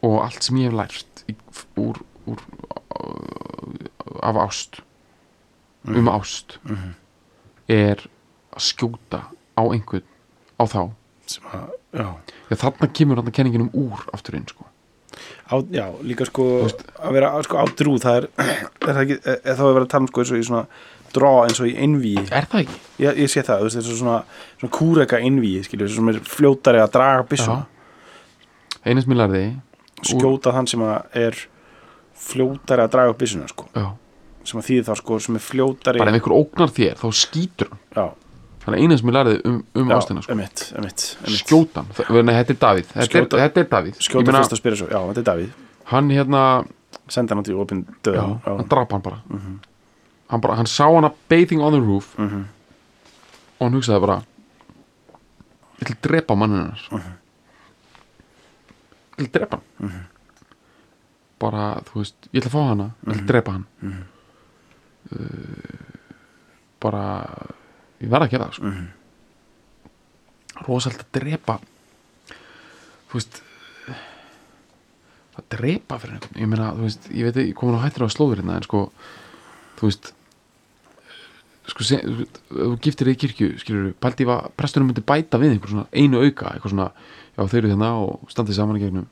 B: og allt sem ég hef lært í, úr, úr af ást
A: Mm.
B: um ást er að skjóta á einhvern á þá
A: sem að, já,
B: Já, þarna kemur hann kenningin um úr aftur inn sko.
A: á, já líka sko að vera sko, á drú það er, er það ekki, er, er þá er verið að tala um sko eins og í svona draw eins og í innví ég,
B: er það ekki?
A: ég sé það, þú veist, eins og svona, svona kúreka innví, skilur, sem er fljótari að draga byssuna,
B: einu sem ég lærði
A: skjóta þann sem að er fljótari að draga upp byssuna, sko,
B: já,
A: sem að þýði þá sko, sem er fljótari
B: bara ef einhver ógnar þér þá skýtur hann
A: já,
B: þannig einu sem ég lærði um, um
A: já,
B: ástina sko.
A: emitt, emitt, emitt
B: skjótan, Þa- nei, þetta er Davíð þetta,
A: Skjóta-
B: er, þetta er Davíð Ég
A: skjóta
B: meina,
A: fyrst að spyrja svo, já, þetta er Davíð
B: hann hérna,
A: senda hann út í opinn
B: já,
A: döðan já,
B: hann drap hann bara. hann bara hann sá hana bathing on the roof og hann hugsaði bara ég ætla að drepa manninn hennar ég ætla að drepa hann bara, þú veist, ég ætla að fá hana ég ætla að drepa hann uh, bara ég verð að gera það sko. rosalt að drepa þú veist að drepa fyrir einhvern ég meina, þú veist, ég veit ekki, ég komin á hættur á slóður hérna, en sko, þú veist sko, se, þú veist, ef þú giftir þig í kirkju, skilur við pældi ég að prestunum myndi bæta við einhver svona einu auka, eitthvað svona, já þau eru þarna og standið saman í gegnum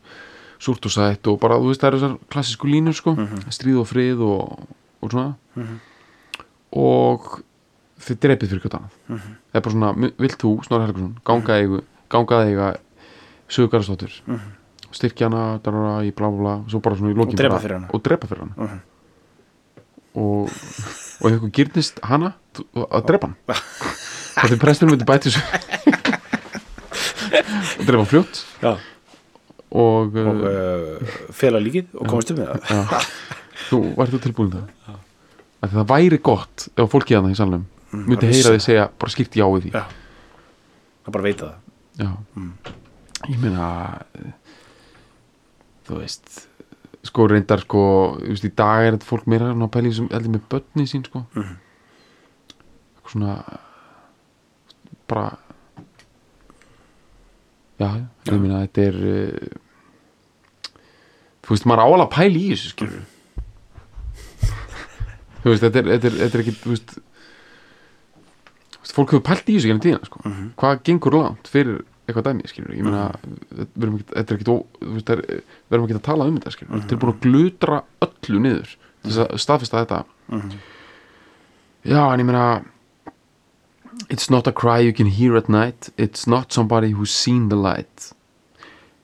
B: súrt og sætt og bara, þú veist, það eru þessar klassísku línur sko, stríð og frið og, og svona og þið drepið fyrir hvað annað
A: Mhm.
B: það er bara svona, mu- vilt þú, Snorri Helgason ganga eigu, ganga eiga sögurgarastóttur mm -hmm. styrkja hana, darara, í blá blá blá svo bara svona í lokin
A: Mhm. Og drepa
B: bara-
A: fyrir hana. Mhm.
B: og drepa fyrir hana og og ef ykkur gyrnist hana þú- að drepa hann þá því presturinn myndi bæti þessu og drepa hann fljótt
A: já.
B: og, uh,
A: og uh, fela líkið og komast upp með það
B: já, þú vært þú tilbúin í það Af því það væri gott ef fólkið hana í salnum myndi
A: bara
B: heyra
A: vissi
B: því segja bara skýrt já við því
A: Mhm. Já. það bara veit það
B: Já Ég meina eh, Þú veist Sko reyndar sko þú veist, Í dag er þetta fólk meira svona pæli sem heldur með börni sín sko mm. Svona Bara Já, ég meina þetta er eh, Þú veist, maður áalega pæli í þessu skilur Þú veist, þetta er, þetta er, þetta er ekki Þú veist þú veist, fólk hefur pælt í þessu gennum tíðina sko. hvað gengur langt fyrir eitthvað dæmi skilur, ég meina við erum ekkert- þetta er ekkit ó- þú veist, það er- við erum ekki að tala um þetta skilur, þetta er búin að glutra öllu niður, til þess að staðfesta þetta já, en ég meina it's not a cry you can hear at night it's not somebody who's seen the light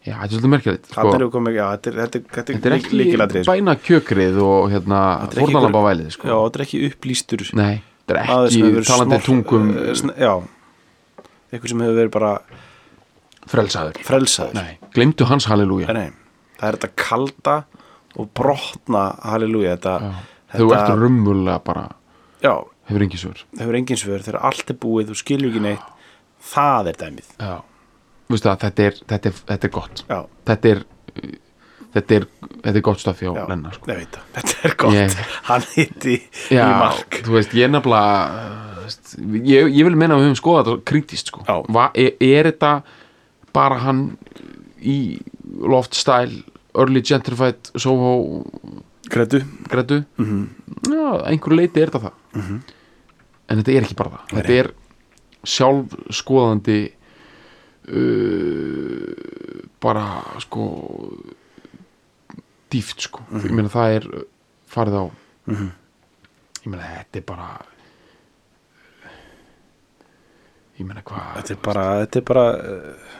B: já, þetta er svolítið merkilegt sko.
A: Þarna erum við komið- já, þetta er- þetta er- þetta
B: þetta er
A: er lík-
B: ekki
A: lykilatriði, sko.
B: bæna kjökrið og hérna,
A: Þetta er ekki
B: fórnalamba
A: einhver-
B: vælið sko.
A: já, þetta er ekki upplýstur
B: nei, þetta er
A: maður sem hefur
B: ekki
A: verið
B: talandi um
A: snork-
B: tungum
A: eh, sn- já, eitthvað sem hefur verið bara
B: frelsaður
A: frelsaður
B: Nei, glemdu hans halleluja
A: Nei, nei. það er þetta kalda og brotna halleluja þetta,
B: Þú ert rummulega bara
A: já,
B: hefur engi svör
A: það hefur engin svör þegar allt er búið, þú skilur ekki neitt það er dæmið
B: Já Vistu það, þetta er, þetta er, þetta er gott
A: já,
B: þetta er, þetta er þetta er gott stafi á
A: já,
B: Lenna sko.
A: ég veit það, þetta er gott
B: Ég-
A: hann hitti í
B: Já,
A: mark
B: þú veist, ég er nefnilega uh, veist, ég, ég vil meina að við höfum skoðað þetta krítist sko.
A: Já.
B: Va, er, er þetta bara hann í loftstæl early gentrified Soho
A: Gretu,
B: grætu já, að einhverju leiti er þetta það en þetta er ekki bara það þetta er sjálfskoðandi uh, bara sko dýft sko ég meina það er farið á ég meina þetta er bara ég meina hvað
A: þetta er bara, þetta er bara eh,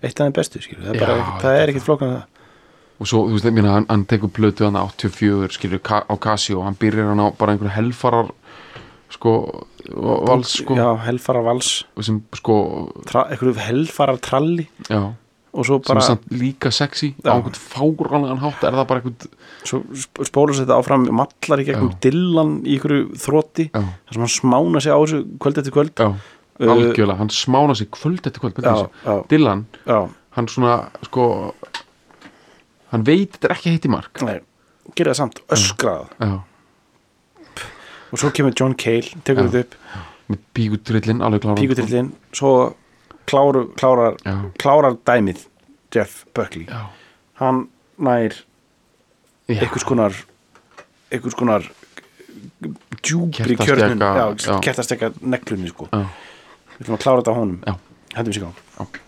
A: eitt af þeim bestu skilur. það er,
B: Já,
A: bara,
B: þetta
A: það
B: er
A: er ekkert flóknar það
B: og svo, þú veist, ég meina, hann, hann tekur plötu hann 84, skilur, ka á Casio hann byrjar hann á bara einhverju helfarar sko, vals sko,
A: já, helfara vals,
B: og sem, sko,
A: tra, einhverju helfara tralli
B: já
A: og svo
B: sem
A: bara
B: er samt líka sexy
A: Já.
B: á einhvern fáránlegan hátt, er það bara einhvern
A: svo sp- spólast þetta áfram mallar í gegnum
B: Já.
A: Dylan í einhverju þrótti
B: Já.
A: þar sem hann smána sig á þessu kvöld eftir kvöld
B: já, algjörlega, hann smána sig kvöld eftir kvöld,
A: já,
B: betur þessu
A: já,
B: Dylan,
A: já,
B: hann svona, sko hann veit þetta er ekki að hitti mark
A: nei gera það samt, öskraða
B: já,
A: og svo kemur John Cale, tekur
B: Já.
A: þetta upp
B: með píkutrillin, alveg klára
A: píkutillin, svo kláru, klárar,
B: Já.
A: klárar dæmið Jeff Buckley
B: sko. já,
A: hann nær
B: já.
A: einhvers konar einhvers konar djúbri
B: Kertastjaka,
A: kjörnun
B: já.
A: kertastekka neglunni sko
B: Já.
A: við ætlum að klára þetta á honum
B: Já.
A: hendum sér gang
B: Ok.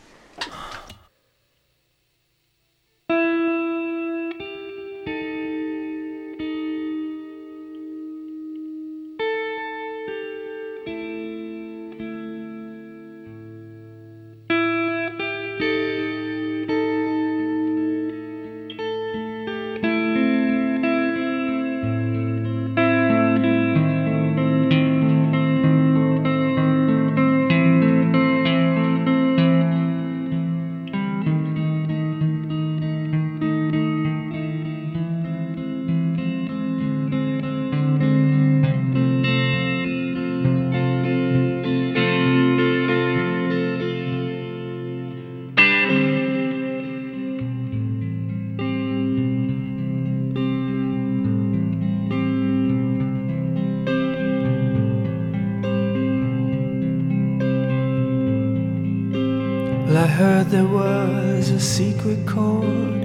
D: Well, I heard there was a secret chord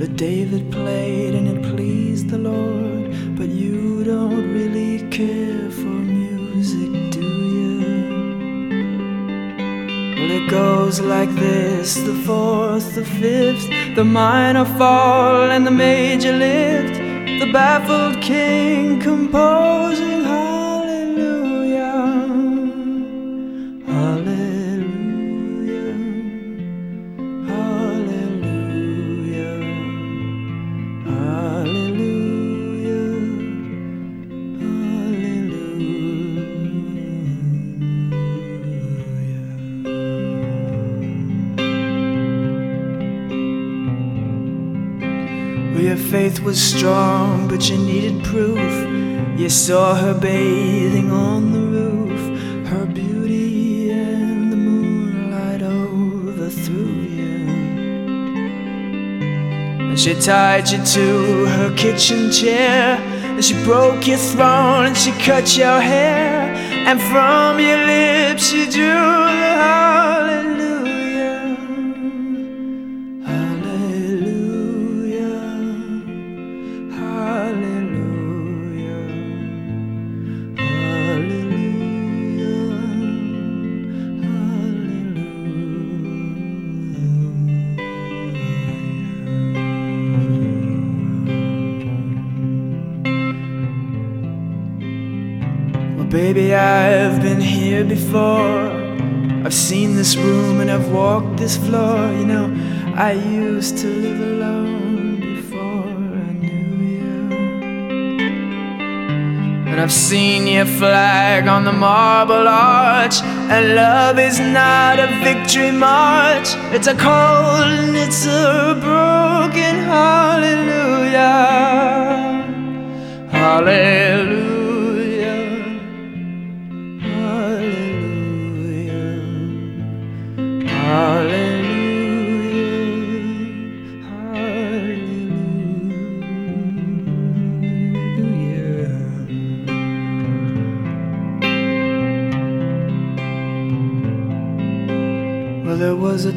D: that David played and it pleased the Lord. But you don't really care for music, do you? Well, it goes like this the fourth, the fifth, the minor fall and the major lift. The baffled king composing hallelujah. Hallelujah, hallelujah, hallelujah, hallelujah. Well, your faith was strong, but you needed proof. You saw her bathing on the roof, her beauty and the moonlight overthrew you. And she tied you to her kitchen chair, and she broke your throne, and she cut your hair, and from your lips she drew the hallelujah. Hallelujah, hallelujah, hallelujah, hallelujah. Well, baby, I've been here before. I've seen this room and I've walked this floor. You know, I used to live alone before I knew you. And I've seen your flag on the marble arch. And love is not a victory march, it's a cold and it's a broken hallelujah. Hallelujah. Hallelujah. Hallelujah. Hallelujah. Well, there was a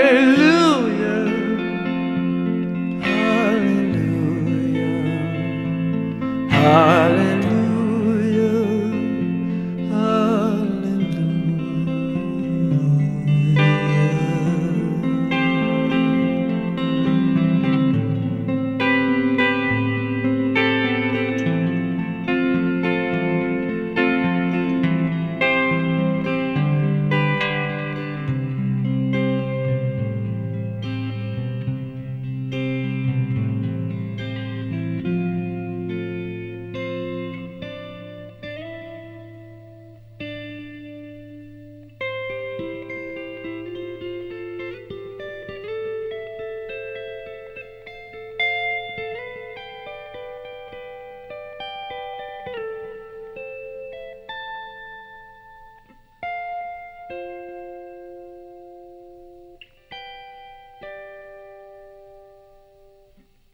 D: Hallelujah. Hallelujah. Hallelujah.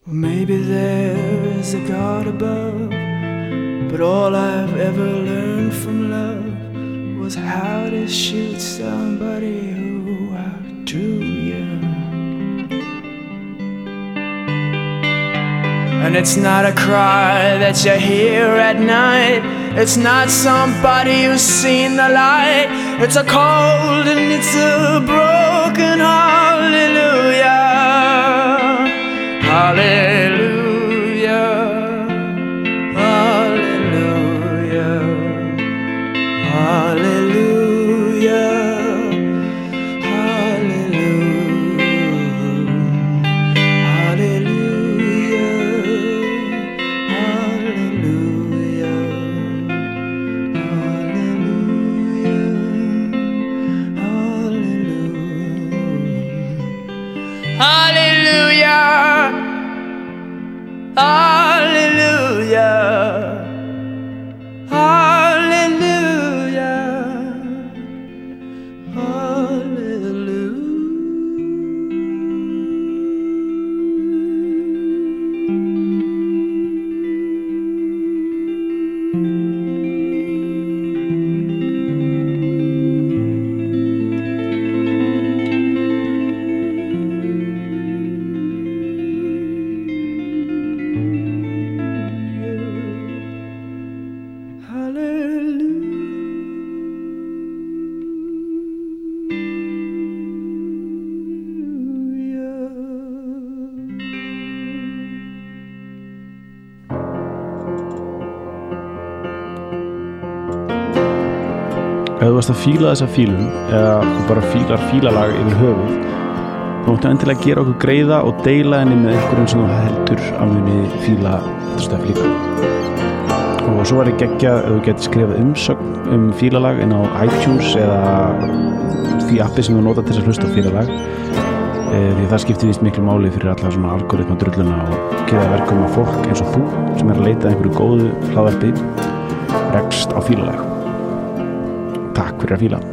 D: Well, maybe there is a God above, but all I've ever learned from love was how to shoot somebody who outdrew you. And it's not a cry that you hear at night. It's not somebody who's seen the light. It's a cold and it's a broken hallelujah. Hallelujah. Hallelujah. Hallelujah. Hallelujah. Hallelujah, hallelujah, hallelujah, hallelujah, hallelujah, hallelujah, hallelujah, hallelujah. Hallelujah.
E: Ef þú varst að fíla þessa fílum eða þú bara fílar fílalag yfir höfuð þá máttu endilega gera okkur greiða og deila henni með einhverjum sem þú heldur að muni fíla þetta stöf líka og svo var ég geggja ef þú getur skrifað umsögn um fílalag inn á iTunes eða því appi sem þú nota til þess að hlusta á fílalag Eh, því það skiptir nýst miklu máli fyrir alla svona algoritma drulluna og geða verkum að fólk eins og þú sem er að leita að einhverju góðu hlaðarpi rekst á fílalag Takk fyrir að fíla